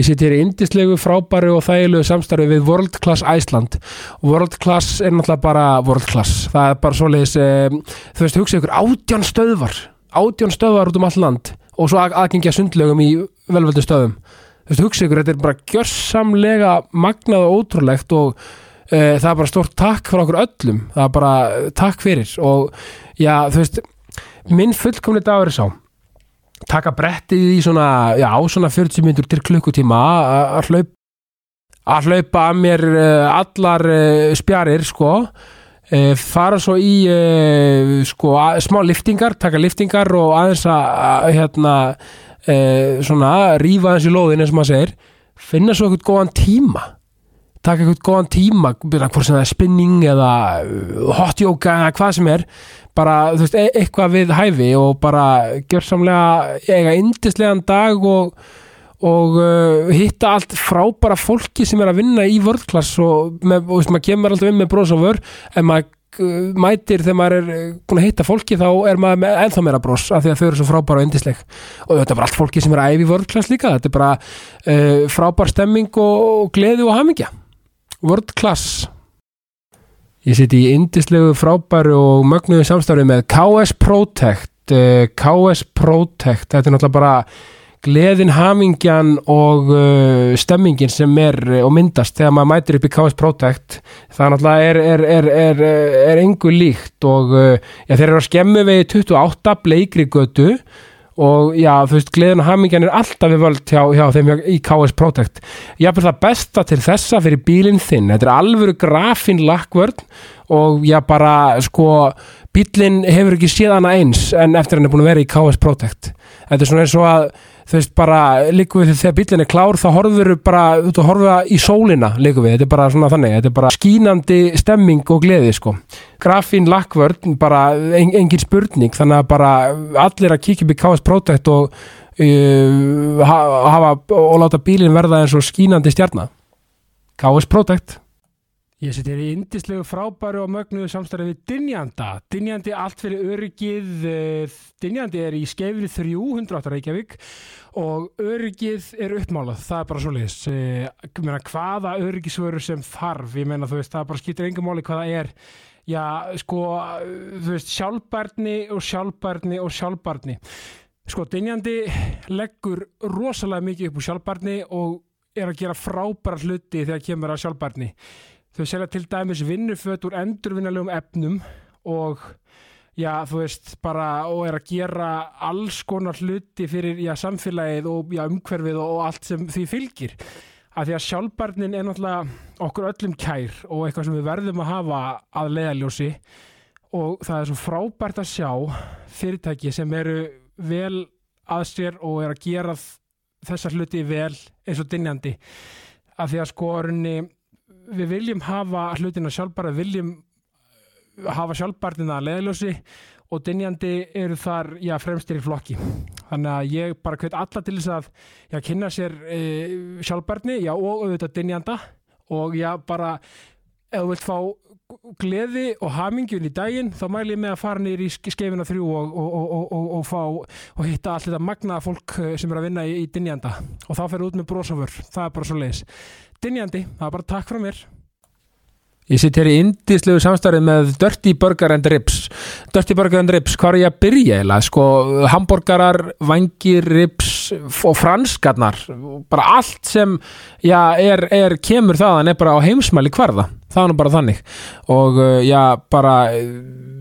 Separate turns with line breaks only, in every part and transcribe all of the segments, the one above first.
Ég seti hér í indislegu, frábæru og þægilegu samstarfi við World Class Iceland. World Class er náttúrulega bara World Class. Það er bara svoleiðis, um, þú veist, hugsa ykkur, átján stöðvar, átján stöðvar út um all land og svo að- aðgengja sundlögum í velvöldu stöðum. Þú veist, hugsa ykkur, þetta er bara gjörsamlega magnað og ótrúlegt og uh, það er bara stórt takk frá okkur öllum. Það er bara eh, takk fyrir og já, þú veist, minn fullkomni dagur er sá taka brettið í svona, já, svona 40 myndur til klukkutíma að- að hlaupa að hlaupa að mér uh, allar uh, spjarir sko uh, fara svo í uh, sko að, smá liftingar, taka liftingar og aðeins að, að hérna uh, svona rífa aðeins í lóðin eins og maður segir, finna svo eitthvað góðan tíma taka eitthvað góðan tíma byrja hvort sem það er spinning eða eh, hot yoga eða hvað sem er bara, þú veist, e eitthvað við hæfi og bara gjörsamlega eiga yndislegan dag og, og uh, hitta allt frábæra fólki sem er að vinna í World Class og, með, og veist, maður kemur alltaf inn með bros og vör en maður eh, mætir þegar maður er eh, búin að hitta fólki þá er maður með ennþá meira bros af því að þau eru svo frábæra og yndisleg og þetta er bara allt fólki sem er að æfi í World Class líka þetta er bara uh, frábær stemming og, og gleði og hamingja World Class Ég siti í indislegu frábæru og mögnuðu samstarfi með KS Protect Eh, KS Protect, þetta er náttúrulega bara gleðin, hamingjan og uh, stemmingin sem er eh, og myndast þegar maður mætir upp í KS Protect það náttúrulega er, er, er, er, eh, er engu líkt og uh, já, þeir eru að skemmu vegi 28 bleikri götu og já, þú veist, gleðin og hamingjan er alltaf við völd hjá, hjá þeim hjá, í KS Protect jafnvel það besta til þessa fyrir bílinn þinn, þetta er alvöru grafin lakkvörn og já bara sko, bílinn hefur ekki séð hana eins en eftir hann er búin að vera í KS Protect, þetta er svona eins og að þú veist bara, líku við þegar bílinn er klár þá horfur bara, þú veist, horfa í sólina líku við, þetta er bara svona þannig þetta er bara skínandi stemming og gleði sko grafín lakkvörn bara en, engin spurning, þannig að bara allir að kíkja upp í KS Protect og uh, ha- hafa og láta bílinn verða eins og skínandi stjarnar KS Protect Ég seti hér í indislegu frábæru og mögnuðu samstarfið við Dynjanda. Dynjandi allt fyrir öryggið, eh, Dynjandi er í skeifinu 308 Reykjavík og öryggið er uppmálað, það er bara svo leiðis. Meina, hvaða öryggisvöru sem þarf, ég meina þú veist, það bara skýtir engum máli hvað það er. Já, sko, þú veist, sjálfbærni og sjálfbærni og sjálfbærni. Sko, Dynjandi leggur rosalega mikið upp úr sjálfbærni og er að gera frábæra hluti þegar kemur að sjálfbærni. Þau selja til dæmis vinnuföt úr endurvinnalegum efnum og já, þú veist, bara og er að gera alls konar hluti fyrir já, samfélagið og já, umhverfið og, og allt sem því fylgir. Af því að sjálfbærnin er náttúrulega okkur öllum kær og eitthvað sem við verðum að hafa að leiðaljósi og það er svo frábært að sjá fyrirtæki sem eru vel að sér og er að gera þ- þessa hluti vel eins og dynjandi af því að sko runni, við viljum hafa hlutina sjálfbæra, við viljum uh, hafa sjálfbærtina að leiðljósi og dynjandi eru þar já, fremstir í flokki þannig að ég bara hvet alla til þess að já, kynna sér e, sjálfbærni já, og auðvitað dynjanda og já, bara ef þú vilt fá gleði og hamingjun í daginn þá mæli ég með að fara niður í ske- skeifina þrjú og, og, og, og, og, og fá og hitta allt þetta magnaða fólk eh, sem er að vinna í, í dynjanda og þá ferðu út með brosofur það er bara svo leiðis dynjandi, það er bara takk frá mér Ég sitt hér í indislegu samstarfið með Dirty Burger and Ribs Dirty Burger and Ribs, hvað er ég að byrja eiginlega? Sko, hambúrgarar, vangir, ribs og franskarnar bara allt sem já, er, er kemur þaðan er bara á heimsmæli hverða það er nú bara þannig og uh, já, bara uh,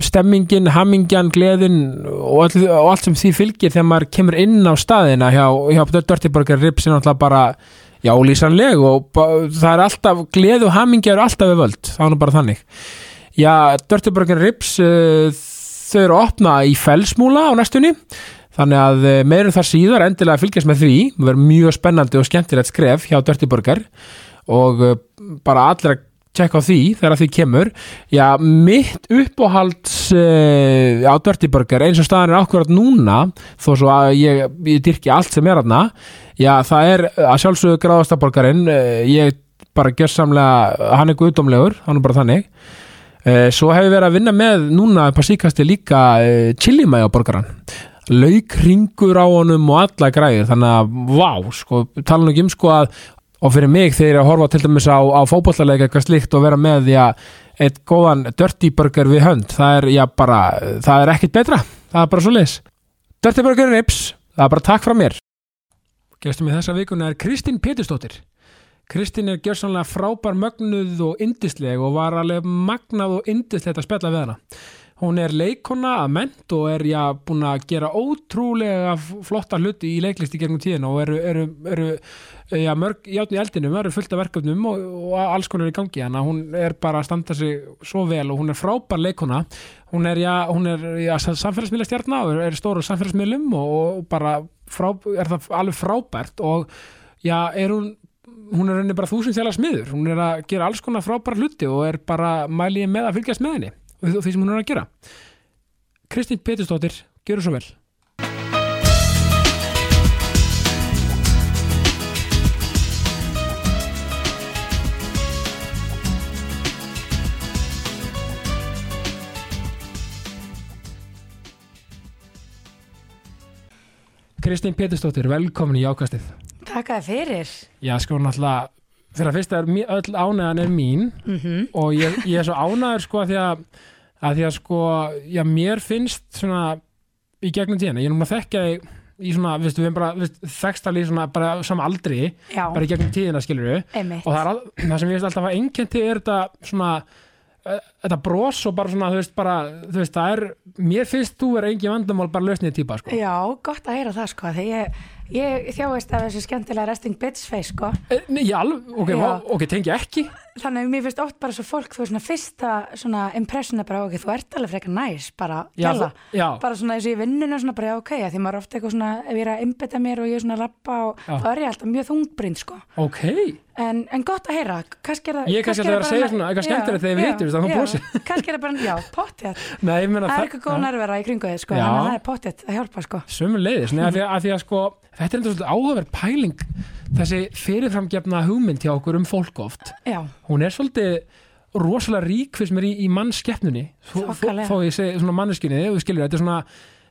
stemmingin, hamingjan, gleðin og, all, og allt sem því fylgir þegar maður kemur inn á staðina hjá, hjá Dirty Burger and Ribs er náttúrulega bara Já, lýsanleg og ba- það er alltaf, gleðu hamingja eru alltaf við völd, það er nú bara þannig. Já, Dirty Burger Rips, uh, þau eru að opna í felsmúla á næstunni, þannig að uh, meirum þar síðar endilega að fylgjast með því, það verður mjög spennandi og skemmtilegt skref hjá Dirty Burger og uh, bara allir að tjekka á því þegar því kemur. Já, mitt uppáhalds uh, á Dirty Burger, eins og staðan er akkurat núna, þó svo að ég, ég dyrki allt sem er aðna, Já, það er að sjálfsögðu gráðastaborgarinn ég bara gjörsamlega hann er guðdómlegur, hann er bara þannig Eh, svo hef ég verið að vinna með núna upp á síkasti líka eh, chilimæjaborgaran lauk ringur á honum og alla græðir þannig að, vá, sko, tala nú ekki um sko að og fyrir mig þegar ég er að horfa til dæmis á, á fótballaleik eitthvað slíkt og vera með því að eitt góðan dirty burger við hönd það er, já, bara, það er ekkit betra það er bara svo leis dirty burger rips, það er bara takk frá mér Gestum í þessa vikuna er Kristín Pétursdóttir Kristín er gjörsanlega frábær mögnuð og indisleg og var alveg magnað og indislegt að spjalla við hana Hún er leikona að ment og er já búin að gera ótrúlega f- flotta hluti í leiklisti gegnum tíðina og eru, eru, eru já, mörg játn í eldinum, eru fullt af verkefnum og, og alls konar er í gangi hann hún er bara að standa sig svo vel og hún er frábær leikona hún er, já, hún er já, samfélagsmiðla og er, er stóru samfélagsmiðlum og, og bara frá, er það alveg frábært og já, er hún hún er henni bara þúsindþjala smiður hún er að gera alls konar frábæra hluti og er bara mæli ég með að fylgjast með henni og því- og því sem hún er að gera Kristín Pétursdóttir, gjöru svo vel Kristín Pétursdóttir, velkomin í ákastið
Takk að fyrir.
Já, sko, náttúrulega fyrir að fyrsta er mí- öll ánæðan er mín
Mm
og ég, ég er svo ánæður sko að því að, að því að sko, já, mér finnst svona í gegnum tíðina, ég er núna að þekkja þig í svona, veistu, við erum bara, veistu, þekkst alveg í svona bara sama aldri,
Já,
bara í gegnum tíðina skilur við,
einmitt.
og það, er al, það sem ég veist alltaf að einkendi er þetta svona eh, þetta bros og bara svona, þú veist, bara þú veist, það er, mér finnst þú er engin vandamál bara lausnið típa, sko
Já, gott að heyra það sko, því ég, ég þjáist af þessu skemmtilega resting bitch face sko.
Eh, Nei, ég alveg, ok,
Já.
vá, ok, tengi ekki
Þannig að mér finnst oft bara svo fólk, þú er svona fyrsta svona impression er bara, ok, þú ert alveg frekar næs, bara,
Já,
gæla.
þú- já.
Bara svona eins og ég vinnuna svona bara, já, ok, að því maður er ofta eitthvað svona, ef ég er að einbytta mér og ég er svona að labba og
Já.
þá er ég alltaf mjög þungbrynd sko.
ok,
En, en gott að heyra, kannski er það...
Ég er kannski að
er
vera að
bara-
segja svona eitthvað
Já,
skemmtilegt þegar við
já,
hittumst, að þú
já.
brosir.
Kannski er það bara, já, pottið.
nei, ég meina
Það er eitthvað góð
já.
nærvera í kringu þið sko,
Já.
þannig að það er pottið að hjálpa sko.
Sumur leiðis, neða því að, að því að sko þetta er enda svolítið áhugaverð pæling þessi fyrirframgefna hugmynd hjá okkur um fólk oft,
Já,
hún er svolítið rosalega rík fyrir sem er í, í mannskeppnunni þó, þó,
Þokkalega.
þó ég segi svona mannskinni ef þú skilur, þetta er svona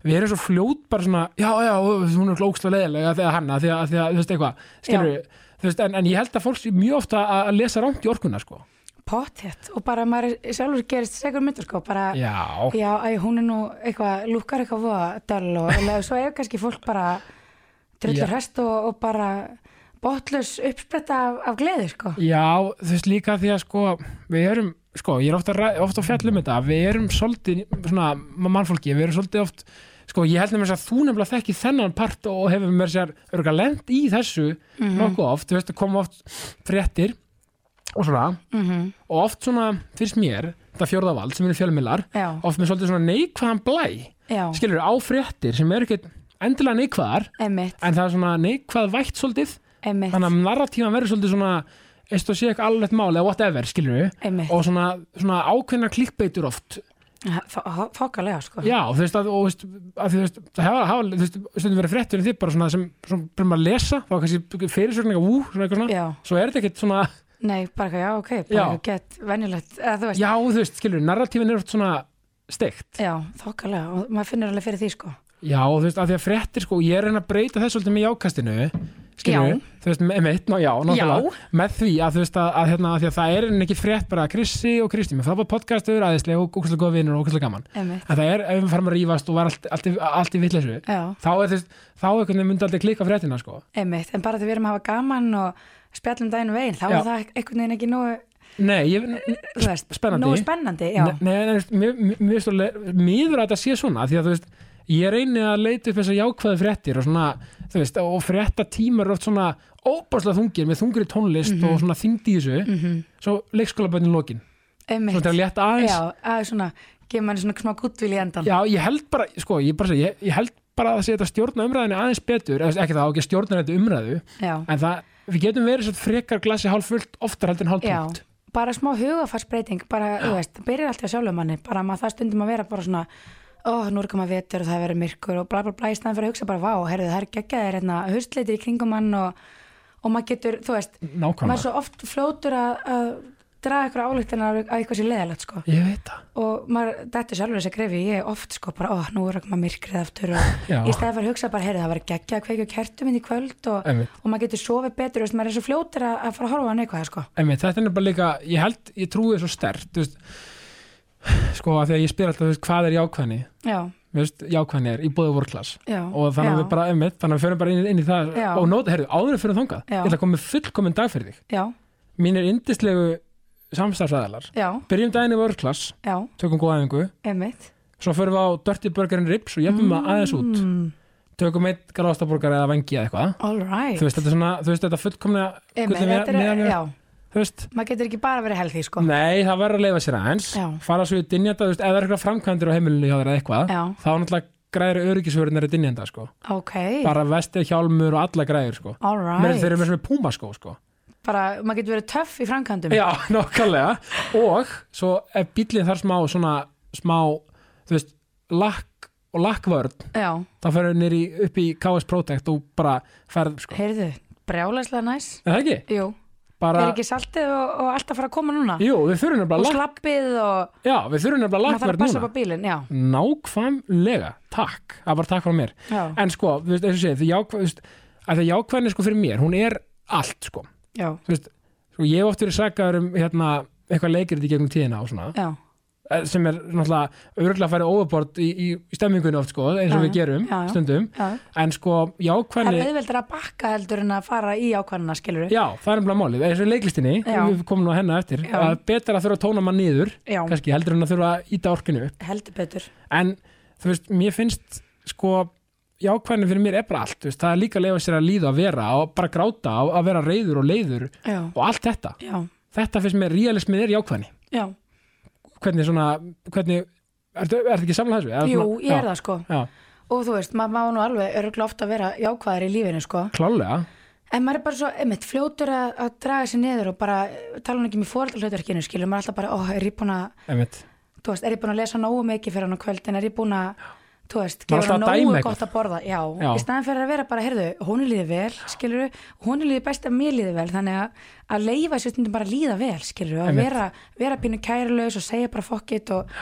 við erum svo fljót bara svona, já, já, hún er klókslega leiðilega þegar hann, að því að, að því að, þú veist eitthvað skilur, þú veist, en, en ég held að fólk sé mjög ofta að að lesa rámt í orkuna, sko
pottið og bara maður er- sjálfur gerist segur myndur sko, bara já,
Já,
æ, hún er nú eitthvað, lúkar eitthvað voða döl og eða svo er kannski fólk bara
Já.
drullur hest og, og bara botlus uppspretta af, af gleði sko.
Já, þú veist líka því að sko við erum, sko, ég er ofta, ofta að fjalla um þetta við erum svolítið, svona mannfólki, við erum svolítið oft sko, ég held nefnir að þú nefnilega þekki þennan part og hefur mér sér örgulega lent í þessu nokkuð oft, þú veist, það koma oft fréttir og svona
Mm -hmm.
og oft svona, fyrst mér, þetta fjórðavald sem eru fjölmiðlar,
Já,
oft með svolítið svona neikvæðan blæ,
já,
skilur á fréttir sem eru ekkert endilega neikvæðar
einmitt,
en það er svona neikvæð vætt svolítið
einmitt,
þannig að narratífan verður svolítið svona eist og sé eitthvað alveg máli eða whatever, skilur við
einmitt,
og svona, svona ákveðna klikkbeitur oft
fokkalega sko.
já, þú veist að, og, þú veist, að þú veist það hafa, hafa þú veist, stundum verið fréttur en þið bara svona sem, svona, bara maður að lesa þá er kannski fyrirsögninga, ú, svona eitthvað svona
Já,
svo er þetta ekkert svona,
nei, bara eitthvað, já, ok, bara
Já.
eitthvað gett venjulegt, eða þú veist,
já, þú veist, skilur við narratífin er oft svona steikt
já, þokkalega og maður finnur alveg fyrir því sko.
já, þú veist, að því að fréttir, sko, ég er að reyna að breyta þess svolítið með jákastinu skilur
Já.
við, þú veist, með, með, ná, já, náttúrulega með því að þú veist að, að, hérna, að, því að það er einhvern ekki frétt bara að Krissi og Kristi með frábæð podcastur, aðeinslega og ókvæslega góða vinnur og ókvæslega gaman.
einmitt,
En það er, ef við farum að rífast og var allt, allt, í- allt í villessu,
já.
þá er þú veist, þá einhvern veginn myndi aldrei klikka fréttina, sko.
Einmitt, en bara þegar við erum að hafa gaman og spjallum daginn og veginn, þá
Já.
er það einhvern veginn ekki nógu,
Nei, ég, n-
þú veist,
Spennandi.
nógu spennandi, Eh, já,
nei, nei, nei, þú veist, mér- mér- mér stóðlega, miður að þetta sé svona, því að þú veist, ég reyni að leita upp þessar jákvæðu fréttir og svona, þú veist, og frétta tímar oft svona óbáslega þungir, með þungri tónlist
Mhm.
og svona þyngd í þessu, svo leikskólabönnin lokin,
einmitt,
svo til að létta aðeins
já, að svona, gefa manni svona smá guttvíl í endan,
Já, ég held bara, sko, ég bara segi, ég, ég held bara að segja þetta stjórna umræðinu aðeins betur, eða þú veist, ekki það á ekki að stjórna þetta umræðu,
já,
en það, við getum verið svo frekar glasi hálf fullt oftar heldur en hálf
já.
tómt.
bara smá hugafarsbreyting, bara, þú veist, það byrjar alltaf sjálfum manni, bara maður það stundum að vera bara svona, ó, nú er koma vetur og það verður myrkur og bla bla bla, í staðan fyrir að hugsa bara, vá, herðu, það er geggjaðir, hérna, hustleitir í kringum mann og, og maður getur, þú veist, maður er
Nákvæmlega.
svo oft fljótur að, að draga ykkur álíktina að eitthvað sé leðalegt sko
ég veit það
og maður, þetta er sjálfur þess að grefi ég er oft sko bara, ó, nú er ekki maður myrkrið aftur og
Já.
í staði fyrir að hugsa bara, heyrðu, það var geggja að kveikja á kertum inn í kvöld og,
Einmitt.
og maður getur sofið betur, þú veist, maður er svo fljótur að, að fara að horfa á neikvæða sko
Einmitt, þetta er bara líka, ég held, ég trúi þessu stert, þú veist, sko að því að ég spyr alltaf, þú veist, hvað er jákvæðni,
já,
þú veist, jákvæðni er í bóði vorklass
já,
og þannig að
já,
við bara, einmitt, þannig að við förum bara inn, inn í það
Já.
og nóta, heyrðu, áður en við förum þangað,
Já.
ég ætla að koma með fullkomin dag fyrir þig,
já,
mínir indislegu samstafsæðalar,
já,
byrjum daginn í vorklass,
já,
tökum góða æfingu,
einmitt
svo förum við á Dirty Burger and Ribs og jefnum það aðeins út,
mm,
tökum eitt galástaborgar eða vengi eða eitthvað,
all right
þú veist, sko, þetta er svona, þú veist, þetta fullkomna,
einmitt,
gullið
þetta er,
meðalvegur,
já,
þú veist,
maður getur ekki bara verið healthy sko
Nei, það verður að leifa sér aðeins
Já.
fara svo í dynjanda, þú veist, eða eitthvað framkvæmdur á heimilinu hjá þér eða eitthvað,
Já.
þá náttúrulega græður öryggisvörunar í dynjanda, sko
ok,
bara vestir, hjálmur og alla græður, sko
all
Meira
right
þeir eru með sem er púmaskó, sko
bara, maður getur verið töff í framkvæmdum
Já, nokkalega og svo ef bíllinn þar smá svona smá, þú veist, lakk og lakkvörn,
já,
þá ferður nýri upp í KS Protect og bara ferð, sko
heyrðu, brjálæslega næs
Er það ekki?
jú,
Bara,
er ekki saltið og, og allt að fara að koma núna
jú, við þurfum
og
nefnilega lakk
slappið og
Já, við þurfum nefnilega
maður þarf að
lakkvörn
passa
núna
upp á bílinn já,
Nákvæmlega, takk, það var takk frá mér
já,
en sko, þú veist, eins og segið, því jákvæð, þú veist, að því jákvæðin sko fyrir mér, hún er allt, sko,
já,
þú veist, sko, ég hef oft verið sakaður um, hérna, eitthvað leikrit í gegnum tíðina og svona,
já,
eh, sem er náttúrulega, örgulega farið óvabort í, í, í stemmingunni oft, sko, eins og
Já,
við gerum
já, já.
stundum,
já.
en sko,
Það er
jákvæðin,
auðveldur að bakka heldur en að fara í ákvæmna, skilur við?
já, það er umlað málið, eins og í leiklistinni,
Já.
við komum nú að hennar eftir,
Já.
að betra að þurfa að tóna mann niður,
Já,
kannski, heldur en að þurfa að íta orkinu upp,
heldur betur.
en, þú veist, mér finnst, sko, jákvæðin fyrir mér er bara allt, þú veist, það er líka að leifa sér að líða að vera og bara gráta og að vera reyður og leiður
Já,
og allt þetta,
já,
þetta finnst mér realismin er jákvæðni,
já.
hvernig svona hvernig, ertu, ertu ekki samlega þessu?
Jú, ég er það sko.
Já,
Og þú veist, maður má nú alveg örgulega ofta að vera jákvæðar í lífinu sko.
klálega,
En maður er bara svo, einmitt, fljótur að, að draga sér niður og bara eh, tala hann ekki með fóreldarhlautarkinu, skilur. Maður er alltaf bara, ó, er ég búin að,
einmitt
þú veist, er ég búin að lesa nógu mikið fyrir hann á kvöldin, er ég búin að, þú veist,
Maður er
gefa hann
alltaf að dæma
nógu
eitthvað.
gott að borða. Já,
Já.
í staðan fyrir að vera bara, heyrðu, hún er líðið vel, skilur, hún er líðið best að mér líðið vel, þannig að, að leifa sér stundum bara að líða vel, skilur, að
Einmitt.
vera, vera pínu kærlaus og segja bara fokkitt og,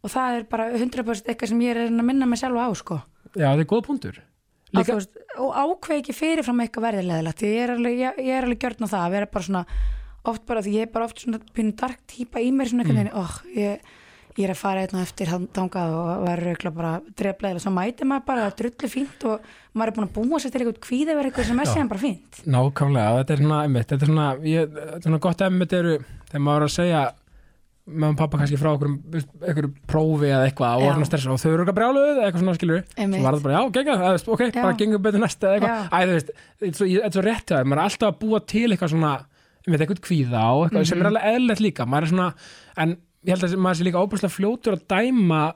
og það er bara 100% eitthvað sem ég er að reyna að minna mig sjálfa á, sko.
Já, þetta er góð punktur
Að
Líka,
þú veist, og ákveð ekki fyrirfram eitthvað verðilegilegt ég er alveg, ég, ég er alveg gjörn á það að vera bara svona oft bara því ég er bara oft svona pínu dark típa í mér svona
Mm.
einhvern veginn oh, ég, ég er að fara einn og eftir þangað og verður eitthvað bara dreflegilega svo mæti maður bara að drullu fínt og maður er búin að búa sér til eitthvað kvíða verið eitthvað sem er síðan bara fínt
nákvæmlega, þetta er svona einmitt, þetta er svona, ég, þetta er svona gott emmitt eru, þegar maður er að segja mamma og pappa kannski frá okkur einhverju prófi eða eitthvað og
Já.
orðin að stressa og þau eru eitthvað brjáluð eða eitthvað svona skilur
Einmitt.
svo var það bara, já, gegga, eða, veist, ok,
Já.
bara gengum betur næsta eða
Já.
eitthvað, æ, þú veist þetta er svo- þetta er svo rétt hjá þér, maður er alltaf að búa til eitthvað svona, einmitt, eitthvað kvíða og eitthvað sem
Mhm.
er alveg eðlilegt líka, maður er svona en ég held að maður sé líka óbúslega fljótur að dæma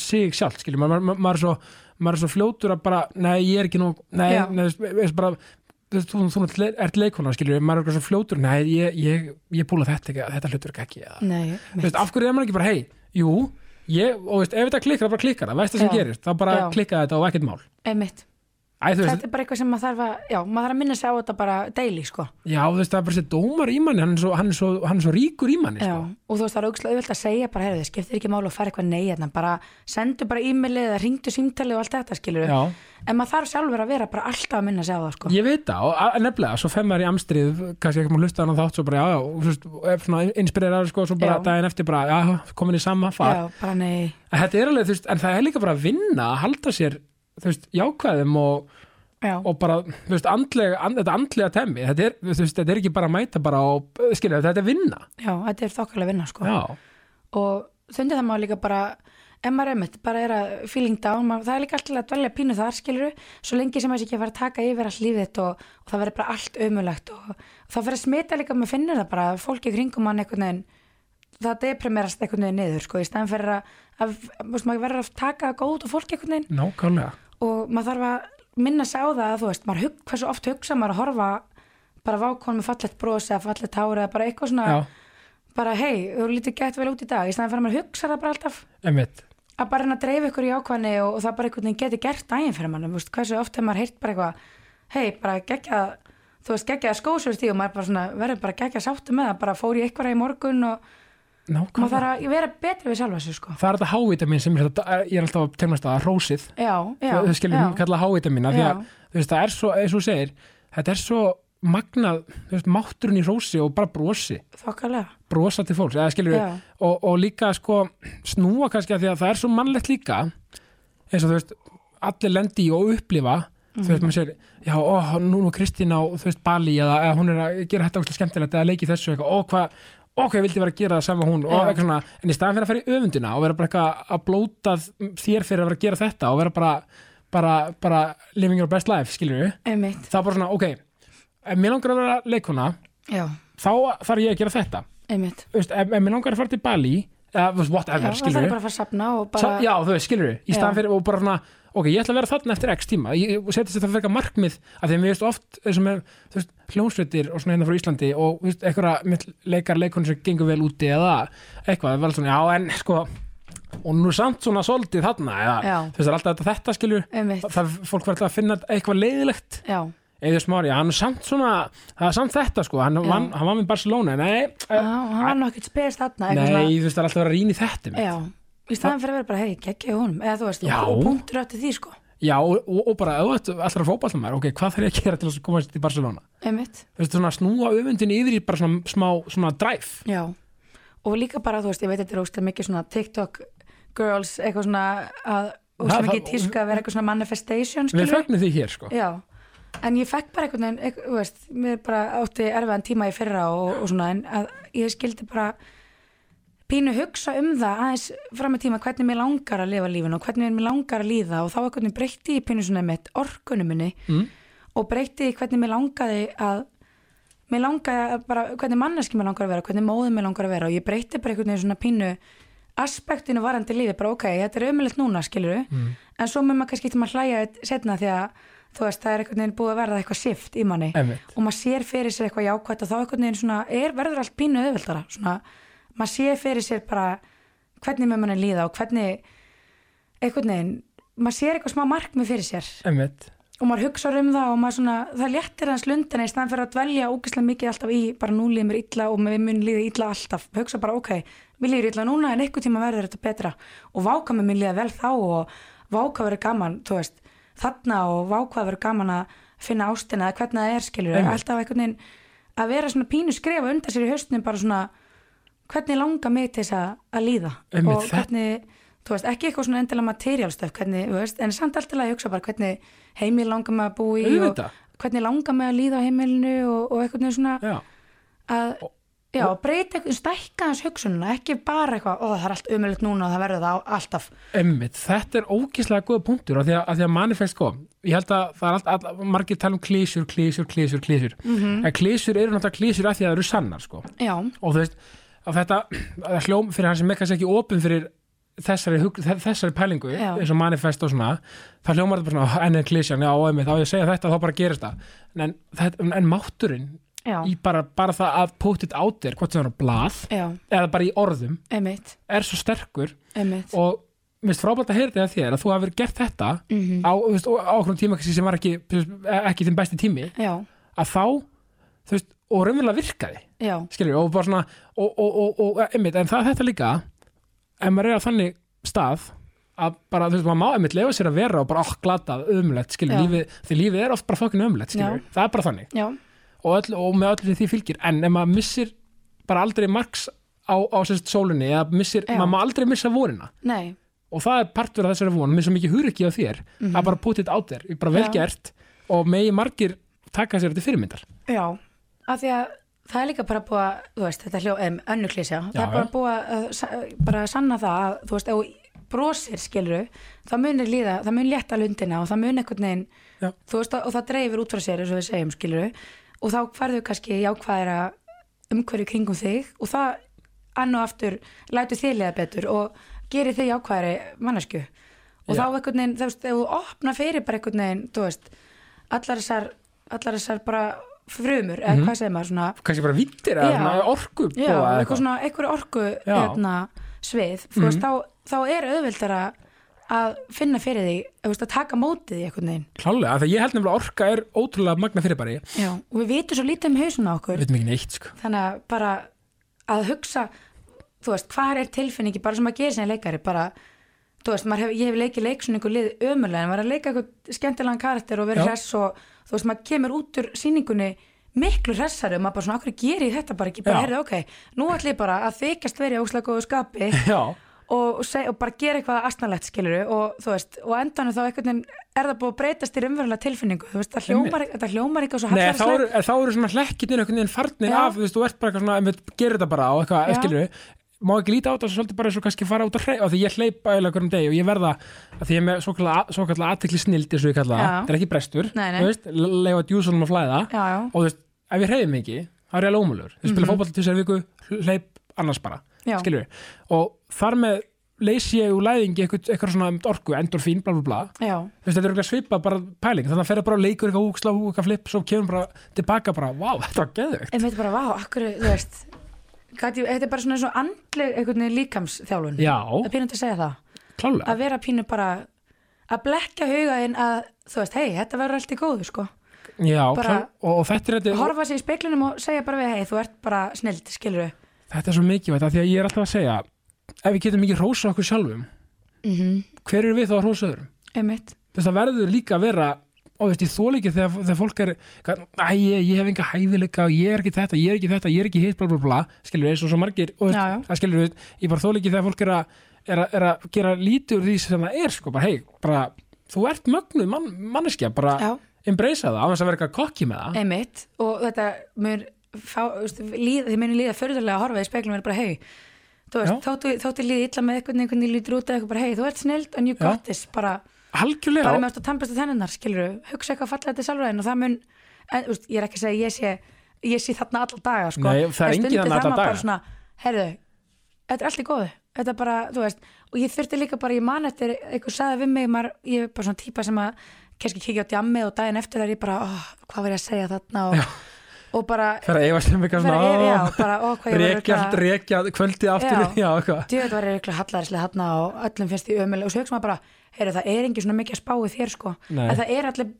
sig sjálf, skilur, maður, maður, maður er svo maður er svo fljótur að bara, nei, ég er ekki nú nei,
Já.
nei, þú veist, veist bara þú, veist, þú, þú ert le- ert leikona, skilur, maður er eitthvað svo fljótur nei, ég, ég, ég búla þetta ekki, þetta hlutur ekki eða,
Nei,
Þú veist, af hverju er maður ekki bara, hei, jú ég, og veist, ef þetta klikkar, þá bara klikkar það veist það sem
Já.
gerist, þá bara
Já.
klikkar þetta og ekkert mál
einmitt
Æ, þú veist,
þetta er bara eitthvað sem maður þarf að, já, maður þarf að minna sér á þetta bara daily, sko
já, þú veist, það er bara sér dómar í manni, hann er svo, hann er svo, hann er svo ríkur í manni
Já,
sko.
og þú veist það er auðvitað auðvitað að segja bara, heyrðu, skiptir ekki máli að fara eitthvað nei hérna, bara sendu bara e-mailið eða ringdu símtalið og allt þetta skilur
Já.
en maður þarf sjálfur að vera bara alltaf að minna sig á það sko.
Ég veit það, og a- nefnilega, svo fem maður í amstrið kannski ekki maður hlusta hann á þátt, svo bara, já, já og þú veist, og ef svona inspirerar, sko, svo bara
Já.
daginn eftir bara, já, komin í sama far
Já, bara nei,
En þetta er alveg, þú veist, en það er líka bara að vinna að halda sér, þú veist, jákvæðum og,
já,
og bara, þú veist, andlega, and, þetta andlega temmi, þetta er, þú veist, þetta er ekki bara að mæta bara og, skilja, þetta er vinna.
já, þetta er þokkalega vinna sko.
Já,
og þundi það maður líka bara ef maður einmitt bara er að feeling down maður, það er líka alltaf að dvelja pínu þar skilur svo lengi sem maður sé ekki að fara að taka yfir allt lífið þitt og, og það verður bara allt ömulegt og, og það fyrir að smita líka, maður finnur það bara fólki í kringum mann einhvern veginn það deprimerast einhvern veginn niður sko, í staðan fyrir að, að þú veist, maður verður að taka það góð og fólki einhvern veginn
nákvæmlega.
og maður þarf að minna sig á það að þú veist, maður hug, hversu oft hugsa maður að horfa bara vákon með fallegt bros eða fallegt hári eða bara eitthvað svona
Já,
bara hei, þú lítið gett vel út í dag í staðan fyrir að maður hugsa það bara alltaf
einmitt.
að bara reyna að dreifa ykkur í ákvæðni og, og það bara einhvern veginn geti gert daginn fyrir mann veist, hversu oft hefur maður heyrt bara eitthvað hei, bara gegja þú veist, geggjaða skó svo stíð og maður bara svona, verður bara geggjað sáttu með það bara fór ég eitthvað í morgun og maður
Nákvæmlega.
þarf að vera betri við sjálfa sig sko.
Það er þetta hávitamín sem er, þetta, ég er alltaf að temast að hrósið
já, já,
þau skilur
já,
hún kalla hávitamín af því að
Já.
þú veist, það er svo, eins og þú segir þetta er svo magnað, þú veist, mátturinn í hrósi og bara brosi,
þokkalega
brosa til fólks eða skilur
Já.
og, og líka sko snúa kannski að því að það er svo mannlegt líka eins og þú veist allir lendi í og upplifa þú
Mhm.
veist, maður sér, já, ó, nú nú Kristín á þú veist, Bali eða, eða hún er að gera þetta óslega skemmtilegt eða leiki þessu eitthvað, ó, hvað ó, hvað ég vildi vera að gera það saman hún og
Já.
eitthvað svona, en í staðan fyrir að fara í öfundina og vera bara eitthvað að blóta þér fyrir að vera að gera þetta og vera bara, bara, bara living your best life, skilur við
einmitt,
það er bara svona, ok, ef mér langar að vera leikuna,
já,
þá þarf ég að gera þetta
einmitt
Þú veist, ef, ef mér langar að fara til Bali eða þú veist,
já,
whatever,
það þarf
skilur
bara að fara að safna og bara,
Sa- já, þú veist, skilur við, í staðan
Já.
fyrir og bara svona, ok, ég ætla að vera þarna eftir x tíma ég ég setja sér það fyrir markmið af því að mér veist oft, eins og með þú veist, hljónsveitir og svona hérna frá Íslandi og þú veist, eitthvað með leikar leikon sem gengur vel úti eða eitthvað, vel svona, já, en sko og nú samt svona soldið þarna eða,
Já.
þú veist, það er alltaf þetta, þetta skilur
einmitt,
það, fólk verður alltaf að finna eitthvað leiðilegt
já,
Eður Smári, hann er samt svona það er samt þetta sko, hann,
Já.
vann, hann var með Barcelona nei,
já,
eh,
hann var nokkert spes þarna eitthvað svona-
Nei, þú veist, það er alltaf að vera rýn í þetta mitt.
Já, í staðan fyrir að vera bara, hei, geggjaði honum eða þú veist,
Já.
og punktur átti því sko
Já, og, og- og bara, ef þú ætlar að fótballta maður, ok, hvað þarf ég að gera til að komast í Barcelona?
einmitt,
Þú veist, svona snúa öfundin yfir í bara svona smá, svona drive.
já og líka bara, þú veist, ég veit þetta er óslega mikið svona TikTok girls, eitthvað svona að, óslega
það-
mikið í tísku að vera eitthvað svona manifestation,
Við
skilur
fögnum því hér, sko.
Já, en ég fekk bara einhvern veginn, eitthvað, þú veist, mér bara átti erfiðan tíma í fyrra og, og svona en að ég skildi bara pínu hugsa um það aðeins fram með tíma hvernig mér langar að lifa lífinu og hvernig mér langar að líða og þá einhvern veginn breytti ég pínu svona mitt orkunum minni mm. og breytti ég hvernig mér langaði að mér langaði að bara hvernig manneski mér langar að vera, hvernig móðið mér langar að vera og ég breytti bara einhvern veginn svona pínu aspektinu varandi lífi, bara ok, þetta er ömulegt núna skilur en svo með maður kannski til maður hlæja setna því að þú veist, það er einhvern veginn búið að verða eitthvað shift í manni
Einmitt.
og maður sér fyrir sér eitthvað jákvætt og þá einhvern veginn svona er, verður allt pínu auðveldara svona, maður sér fyrir sér bara hvernig með manni líða og hvernig einhvern veginn, maður sér eitthvað smá markmið fyrir sér
Einmitt.
og maður hugsaður um það og maður svona, það léttir hans lundina í staðan fyrir að dvelja ógeðslega mikið alltaf í bara nú líður mér illa og mér mun líða illa alltaf hugsa bara ok, mér líður illa núna en einhvern tíma verður þetta betra og váka með mér líða vel þá og váka verður gaman þú veist, þarna og váka verður gaman að finna ástina eða hvernig það er skilur
Einmitt.
alltaf einhvern veginn að vera svona pínu skrefa undan sér í haustinu bara svona hvernig langar mig til þess að, að líða
Einmitt,
og
þetta-
hvernig, þú veist, ekki eitthvað svona endilega materiálstöf, hvernig, þú veist, en samt alltaf að hugsa bara hvernig heimil langar maður að búa í
Auðvitað.
og hvernig langar maður að líða á heimilinu og, og eitthvað svona
Já.
að, já, breyta eitthvað, stækka hans hugsununa, ekki bara eitthvað, ó það er allt umöðlegt núna og það verður það á, alltaf,
Einmitt, þetta er ógeðslega góða punktur af því að, af því að manifest sko, ég held að það er allt, all, margir tala um klísur, klísur, klísur, klísur
Mhm.
en klísur eru náttúrulega klísur af því að það eru sannar sko.
já,
og þú veist að þetta að hljóm fyrir hann sem er kannski ekki opinn fyrir þessari, hug- þe- þessari pælingu
Já.
eins og manifest og svona það hljómar þetta bara svona enn en klísjan já, emi, þá á ég að segja þetta þá bara gerist það en, þetta, en mátturinn
já,
í bara, bara það að put it out there hvort sem það er á blað
já,
eða bara í orðum
einmitt,
er svo sterkur
einmitt,
og mér finnst frábært að heyra þetta af þér að þú hafir gert þetta
Mhm.
á, þú veist, á á okkur tíma kannski sem var ekki, ekki þinn besti tími
já,
að þá þú veist, og raunverulega virkaði
já,
skilur, og bara svona og, og, og, og einmitt, en það er þetta líka ef maður er á þannig stað að bara, þú veist, maður má einmitt lefa sér að vera og bara okk glatað, ömulegt, skilur,
Já.
lífið því lífið er oft bara fokkin ömulegt, skilur,
Já.
það er bara þannig
já,
og, öll, og með öllu því fylgir, en ef maður missir bara aldrei marks á, á sérst sólinni, eða missir,
Já.
maður má aldrei missa vorina,
nei,
og það er partur af þessari von, mér svo mikið hur ekki á þér að bara put it out there, ég bara vel
Mhm. Já.
gert og megi margir taka sér þetta fyrirmyndar
já, af því að Það er líka bara búið að, þú veist, þetta er hljó, um, önnuklísja, það
Já,
er bara
já.
búið að, að sa- bara að sanna það að, þú veist, ef þú brosir skiluru, það munir líða, það mun létta lundina og það mun einhvern veginn,
Já.
þú veist, og það dreifir út frá sér eins og við segjum skiluru og þá færðu kannski jákvæðara umhverju kringum þig og það ann og aftur lætur þig liða betur og gerir þig jákvæðari mannesku og
Já.
þá einhvern veginn, þú veist, ef þú opna fyrir bara einhvern veginn, þú veist, allar þessar, allar þessar bara frumur, eða hvað segir maður svona,
kannski bara vittir að
Já.
orku
Mhm. Já, eitthvað svona, eitthvað orku
Já.
Mhm. hérna, svið, þú veist, þá, þá er auðveldara að finna fyrir því, þú veist, að taka mótið því einhvern veginn.
klálega, af því að ég held nefnilega að orka er ótrúlega magna fyrirbæri,
Já, og við vitum svo lítið um hausuna
við
okkur,
veitum ekki neitt sko.
þannig að bara að hugsa, þú veist, hvað er tilfinningi, bara sem að gera sinni leikari, bara, þú veist, maður hef, ég hef leikið leiksunningu lið ömulega, en maður er að leika eitthvað skemmtilegan karakter og
Já.
vera hress og, þú veist, maður kemur út úr síningunni miklu hressari og maður bara svona, okkur gerir ég þetta bara ekki, bara,
Já.
heyrðu, ok, nú ætlum ég bara að þykjast verið óslega góðu skapi
Já,
og, og, seg, og bara gera eitthvað astnalegt skilur og þú veist, og á endanum þá einhvern veginn er það búið að breytast í raunverulega tilfinningu þú veist, það hljómar, þetta hljómar eitthvað svo
Nei, þá
hallærislegt.
eru, en þá eru svona hlekkirnir einhvern veginn farnir
Já.
af, þú veist, þú ert bara eitthvað svona, einmitt, gerir þetta bara á eitthvað,
Já.
skilur við, má ekki líta á þetta svolítið bara eins og kannski fara út að hreyfa, því ég hleypa eiginlega hverjum degi og ég verða, að því ég er með svokallega svokalla aðtekli snild, eins og ég kalla það,
Já.
það er ekki brestur,
Nei, nei.
þú veist, leifa djúsunum að flæða
já, já,
og þú veist, ef ég hreyfum ekki, það er eiginlega ómulur, þú spila mm -hmm. fótball til sér viku, hleyp annars bara,
Mhm. Já.
skilur og þar með leysi ég úr læðingi eitthvað, eitthvað svona um orku, endorfín, bla bla bla,
já,
Þú veist, þetta er eitthvað svipað bara pæling þannig að fyrir bara og leikur eitthvað húksla hú, eitthvað flip svo kemur bara tilbaka bara, vá, þetta var geðvegt
einmitt bara, vá, akkur, þú veist gat, ég, þetta er bara svona svo andleg einhvern veginn líkamsþjálfun það
Já,
er pínandi að segja það,
klálega
að vera pínu bara að blekja hugaðinn að þú veist, hei, þetta verður allt í góðu, sko
Já,
bara-
klá, og, og þetta er þetta,
horfa sér í speiklinum og segja bara við, hei, þú ert bara snild, skilur við
þetta er svo mikilvægt af því að ég er alltaf að segja ef við getum ekki hrósa okkur sjálfum hver eru við þá að hrósa öðrum
einmitt,
Þú veist, það verður líka að vera og þú veist, ég þóla ekki þegar, þegar fólk er hvað, æ, ég, ég hef enga hæfileika og ég er ekki þetta, ég er ekki þetta, ég er ekki hitt bla bla bla, skilur eins og svo margir og þú
Já, já.
veist, það skilur við, ég bara þóla ekki þegar fólk er að, er að, er að gera lítur því sem það er, sko, bara hei, bara þú ert mögnuð mann, manneskja bara
já Eh,
embracea það, á þess að vera eitthvað kokki með það
einmitt og þetta mér fá, veist, líð, þið munir líða förðulega að horfa í speglum og vera bara hei þú
Já.
veist, þóttu, þóttu líði illa með eitthvað einhvern veginn lítur út eða eitthvað bara hei, þú ert snild and you
Já.
got this bara,
algjörlega,
bara með að tampast á tennunar, skilur hugsa eitthvað falla þetta sjálfur en og það mun en, veist, ég er ekki að segja, ég sé ég sé þarna alla daga, sko
Nei, það er
En
enginn þarna
stundum
alla
þarf maður
daga.
bara svona, heyrðu, þetta er allt í góðu þetta er bara, þú veist, og ég þurfti líka bara ég man eftir, einhver saði við mig maður, ég er bara svona típa sem að kannski kikið á djammið og daginn eftir er ég bara oh, hvað var ég að segja þarna og, og bara,
það er að efast um eitthvað
vera ef, já,
svona
bara, ó, hvað ég var
rekja,
örugglega-
rekja, kvöldið aftur
Já.
já, eitthvað,
djöfull var ég örugglega hallærisleg þarna og öllum finnst því ömuleg og svo hugsa maður bara, heyrðu, það er engin svona mikið að spá í þér sko,
Nei.
en það er allir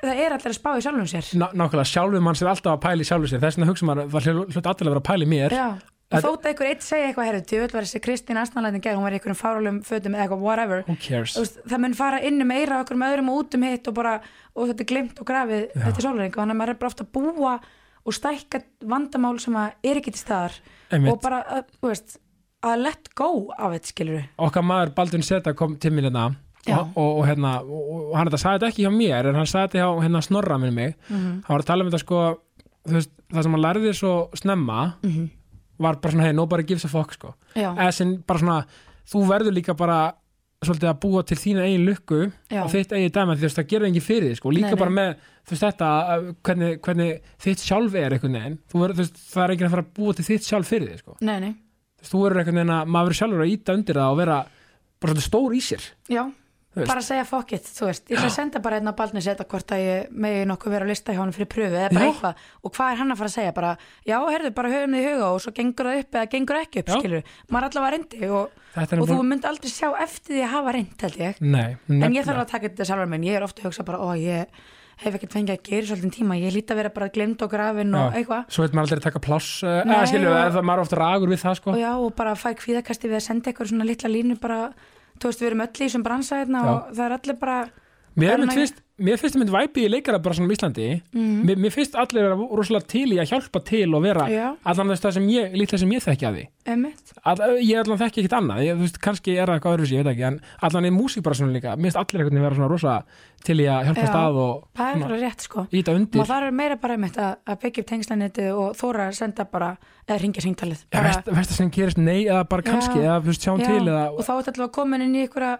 það er allir að spá í sjálfum sér
Ná, nákvæmlega sjálfum mann sem er alltaf að pæli sjálfum sér þess vegna hugsa maður, það hlut allir að vera að pæli mér
Já, og þótt að einhver eitt segja eitthvað herru, djöfull var þessi Kristín Asnalæðin gerð, hún var í einhverjum fáralum fötum eða eitthvað, whatever
who cares
Þú veist, það mun fara inn um eira okkur með öðrum og út um hitt og bara, og þetta er glimt og grafið þetta er sólaring, þannig að maður er bara oft að búa og stækka vandamál sem að er ekki til staðar
Einmitt.
og bara, að, þú veist, að let go af þetta skilur
okkar maður Baldvin Seta kom til mín hérna
Já.
og, og, og hérna, og, og hann þetta sagði þetta ekki hjá mér en hann sagði þetta hjá hérna snorra minn mig
Mhm.
hann var að tala um þetta sko þú veist, það sem hann lærði svo snemma
Mhm.
var bara svona, hey, nobody gives a fuck sko
Já.
eða sem bara svona þú verður líka bara svolítið að búa til þína eigin lukku
Já.
og þitt eigin dæma því þú veist, það gerir engin fyrir því sko og líka
Nei, nei.
bara með, þú veist, þetta að- hvernig, hvernig þitt sjálf er einhvern veginn þú verður, þú veist, það er enginn að fara að búa til þitt sjálf fyrir því sko
Nei, nei,
Þú veist, þú verður einhvern veginn að maður verður sjálfur að íta undir það og vera bara svolítið stór í sér
já
Þú veist.
bara að segja fuck it, þú veist, ég ætla að senda bara einn á Baldni seta hvort að ég megi nokkuð vera að lista hjá hann fyrir pröfu eða bara
Já.
eitthvað og hvað er hann að fara að segja, bara já, herðu, bara höfum þið í huga og svo gengur það upp eða gengur ekki upp,
Já.
skilur, maður allavega reyndi og,
Þetta er
og þú
nefnilega-
myndi aldrei sjá eftir því að hafa reynd, held ég
Nei,
en ég þarf að taka þetta sjálfur minn, ég er ofta að hugsa bara ó, ég hef ekkert fengið að gera í svolítið tíma ég líti að vera bara glemd og grafin og eitthvað
Svo veit maður aldrei að taka pláss eh,
Nei,
eða skilju,
og-
eða það maður er ofta ragur við það sko
og já, og bara fæ kvíðakasti við að senda eitthvað svona litla línu bara, þú veist, við erum öll í þessum bransa hérna
Já.
og það er allir bara
Mér,
Það er
er mynd
næg-
fyrst, mér finnst mynd væpi í leikara bara svona um Íslandi
Mhm.
mér, mér finnst allir vera rosalega til í að hjálpa til og vera
Já.
allan þess það sem ég, lítið sem ég þekki að því
ömmit,
All, ég allan þekki ekkit annað, ég, þú veist, kannski er það eitthvað öðru ég veit ekki, en allan í músík bara svona líka mér finnst allir einhvern veginn vera svona rosa til í að hjálpa
Já.
stað og
það er
svona
bara rétt sko
íta undir
og það er meira bara ömmit að, að byggja upp tengslanettu og þóra að senda bara eða ringja sengtalið
Já,
bara,
veist, veist það sem gerist nei eða bara kannski eða þú veist, sjáum
Já,
til eða,
og þá er allavega komin inn í einhverja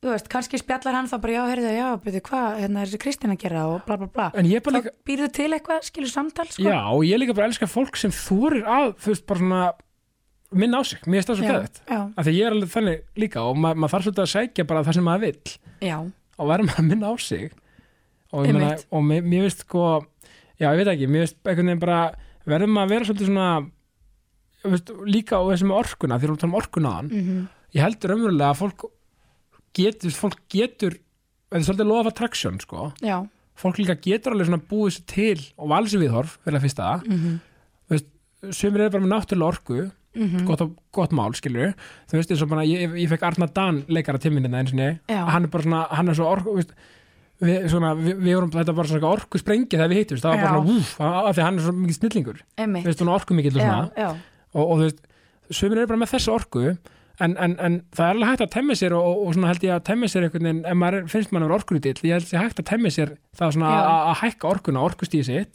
þú veist, kannski spjallar hann þá bara já, heyrðu, já, byrju, hvað, hérna er þessi Kristín að gera og bla bla bla
en ég bara
þá
líka
býrðu til eitthvað, skilur samtal sko?
já, og ég líka bara elska fólk sem þorir að þú veist, bara svona minna á sig, mér finnst það svo
já,
gæðið
já,
af því ég er alveg þannig líka og ma maður þarf svolítið að sækja bara það sem maður vill
já,
og verður maður að minna á sig og, ég meina,
Einmitt.
og mér, mér finnst sko já, ég veit ekki, mér finnst einhvern veginn bara verður maður að vera svolítið svona þú veist, líka á þessum orkuna, því erum við tala um orkuna mm
Mhm.
ég heldur ömurlega að fólk get, þú veist, fólk getur þetta er svolítið lofa traction sko
já,
fólk líka getur alveg svona búið sér til og valið sér viðhorf, fyrir að fyrsta mm
Mhm.
veist, sumir eru bara með náttúrulega orku
Mhm.
gott, gott mál, skilur þú veist, eins og bara, ég, ég fekk Arna Dan leikara timminina eins og niður,
Já.
hann er bara svona hann er svo orku, veist Við, svona, við, við vorum þetta var svona orku sprengja þegar við hittum það var bara
Já.
svona úf, af því að hann er svo mikið snillingur Þú
einmitt
veist, svona orku mikill og svona
já, já,
og, og þú veist, sömur eru bara með þessa orku en, en, en það er alveg hægt að temja sér og, og, og svona held ég að temja sér einhvern veginn ef maður er- finnst maður orkunutill, ég held ég hægt að temja sér það svona
Já.
að að hækka orkuna orkustíði sitt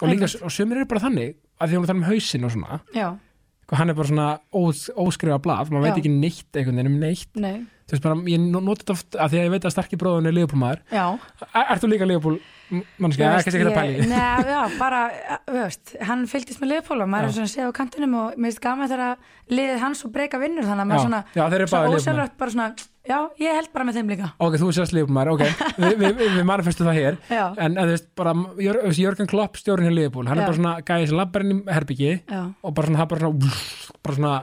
og líka, og sömur eru bara þannig að því hún er þannig um hausinn og svona
já,
og hann er bara svona ós, óskrifa blað maður
Já.
veit ekki neitt einhvern veginn um neitt
nei,
þú veist bara, ég noti þetta oft að því að ég veit að starki bróðun er liðbúlmaður
já
er þú líka liðbúl mannski,
Þú
það er
veist,
kannski ekki að
ég-
pæli því.
Nei, já, bara, eh, þú veist, hann fylgdist með liðpól og maður er
Já.
svona að séð á kantinum og mér finnst gaman þegar að liðið hans og breyka vinnur þannig að maður
Já,
svona,
já, þeir eru báðir
svona
Liverpool-menn.
ósjálfrætt bara svona, já, ég held bara með þeim líka.
ok, þú sést liðbúlmaður, ok, við vi, vi, vi manifestum það hér
Já,
en en þú veist bara Jör- þú veist, Jörgen Klopp stjórn hér liðbúl hann
Já.
er bara svona gæði sem labbarinn í herbyggi
já,
og bara svona, hann bara svona, bara svona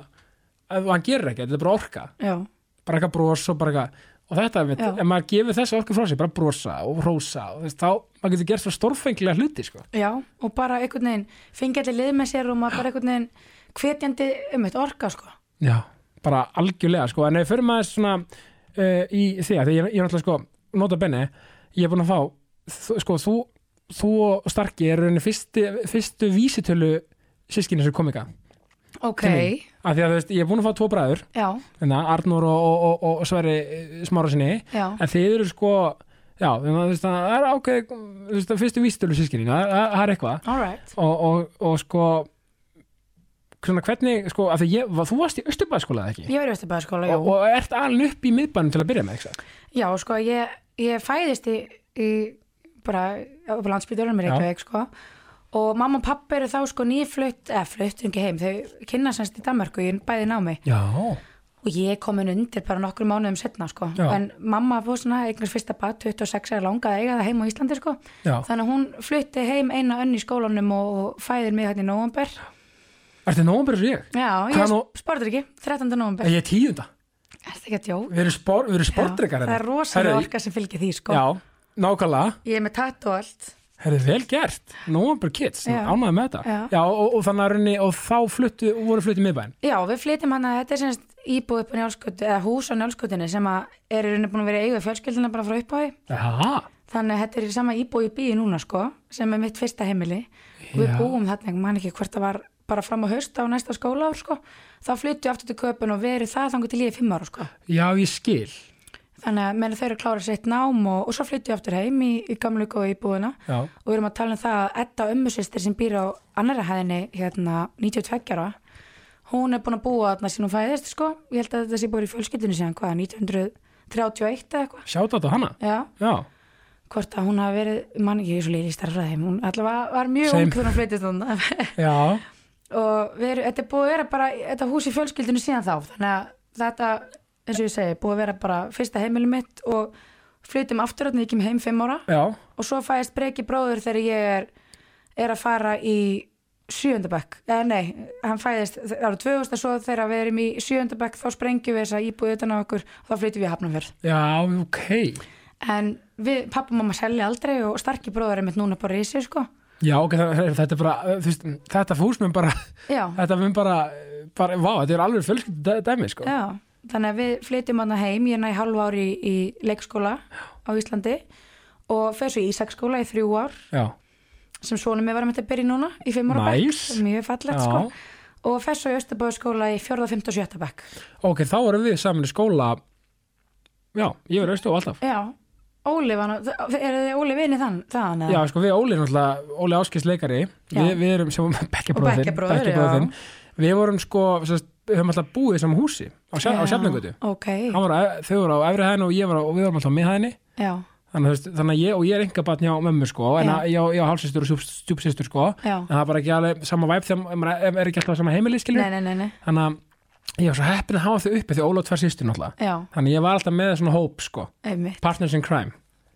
að- og hann gerir ekki, þetta er bara orka
já,
bara eitthvað bros og bara eitthvað og þetta, við,
Já.
ef maður gefur þessa orku frá sér bara brosa og rosa og þú veist, þá maður getur gert svo stórfengilega hluti sko.
já, og bara einhvern veginn fengið allir lið með sér og maður bara einhvern veginn hvetjandi um eitt orka, sko.
já, bara algjörlega sko. en ef fyrir maður svona uh, í því að því ég, ég er náttúrulega sko, nota benni ég er búin að fá þú, sko, þú, þú og Starki eru rauninni fyrsti, fyrstu vísitölu sískinni sem komika
Ok,
Til mín. af því að þú veist, ég er búin að fá tvo bræður
já,
hérna, Arnur og, og, og, og Sverri eh, smára sinni,
já,
en þeir eru sko já, þannig að þú veist, það er ákveð þú veist, það er fyrstu vísitölu sískinni, það það- það er eitthvað
all right,
og, og, og sko svona hvernig, sko, af því ég, var- þú varst í Östurbæðskóla eða ekki?
ég var í Östubæðaskóla, já.
Og, og ert alveg upp í miðbænum til að byrja með, ekki? satt?
Já, sko, ég, ég fæðist í, í bara upp á landsbytjörnum í
Já.
Reykjavík, sko og mamma og pappa eru þá sko nýflutt eða flutt ekki heim, þau kynna semst í Danmarku ég bæði námi
Já,
og ég er komin undir bara nokkrum mánuðum setna sko,
Já.
en mamma fór svona eignast fyrsta bat 26 er langað að eiga það heim á Íslandi sko,
já
þannig að hún flutti heim eina önn í skólanum og, og fæðir mig hérna í november
Ertu nómur eins og ég?
Já,
Hvað
ég
nú?
sporður ekki, 13. november
Ég er tíunda,
Er það ekki að djók?
við erum, spor, við erum sportrekar
það er rosalega orka sem fylgir því sko
Já, nákvæmlega
Ég er með tatt og allt
Herðu vel gert, November Kids
Já.
ánægði með þetta
Já.
og, og þannig að runni og þá fluttu, voru fluttu miðbæn
Já, við flytjum hann að þetta er semst íbúið upp á njálskutu, eða hús á njálskutunni sem að er í rauninni búin að vera eigið fjölskyldina bara frá upphafi.
Jaha,
Þannig að þetta er í sama íbúið í bíi núna sko, sem er mitt fyrsta heimili. Og Við
Já.
búum þarna, mann ekki hvort það var bara fram á hausta á næsta skólaár sko. Þá flytjum við aftur til köpun og verið það þangur til ég er fimm ára sko.
já ég skil
Þannig að meðan þau eru að klára sitt nám og, og svo flytjum við aftur heim í, í gamlu góðu íbúðina.
Já,
Og við erum að tala um það að Edda ömmusistir sem býr á annara hæðinni hérna 92 ára hún er búin að búa þarna sín hún fæðist sko, ég held að þetta sé búin í fjölskyldinu síðan hvað, 1931 eða eitthvað
sjáta þetta hana
Já,
Já,
hvort að hún hafi verið mann ekki, ég er svo leiði í starfræði hún allavega var mjög
Same.
ung þegar hún flyttist þannig
já,
og við erum, þetta er búið að vera bara þetta hús í fjölskyldinu síðan þá þannig að þetta, eins og ég segi, búið að vera bara fyrsta heimili mitt og flyttum aftur þarna, ég kem heim fimm ára
já
og svo fæðist breyki bróður þegar ég er, er að fara í sjöndabæk, eða nei hann fæðist ára 2000 svo þegar við erum í sjöndabæk þá sprengjum við þessa íbúið utan á okkur og þá flytjum við í hafnumferð
Já, ok
en við, pappa og mamma selja aldrei og starki bróður er mitt núna bara í sig sko
Já, ok, það, þetta er bara eh, þú veist, þetta fús mun bara
já,
þetta mun bara, bara vá, þetta er alveg fjölskyldu dæmi, sko
já, þannig að við flytjum hann heim, ég næ hálf ári í, í leikskóla á Íslandi og fer svo í Ísaksskóla í þrjú ár
já,
sem svonum ég var að mynda að byrja í núna í fimm ára
Nice.
bekk, mjög fallegt
Já.
sko og fer svo í Östabóðskóla í fjórða, fimmta og sjötta bekk
ok, þá erum við saman í skóla Já, ég verið austu og alltaf
Já, Óli var nú, er þið Óli vinni þann, þann
Já, sko, við Óli, náttúrulega, Óli Áskis leikari
Já.
við, við erum sem
Og
bekkjabróðin
bekkjabróðir,
Við vorum sko, sérst, við höfum alltaf búið í saman húsi á, sjaf, á Sjafnagötu
Ok,
Þau voru á efri hæðinu og ég var á, og við vorum alltaf á miðhæðinni
já,
Þannig, að, þú veist, þannig að ég, og ég er enga batn hjá mömmu sko, en
Já.
að- ég á- ég á hálsistur og stjúpsistur sko,
já
en það er bara ekki alveg sama væp þegar maður er- er ekki alltaf á sama heimili skilur,
Nei, nei, nei, nei,
þannig að ég var svo heppin að hafa þau uppi því Óla og tvær sýstur náttúrulega,
já,
þannig að ég var alltaf með svona hóp sko,
einmitt,
partners in crime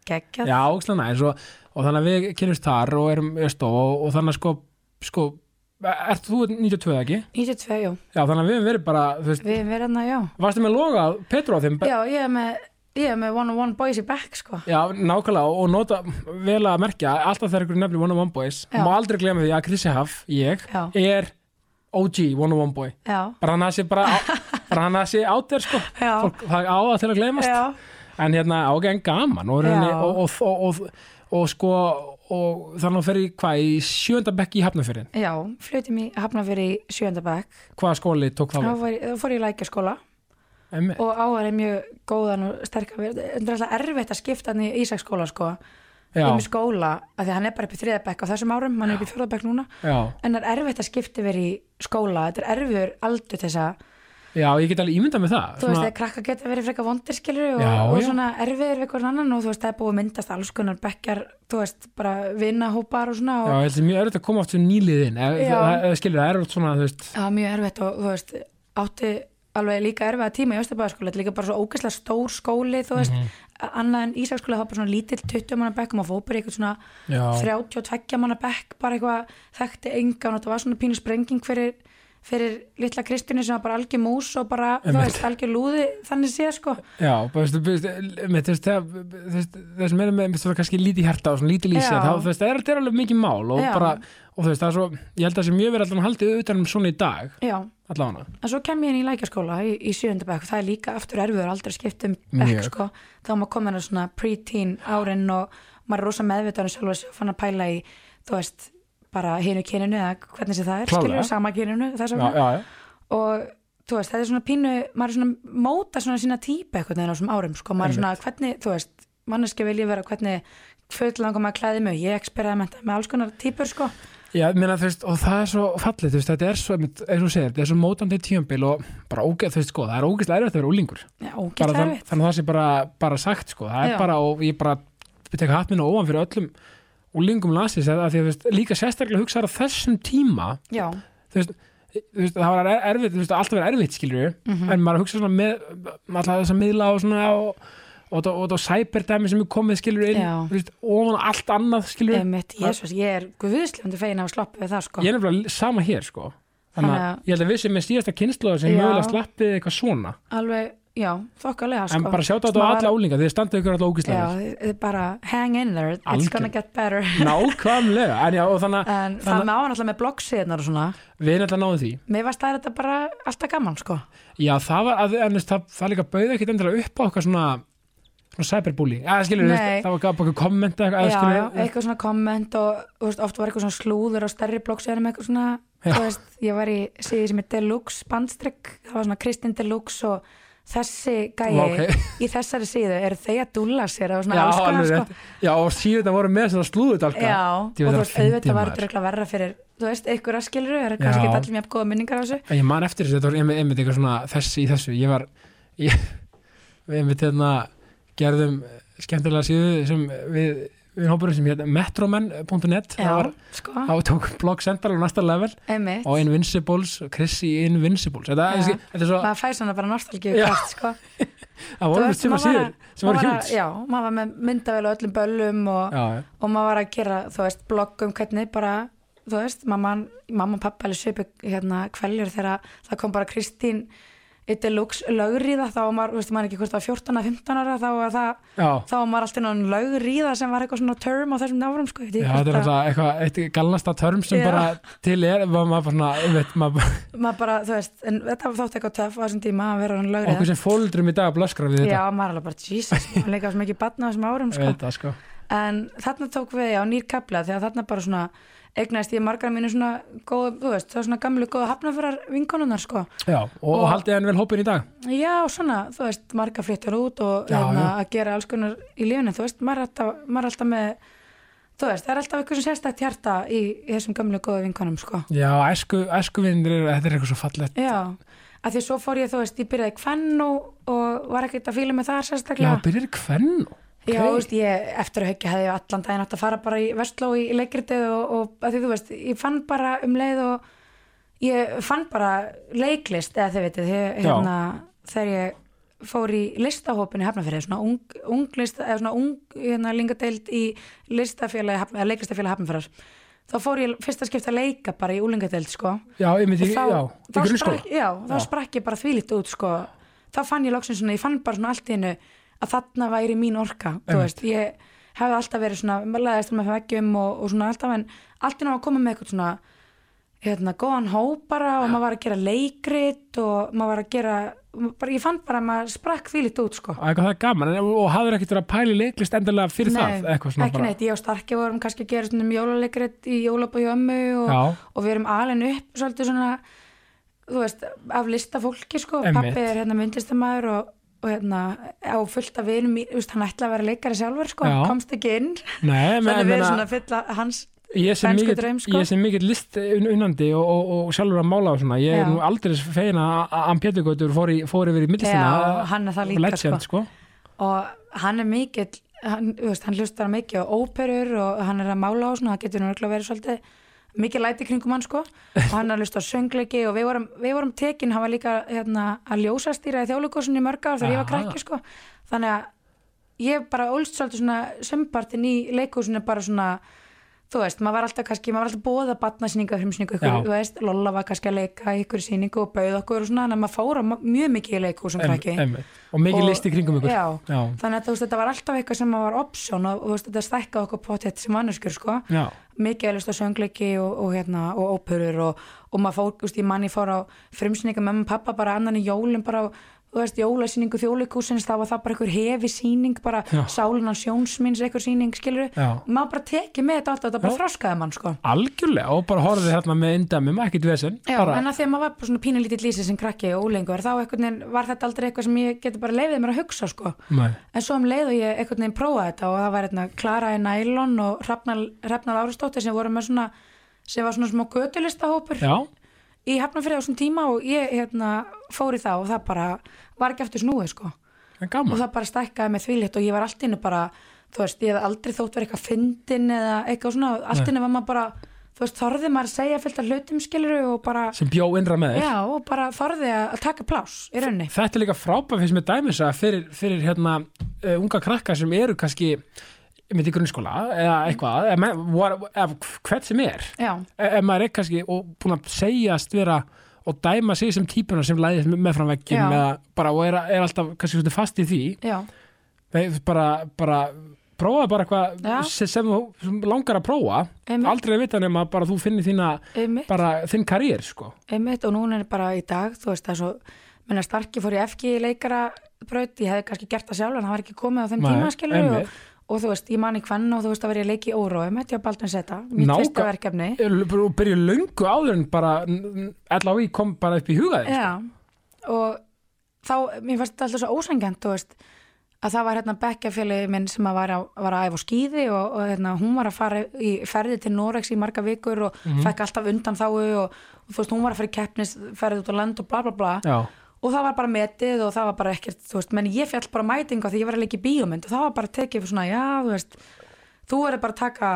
geggjað
Já, ógstlega næs og, og þannig að við kynnumst þar og erum östó og, og þannig að sko, sko ert þú 92 eða ekki?
92, jú,
Já, þannig að við hefum verið bara, þú veist,
við erum verið hann að já
varstu með logað Petru á þeim?
Já, ég er með ég er með one on one boys í back sko
Já, nákvæmlega og nota vel að merkja alltaf þegar ykkur nefnir One on One Boys
Já.
má aldrei glemja því að Chrissy Huff, ég
Já.
er OG One on One Boy
já,
bara hann að sé bara á- bara hann að sé át þér sko
já,
Fólk, það á það til að glemast
já,
en hérna ágæð en gaman og, rauninni,
Já.
og, og, og, og, og sko og þannig að fer í hvað í sjönda bekki í Hafnafjörðin
já flutum í Hafnafjörði í sjönda bekk
hvaða skóli tók
þá
það við?
var ég- þá fór ég í lækjaskóla
Einmitt.
og áhæri mjög góðan og sterkan við- þetta er alltaf erfitt að skipta hann í Ísaksskóla sko,
Já,
um skóla af því að hann er bara upp í þriða bekk á þessum árum hann er upp í fjórða bekk núna
já,
en það er erfitt að skipta verið í skóla þetta er erfiður aldur þess að
já, ég get alveg ímyndað með það
þú veist að krakka geta verið frekar vondirskilur og,
Já,
og
já.
svona erfiður við hvernig annan og þú veist það er búið að myndast alls konar bekkar þú veist bara vinahópar og svona
Já,
og
ég held það er mjög erfitt að koma aftur nýliðin
Já.
skilur það er erfitt svona, þú veist
það var mjög erfitt og þú veist átti alveg líka erfiða tíma í Östabæðaskóla þetta er líka bara svo ógeðslega stór skóli þú veist,
Mhm.
annað en Ísaksskóla það var bara svona lítill 20 manna bekk og maður fór bara í eitthvað svona
Já.
32 manna bekk bara eitthvað þekkti engan og það var svona pínu sprenging fyrir, fyrir litla Kristínu sem var bara algjör mús og bara, þú
Einmitt.
veist, algjör lúði þannig séð sko,
Já, bara, þú veist, með, þú veist, þegar- þú veist, þess meðan með, með svona kannski lítið hjarta og svona lítið lýsi,
Já.
þá, þú veist, það er, það er alveg mikið mál og
Já.
bara, og þú veist, það er svo, ég held að það sé mjög verið allan haldið utan um svona í dag,
já
allavega hana.
en svo kem ég inn í lækjaskóla í, í sjönda bekk og það er líka aftur erfiður aldrei að skipta um
Mjög.
bekk sko. þá er maður komin á svona pre-teen árin og maður er rosa meðvitaðan sjálf og fann að pæla í, þú veist bara hinu kyninu eða hvernig sem það er
Klárlega.
skilur sama kyninu þess
Já,
vegna
já, já.
og þú veist, þetta er svona pínu maður er svona móta svona sína típa einhvern veginn á þessum árum, sko, maður er svona hvernig, þú veist manneski vil ég vera hvernig föt langar maður að klæði mig, ég eksperimenta með alls konar típur, sko,
Já, ég meina, þú veist, og það er svo fallið, þú veist, þetta er svo, einmitt, eins og þú segir, þetta er svo mótandi tíumbil og bara ógeð, þú veist, sko, það er ógeðslega erfitt að vera úlingur.
já,
Bara
ógætt
þann,
erfitt
þannig að það sé bara, bara sagt, sko, það er
Já.
bara, og ég bara, við tekum hatt minn og ofan fyrir öllum úlingum landsins, að, að því, að, þú veist, líka sérstaklega hugsaður á þessum tíma,
já,
þú veist, þú veist, það var er- erfitt, þú veist, alltaf verið erfitt, skilur við,
Mhm.
en maður hugsa svona með, alltaf þess að miðla og svona og, og, og, og, og sæperdæmi sem er komið, skilur við,
Já.
inn, þú veist, ofan á allt annað, skilur við,
Einmitt, jésus, ég er guðslefandi fegin af að sloppa við það sko.
ég er nefnilega sama hér, sko, þannig
Þannig
að
að-
ég held að við sem er síðasta kynnslóður sem
Já.
mögulega slappið eitthvað svona,
Alveg, já, þokkalega sko.
en bara sjáta þetta á alla ólinga, þið standið ykkur alltaf
Já,
ógislega,
þið bara hang in there, it's
Algjör.
gonna get better.
nákvæmlega, en já, og þannig að
En það með á náttúrulega með bloggsíðunar og svona.
við nefnilega náðum því,
Mér varst það þetta bara alltaf gaman sko.
já, það var, að, en þú veist, það, það líka bauði ekkit endilega upp á okkar svona, svona cyberbully, eða skilur,
Nei.
það var gaf bara kommenta eitthvað,
Já,
eða
já,
skilur,
eitthvað svona komment og þú veist, oft var eitthvað svona slúður á stærri bloggsíðunum eitthvað svona,
Já.
þú veist, ég var í síði sem er Deluxe bandstrykk, það var svona Kristinn Deluxe og þessi gæi
Vá, ok.
í þessari síðu eru þeir að dúlla sér og svona
Já,
alls konar
alveg
sko.
rétt. Já, og síðan þetta voru með svona slúðudálka.
Já,
Djú, það
og þú
var
veist, auðvitað
fyndið,
var
maður.
þetta örugglega verra fyrir, þú veist, einhverja skiluru, það er kannski
Já.
ekki allir mjög góða minningar á þessu.
En Ég man eftir þessu, þetta var einmitt, einmitt eitthvað svona þessi í þessu. Ég var, ég, við einmitt hérna gerðum skemmtilega síðu sem við, við hópurum sem hérna metromen.net.
Já,
Það var,
sko,
þá tók Blog Central og næsta level
einmitt,
og Invincibles, Chrissy Invincibles. Þetta,
Já.
ja. þetta er svo,
maður fæði svona bara nostalgíu
Já.
kvart, sko.
það voru einmitt suma síður sem voru
maður var
hjúts.
að- Já, maður var með myndavel og öllum böllum og,
Já, já.
og maður var að gera, þú veist, blogg um hvernig bara, þú veist, mamma, mamma og pappa alveg söpu hérna kveljur þegar það kom bara Kristín í deluxe lögriða, þá var maður, þú veist, maður ekki hvort það var 14 að 15 ára, þá var það,
Já.
þá var maður alltaf náttúrulega lögriða sem var eitthvað svona term á þessum náfram, sko, ég veit ekki
Já,
hvort
þetta er
að-
alltaf eitthvað, eitt galnasta törm sem
Já.
bara til er, maður bara svona, einmitt, maður bara,
maður bara, þú veist, en þetta var þátt eitthvað töff á þessum tíma að vera hann lögrið
okkur sem fóldrum í dag blöskra við
Já,
þetta.
maður er alveg bara, Jesus, maður leika svo mikið batna á þessum árum, sko
Þetta, sko.
en þarna tók við á nýr kapla því að þarna bara svona eignaðist ég margar mínu svona góð, þú veist, það var svona gamlu góða hafnafyrar vinkonunnar, sko
Já, og, og
Og-
haldið hann vel hópin í dag?
Já, svona, þú veist, margar flyttur út og
Já,
hérna,
já.
að gera alls konar í lífinu, þú veist, maður er alltaf, maður er alltaf með þú veist, það er alltaf eitthvað sem sérstætt hjarta í, í þessum gamlu góða vinkonum, sko
Já, æsku, æskuvinnir, eru- þetta er eitthvað svo fallegt.
Já, af því svo fór ég, þú veist, ég byrjaði kvenn og, og var ekkert að fíla með það
Já,
sérstaklega.
byrjir kvenn.
Já, þú veist, ég eftir að höggja hefði ég allan daginn átt að fara bara í vestló í, í leikritið og, og að því, þú veist, ég fann bara um leið og ég fann bara leiklist, eða þið veitir, ég,
Já.
hérna, þegar ég fór í listahópinu hafnafyrir, svona ung, ung lista, eða svona ung, hérna, lingadeild í listafélagi, Hafn- eða leiklistafélagi hafnafyrir. Þá fór ég fyrst að skipta að leika bara í úlingadeild, sko
Já, ég myndi,
og þá,
já, í
þá,
grunnskóla.
sprakk, já, þá
Já.
sprakk ég bara þvílítt út sko. þá fann ég loksins svona, ég fann bara svona allt í hennu að þarna væri mín orka þú
Einmitt.
veist, ég hefði alltaf verið svona maður laðist um að veggjum og, og svona alltaf en allt í náttúrulega að koma með eitthvað svona hérna, góðan hóp bara og maður var að gera leikrit og maður var að gera bara, ég fann bara að maður sprakk því lítið út sko.
Æ, hvað það er gaman, en, og hafður ekkert verið að pæli leiklist endilega fyrir það, eitthvað svona
ekki neitt, ég og Starki vorum kannski að gera svona um jólalegrið í jólabói og ömmu
Já.
og, og við erum alveg upp svolítið svona, þú veist, af lista fólki sko,
Einmitt.
pappi er hérna myndlistamæður og, og hérna á fullt af vinum, í- þú veist, hann ætla að vera leikari sjálfur sko,
Já.
komst ekki inn
Nei,
þannig
menn,
við erum
menna,
svona að fylla hans
ég sem
Sænsku
mikill
draum, sko.
sko? mikil list un- unandi og, og, og sjálfur að mála og svona, ég er
Já.
nú aldrei feina að hann Péturgautur fór, í- fór yfir í
Já,
myndlistina
hann er það
og
líka,
legend, sko,
og hann er mikill hann, þú veist, hann hlustar mikið á óperur og hann er að mála á svona, það getur nörgulega verið svolítið mikið læti kringum hann sko og hann er að hlusta á söngleiki og við vorum, við vorum tekin, hann var líka hérna, að ljósastýra í þjóðleikosunni í mörg ár þegar ég
Aha.
var krakki sko þannig að ég bara ólst svolítið svona sömpartin í leikúsinu bara svona þú veist, maður var alltaf kannski, maður var alltaf bóða batnasýninga,
Já.
frumsýningu, ykkur, þú veist, Lolla var kannski að leika í ykkur sýningu og bauð okkur og svona, þannig að maður fóra mjög mikið í leikúsum
Em-
krakki
einmitt. og mikil
Og-
list í kringum ykkur
já.
já,
þannig að þú veist, þetta var alltaf eitthvað sem var option og, og þú veist, þetta stækkaði okkur potið sem manneskjur sko.
já.
mikið að lusta söngleiki og, og, hérna, og óperur og, og maður fór, þú veist, ég manni fór á frumsýninga með mamma og pappa bara annan í jólum bara á, þú veist, jólasýningu þjóðleikúsins þá var það bara einhver hefi sýning bara
Já.
sálunan sjónsminns einhver sýning, skilur
Já.
maður bara tekið með þetta allt og þetta bara þroskaði mann sko.
algjörlega, og bara horfið hérna með indæmum, ekkert vesen
Já,
bara,
en að því að maður var bara svona pínulítið lýsið sem krakki og ólengur, þá einhvern veginn var þetta aldrei eitthvað sem ég geti bara leiðið mér að hugsa sko.
Nei.
En svo um leið og ég einhvern veginn prófaði þetta og það var hérna Klara í nælon og Hrafnar, Hrafnar Árastóttir sem voru með svona sem var svona smá götulistahópur
já,
í Hafnarfyrir á svona tíma og ég hérna fór í það og það bara var ekki aftur snúið sko
en
og
gaman
það bara stækkaði með þvílitt og ég var allt innu bara þú veist, ég hef aldrei þótt verið eitthvað fyndin eða eitthvað svona, allt innu var maður bara þú veist, þorði maður að segja fyllt af hlutum skiluru og bara,
sem bjó innra með þér
já, og bara þorði að að taka pláss í raunni
þetta er líka frábæð fyrir sem er dæmis að fyrir, fyrir hérna uh, unga krakka sem eru kannski mitt í grunnskóla eða eitthvað eða, menn- var- eða hvert sem er
Já,
E- ef maður er kannski og búin að segjast vera og dæma sig sem típuna sem læðist með framveggjum
Já.
eða bara og er, er alltaf kannski svolítið fast í því
já,
Nei, bara, bara prófaði bara
Já.
eitthvað sem, sem þú sem langar að prófa
Einmitt.
aldrei að vita nema bara þú finnir þína
um
bara þinn karýr sko
einmitt og núna er bara í dag þú veist það er svo, menna starki fór í FG í leikara braut, ég hefði kannski gert það sjálf en það var ekki komið á þeim
Nei,
tíma skilur
einmitt.
og, og þú veist, ég man í kvenn og þú veist að vera í leiki óró, einmitt, ég var Baldvin Seta mitt
Nákvæm-
fyrsta verkefni
og byrja löngu áður en bara LHI kom bara upp í hugaði
Já, og þá, mér fannst þetta alltaf svo ósangjönd, þú veist, að það var hérna bekkjafélagi minn sem að var, að, var að æfa á skýði og, og hérna, hún var að fara í ferði til Norex í marga vikur og
Mhm.
fekk alltaf undan þáu og, og þú veist, hún var að fara í keppnisferði út á land og bla bla bla
Já.
og það var bara metið og það var bara ekkert, þú veist, menn ég fjall bara mætinga því ég var að leika í bíómynd og það var bara tekið fyrir svona, já, þú veist, þú verður bara að taka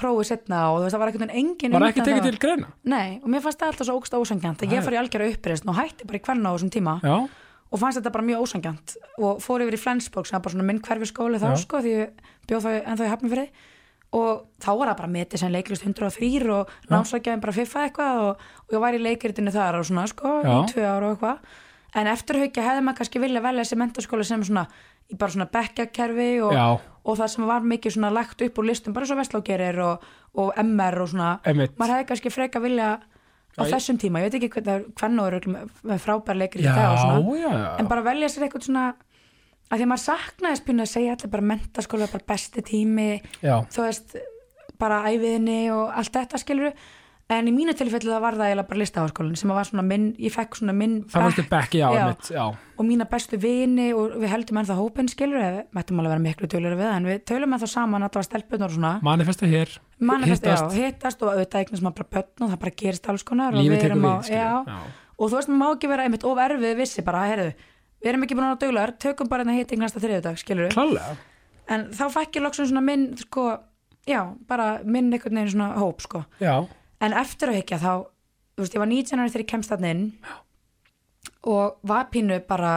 prófið setna og þú veist, það var ekkert engin
var
undan
ekki tekið
það.
til greina
Nei, og mér fannst það alltaf svo ógst ósangjant að ég fór í algjara uppreist og hætti bara í hverna á þessum tíma
Já.
og fannst þetta bara mjög ósangjant og fór yfir í Flensborg sem var bara svona minn hverfi skóli þá
Já.
sko því ég bjóð þá ennþá í Hafnarfirði og þá var það bara metið sem leiklist 103 og námslækjaðin bara fiffa eitthvað og, og ég var í leikritinu þar og svona sko í
Já.
tvö ára og eitthvað en eftir haukja hefði maður kannski vilja velja þessi mentaskóla sem svona í bara svona bekkjakerfi og,
Já.
og það sem var mikið svona lagt upp úr listum bara svo vestlógerir og, og MR og svona
Einmitt.
maður hefði kannski freka vilja á
Já, ég-
þessum tíma, ég veit ekki hvernig hvernig er örugglega með- með frábær leikir í
Já,
dag og svona
já, já.
en bara velja sér eitthvað svona að því að maður saknaðist pínu að segja allir bara mentaskóla er bara besti tími
Já.
þú veist, bara æfiðinni og allt þetta skilur en í mínu tilfellu það var það eiginlega bara listaháskólin sem var svona minn, ég fekk svona minn
það fannst þið bekki á
Já.
mitt já.
og mína bestu vini og við heldum ennþá hópinn skilur við mættum alveg að vera miklu tölur við það en við tölum ennþá saman að það var stelpunar og svona
manifesta hér
Manifest, já,
hittast,
hittast og auðvitað eignast maður bara börn og það bara gerist alls konar og
Lífið
við
tekur
erum
við,
á,
skilur,
já,
já.
og þú veist, maður má ekki vera einmitt of erfið vissi bara, heyrðu, við erum ekki búin að döglar, tökum bara hérna hitt eignast að þriðudag, skilur við
klálega
en þá fæk ég loksum svona minn, sko já, bara minn einhvern veginn svona hóp, sko,
já,
en eftir að hekja þá, þú veist, ég var 19 ári þegar ég kemst þarna inn og var pínu bara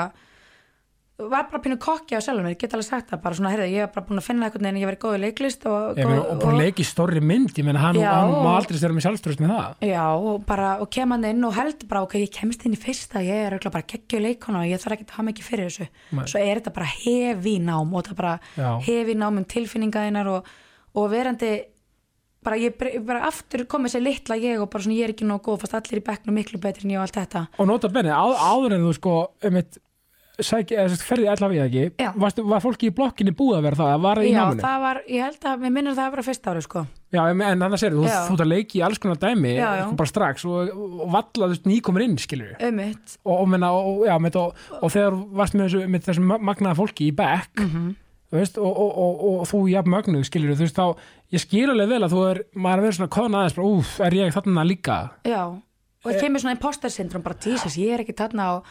var bara pínu kokki á sjálfum mér, ég get alveg sagt það bara svona, heyrðu, ég var bara búin að finna eitthvað en ég verið góð í leiklist og,
Ég meina,
góð-
og búin að leika í stórri mynd ég meina hann,
Já.
hann má aldrei stjara með sjálfströst með það
Já, og bara, og kem hann inn og held bara, ok, ég kemst inn í fyrsta, ég er auðvitað bara geggju leikona og ég þarf ekki að hafa mikið fyrir þessu.
Nei.
Svo er þetta bara hefi nám og þetta bara
Já.
hefi nám um tilfinningaðinar og, og verandi, bara ég bre- bara aftur komið sér litla ég og bara svona ég er ekki nóg góð, fast allir í bekknum miklu betri en ég og allt þetta.
og nota benni, á, áður en þú sko um eitt, sæk, eða, sérst, ferði allavega ekki
Já.
Varstu, var fólki í blokkinni búið að vera það var það í
Já,
náminu
það var, ég held að, mér minnir að það hafi verið á fyrsta ári, sko.
já, en annars er þú,
Já.
þú ert að leiki í alls konar dæmi
Já, já.
sko, bara strax og, og valla þú veist, nýkomur inn skilur
Ömmitt.
og, og, menna, og, já, með, og, og þegar þú varst með þessu, með þessu ma- magnaða fólki í back
Mhm.
þú veist, og, og, og, og, þú jafn mögnuð skilur þú veist þá, ég skil alveg vel að þú er maður er verið svona kona aðeins, bara, úf, er ég þarna líka
Já,
Eh.
og það kemur svona imposter syndrom bara, Jesus, ég er ekki þarna og,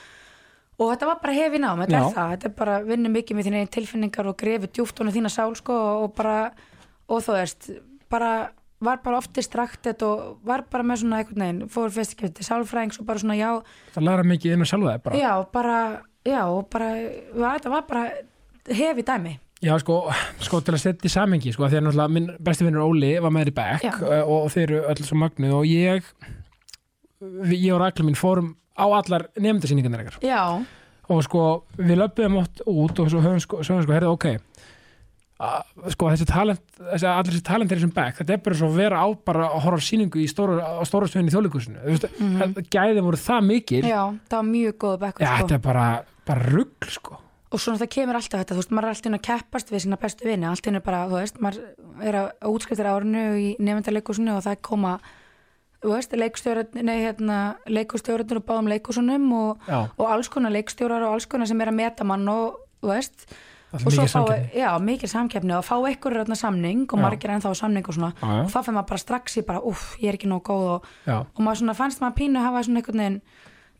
og þetta var bara hefið nám, þetta
Já.
er það þetta er bara, vinnu mikið með þínu eigin tilfinningar og grefi djúftónu þína sál, sko og bara, og þú veist, bara var bara oft distraktet og var bara með svona einhvern veginn, fór fyrst ekki til sálfræðings og bara svona, já,
það læra mikið inn á sjálfa þeir bara
já, bara já, og bara, var, þetta var bara hefið dæmi,
Já, sko, sko til að setja í samengi sko, því að náttúrulega minn besti vinnur Óli var með þér í
Já.
bekk eh, og, og þeir eru öll svo magnuð og ég við- ég og Rækla mín fórum á allar nefndasýningarnir ekkert
já
og sko, við löpum átt út og svo höfum sko, svo höfum sko, herrið, ok að, sko, þessi talent þessi, allir þessi talent er þessum bekk, þetta er bara svo að vera á bara að horfa á sýningu í stóru, á stóra stöðinni í þjóðleikusinu, þú veist mm gæði voru það mikil,
Mhm. já, það var mjög góð bekkur,
já,
sko
þetta er bara bara rugl, sko
og svona það kemur alltaf þetta, þú veist, maður er alltaf inn að keppast við sína bestu vini, alltaf inn er bara, þú veist, maður er að útskriftir árinu í nefndarleikusinu og það koma, þú veist, leikstjórat, nei, hérna, leikustjóratnir og báðum leikusunum og,
Já.
og alls konar leikstjórar og alls konar sem er að meta mann og, þú veist,
Það er
og
mikil samkeppni.
já, mikil samkeppni og fá ekkur röðna samning og
Já.
margir ennþá á samning og svona,
Já, já.
og þá fyrir maður bara strax í bara, uff, ég er ekki nóg góð og,
já,
og maður svona fannst maður pínu hafa svona einhvern veginn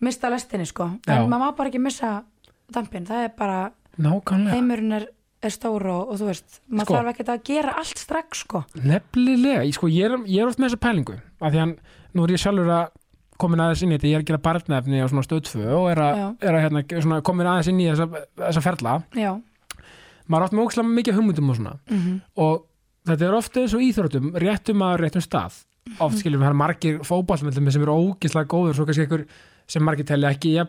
mista lestinni sko en
Já.
maður má bara ekki missa dampin það er bara,
nákvæmlega
heimurinn er, er stór og, og þú veist, maður
Sko.
þarf ekki að gera allt strax sko
Nefnilega, ég, sko, ég, er, ég er oft með þessa pælingu af því hann, nú er ég sjálfur að komin aðeins inn í þetta, ég er að gera barnefni á svona stöð 2 og er, a,
Já.
er að hérna, svona, komin aðeins inn í þessa, þessa ferla
já,
maður er oft með ókslega mikið hugmyndum og svona -hmm. og þetta er oft eins og íþróttum réttum að réttum stað oft skiljum við, það er margir fótballmyndum sem eru ógislega góður, svo kannski einhver sem margir telja ekki, ég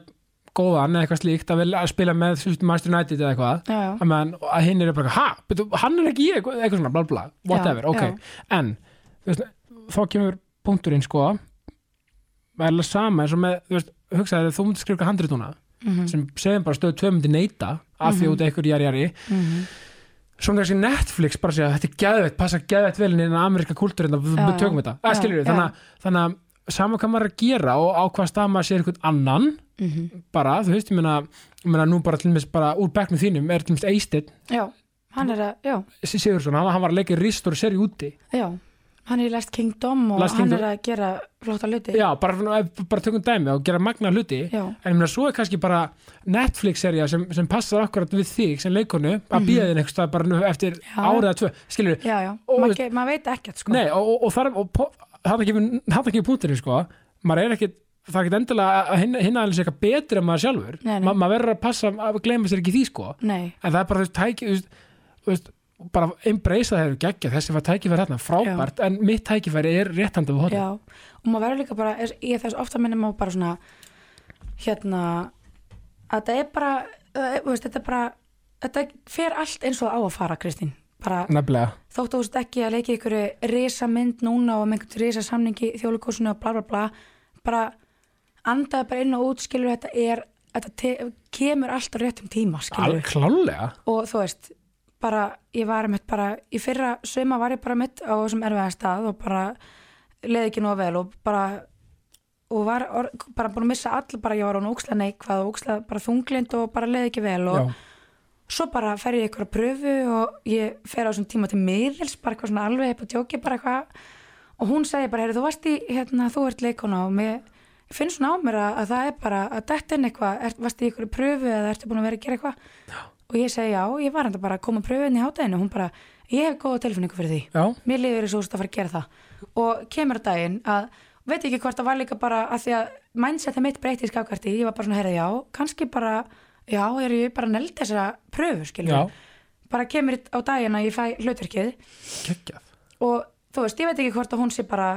góðan eða eitthvað slíkt að vilja að spila með þú veist, Master United eða eitthvað
já, já,
að, meðan, að hinn er bara, ha, betur, hann er ekki ég eitthvað eitthvað svona, bla bla, whatever,
Já,
ok en, þú veist, þá kemur punkturinn, sko verðilega sama, eins og með, þú veist hugsaði þegar þú myndir skrifa handrit núna
Mhm.
sem segjum bara stöðu tvö myndir neita af því út af ykkur jari jari
Mhm.
svona kannski Netflix bara segja þetta er geðveitt, passa geðveitt vel inn í innan ameríska kultúrin við
Já,
við tökum þetta,
já,
að skiljum
já.
við þannig, að- þannig að sama hvað maður er að gera og á hvað stað maður sér eitthvað annan
Mhm.
bara, þú veist, ég meina, ég meina nú bara til dæmis bara úr bekknum þínum er til dæmis Eistin
já hann er að, já,
Sigurðsson, hann, hann var að leika í ristur og seri úti
já hann er í Last Kingdom og
Last
hann
Kingdom.
er að gera flotta hluti
já, bara, bara tökum dæmi og gera magna hluti
Já.
en ég meina, svo er kannski bara Netflix-serja sem, sem passar akkurat við þig sem leikonu að býða þín einhverstað bara nú eftir
Mhm. Já.
árið að tvö, skilur
já, já,
Og-
maður ge- maður veit ekkert sko
nei, og, og, og þar og po- þarna kemur, þarna kemur punkturinn sko maður er ekkit það er ekkit endilega að hinna, hinna aðeins eitthvað betur en maður sjálfur,
Nei, nei.
Ma, maður verður að passa að gleyma sér ekki því sko
nei,
en það er bara þú veist, tæki þú veist, þú veist, bara embracea þeir geggja þessi var tækifæri hérna, frábært en mitt tækifæri er réttandi við hóttum
Já, og maður verður líka bara, er- ég þess ofta minni maður bara svona, hérna, að þetta er bara, eh, þú veist, þetta er bara, þetta fer allt eins og það á að fara, Kristín. Bara,
nefnilega,
þótt þú veist ekki að leika í einhverju risa mynd núna og um einhvern risa samningi í þjóðleikúsinu og bla bla bla, bara andaði bara inn og út, skilur þetta er, þetta te- kemur allt á réttum tíma, skilur
alveg klálega
og þú veist bara, ég var mitt bara í fyrra söma var ég bara mitt á þessum erfiða stað og bara leði ekki nóg vel og bara og var or, bara búin að missa all bara ég var hún óksla neikvað og óksla bara þunglind og bara leði ekki vel og
já,
svo bara fer ég ykkur að pröfu og ég fer á þessum tíma til miðils bara eitthvað svona alveg upp að tjóki bara eitthvað og hún segi bara, heyrðu, þú varst í hérna, þú ert leikona og mér finnst svona á mér að, að það er bara að detta inn eitthvað, er, varst í ykkur pröfu eða ertu búin að vera að gera eitthvað og ég segi já, ég var enda bara að koma að pröfu inn í hátæðinu og hún bara, ég hef góða tilfinningu fyrir því
já,
mér líður þess að þú ert að fara að gera það og kemur á daginn að veit ekki hvort það var líka bara að því að mindsetið mitt breytist gafkvært í, ég var bara svona heyrði já, kannski bara já, er ég bara neld þessa pröfu, skilur
Já,
bara kemur á daginn að ég fæ hlutverkið
geggjað
og þú veist, ég veit ekki hvort að hún sé bara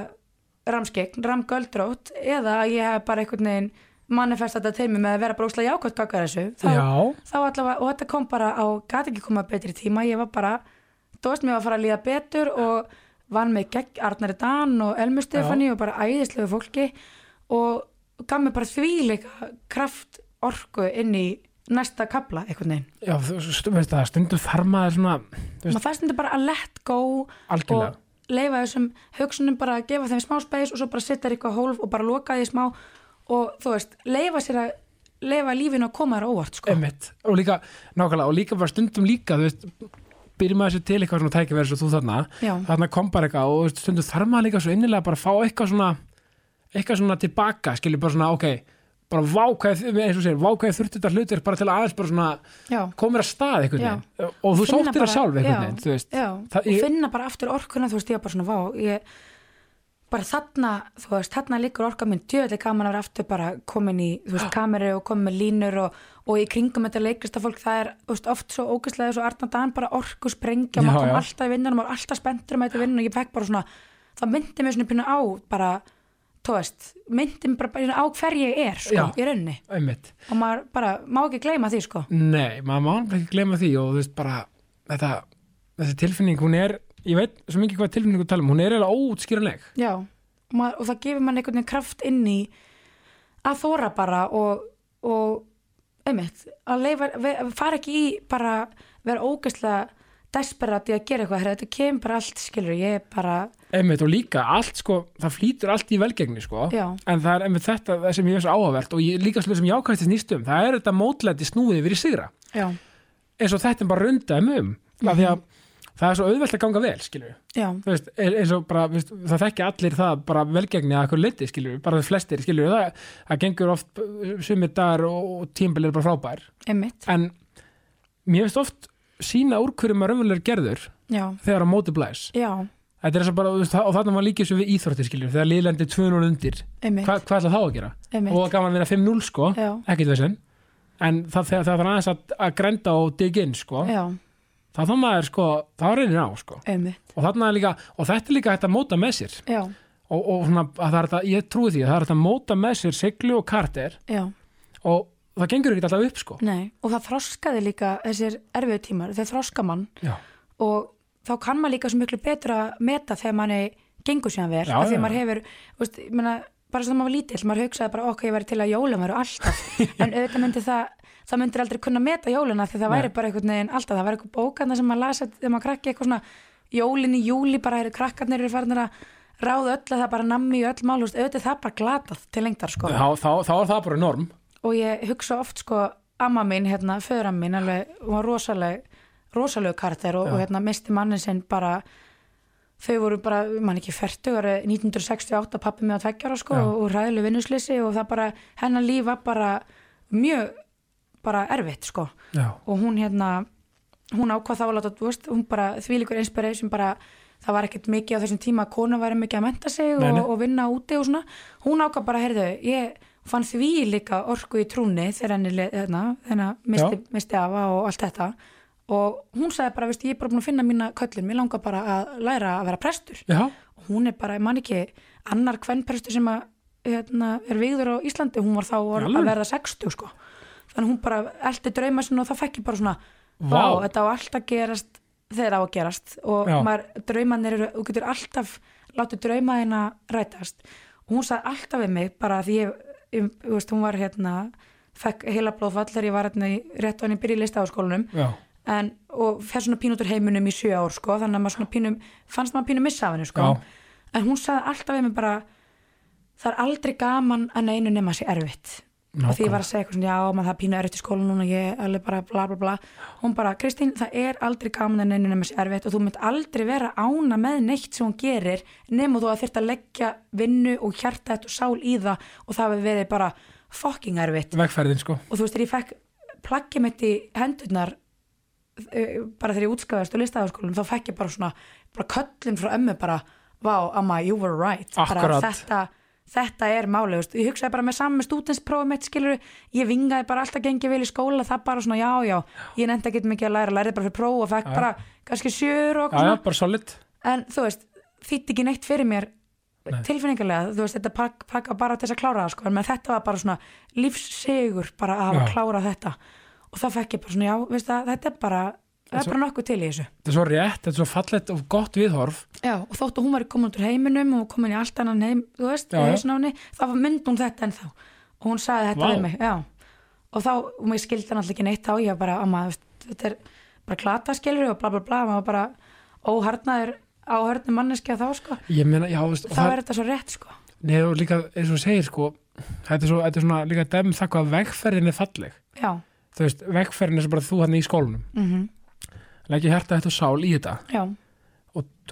ramskegn, ramgöldrótt eða að ég hef bara einhvern veginn manifest þetta til mig með að vera bara úslega jákvæmt okkar þessu, þá,
Já,
þá allavega og þetta kom bara á, gæti ekki koma betri tíma ég var bara, þú veist, mér var að fara að líða betur og vann með gegn Arnari Dan og Elmu Stefani og bara æðislegu fólki og gaf mér bara þvíleika kraft orku inn í næsta kabla einhvern veginn,
já þú stu- veist það, stundum þarf maður svona Þú veist-
maður það stundi bara að let go
algjörlega
og leifa þessum hugsunum bara að gefa þeim smá space og svo bara setja þér eitthvað hólf og bara loka því smá og þú veist, leifa sér að leifa lífinu að koma þér á óvart sko.
Einmitt. og líka, nákvæmlega, og líka bara stundum líka þú veist, byrjum maður sér til eitthvað svona tækifæri svo þú þarna,
Já.
þarna kom bara eitthvað og þú veist, stundum þarf maður líka svo innilega bara að fá eitthvað svona eitthvað svona tilbaka, skilur bara svona, ok bara vákvæð, eins og segir, vákvæð þurfti þetta hlutir bara til að aðeins bara svona
Já.
komir að stað einhvern
Já.
veginn og þú
Finna
sóttir það
bara-
sjálf
já,
einhvern veginn, þú veist
já,
Það-
og
ég-
finna bara aftur orkuna, þú veist, ég var bara svona vá, ég bara þarna, þú veist, þarna liggur orka minn djöðlega gaman að vera aftur bara komin í, þú veist, kameru og komin með línur og, og í kringum þetta leikrista fólk það er, þú veist, oft svo ógæslega svo Arna Dan bara orku sprengja,
Já,
maður kom
já.
alltaf í vinnunum, maður var alltaf spenntur með þetta vinnun og ég fekk bara svona, það myndi mér svona pínu á, bara, þú veist, myndi mér bara, bara á hver ég er, sko,
Já.
í rauninni
einmitt,
og maður bara, má ekki gleyma því, sko.
nei, maður má nefnilega ekki gleyma því og þú veist bara, þetta þessi tilfinning, hún er, ég veit svo mikið hvað tilfinningu tala um, hún er eiginlega óútskýranleg
Já, og, maður, og það gefur mann einhvern veginn kraft inn í að þóra bara og, og einmitt, að leifa, ve- fara ekki í bara vera ógeðslega desperat í að gera eitthvað, herra, þetta kemur bara allt skilur, ég er bara,
einmitt og líka allt sko, það flýtur allt í velgengni sko
Já.
en það er einmitt þetta það sem ég veist áhugavert og ég, líka slúið sem jákvæðist snýstum um, það er þetta mótlæti snúið yfir í sigra
já,
eins og þetta er bara rundaðum um af því að það er svo auðvelt að ganga vel skilur
já,
þú veist, e- eins og bara, veist, það þekki allir það bara velgengni að eitthvað liti, skilur bara þau flestir, skilur, það, það gengur oft sumir dagar og, og tímbil er bara frábær,
einmitt,
en mér veist oft sína úr hverju maður raunverulegur gerður
já,
þegar að móti blæs
já,
þetta er þess að bara, þú veist, það- og þarna var líka svo við íþróttir, skilur, þegar liðlendi 2-0 undir
einmitt,
Hva, hvað ætla þá að gera?
einmitt,
og gaman að vera 5-0 sko,
já,
ekkert veginn en það, þegar það var aðeins að, að grenda og dig in sko,
já,
það þá maður sko, það reynir á sko
einmitt,
og þarna er líka, og þetta er líka hægt að móta með sér
já,
og, og svona, að það er þetta, ég trúi því að það er þetta að móta með sér siglu og karter
já,
og það gengur ekki alltaf upp sko
nei, og það þroskaði líka þessir erfiðu tímar, þeir þroska mann
já,
og þá kann maður líka svo miklu betur að meta þegar manni gengur síðan vel,
Já,
af því
já.
að maður hefur þú veist, ég meina, bara svo það maður var lítill, maður hugsaði bara okkar ég væri til að jólum eru alltaf en auðvitað myndi það, það myndir aldrei kunna meta jóluna því það
Nei.
væri bara einhvern veginn alltaf, það væri eitthvað bókarna sem maður lasa þegar maður krakki eitthvað svona jólin í júli bara eru krakkarnir eru farinir að ráða öll að það bara nammi í öll mál, þú veist, auðvitað er það bara glatað til lengdar sko
þá, þá, þá er það bara norm
og ég hugsa oft sko amma mín, hérna, föðra mín alveg, hún var rosaleg rosalegu karakter og, og hérna misti mannin sinn bara þau voru bara, mann ekki færtugar 1968 pappi með að tveggjara sko
Já.
og, og ræðileg vinnuslisi og það bara hennar líf var bara mjög bara erfitt sko
já,
og hún hérna hún ákvað þá að láta, þú veist, hún bara þvílíkur inspiration bara, það var ekkert mikið á þessum tíma að konu væri mikið að menta sig
Nei, nei.
Og, og vinna úti og svona hún ákvað bara, heyrðu, ég fann því líka orku í trúni þegar henni le- hérna, hérna, misti, misti afa og allt þetta og hún sagði bara, veist, ég er bara búin að finna mína köllin, mér langar bara að læra að vera prestur
já,
og hún er bara, ég man ekki annar kvennprestur sem að, hérna, er vigður á Íslandi, hún var þá
Í
að
alvöru?
verða 60 sko þannig að hún bara eldi drauma sinna og það fekk ég bara svona
Vá.
vá, þetta á allt að gerast þegar það á að gerast og
Já.
maður, draumanir eru, þú getur alltaf látið drauma þeirna rætast og hún sagði alltaf við mig bara að ég, ég þú veist, hún var hérna fekk heila blóðfall þegar ég var hérna í, rétt á henni byrja í listaháskólanum
já,
en, og fer svona pínu út úr heiminum í sjö ár sko, þannig að maður svona pínu fannst maður pínu missa af henni sko.
Já.
en hún sagði alltaf við mig bara það er aldrei gaman að neinu nema sé erfitt og því ég var að segja eitthvað svona, já, maður það er pínu erfitt í skólan núna, ég er alveg bara bla bla bla hún bara, Kristín, það er aldrei gaman að neinu nema sé erfitt og þú mynd aldrei vera ána með neitt sem hún gerir nema þú að þurft að leggja vinnu og hjarta þetta og sál í það og það hefur verið bara fucking erfitt
vegferðin sko
og þú veist, þegar ég fekk plaggið mitt í hendurnar eh, bara þegar ég útskafaðist og listaðaskólum þá fekk ég bara svona, bara köllin frá ömmu bara, vá, amma, you were right bara
Akkurat.
þetta, þetta er málið, þú veist, ég hugsaði bara með saman með stúdensprófum mitt skilur, ég vingaði bara alltaf gengið vel í skóla, það bara svona já, já ég nefndi ekki mikið að læra, lærið bara fyrir próf og fekk
Já.
bara kannski sjör og
já, já,
eitthvað
bara solid
svona en þú veist, þýtti ekki neitt fyrir mér
Nei.
tilfinningarlega, þú veist, þetta pak, pakka bara til þess að klára það, sko, en með þetta var bara svona lífssigur bara að hafa
Já.
klárað þetta og það fekk ég bara svona, já, veist það, þetta er bara það
Svo-
er bara nokkuð til í þessu
þetta er svo rétt, þetta er svo fallegt og gott viðhorf
Já, og þótt að hún var komin út úr heiminum og komin í allt annan heim, þú veist,
Já, já.
já, já. þá var mynd hún þetta ennþá og hún sagði þetta
Vá.
við mig, já og þá, og mér skildi hann alltaf ekki neitt á ég var bara, amma, þú veist, þetta er bara klata skilur og bla bla bla, maður var bara óharnaður á hörnum manneskja þá sko,
ég meina, já, veist, og
þá er þetta svo rétt sko
Nei, og líka, eins og þú segir, sko, þetta er, svo, þetta er svona líka dæmi um það hvað vegferðin er falleg.
já,
Þú veist, vegferðin er sem bara þú hann í skólanum.
mhm,
Lækja hjarta þetta og sál í þetta.
já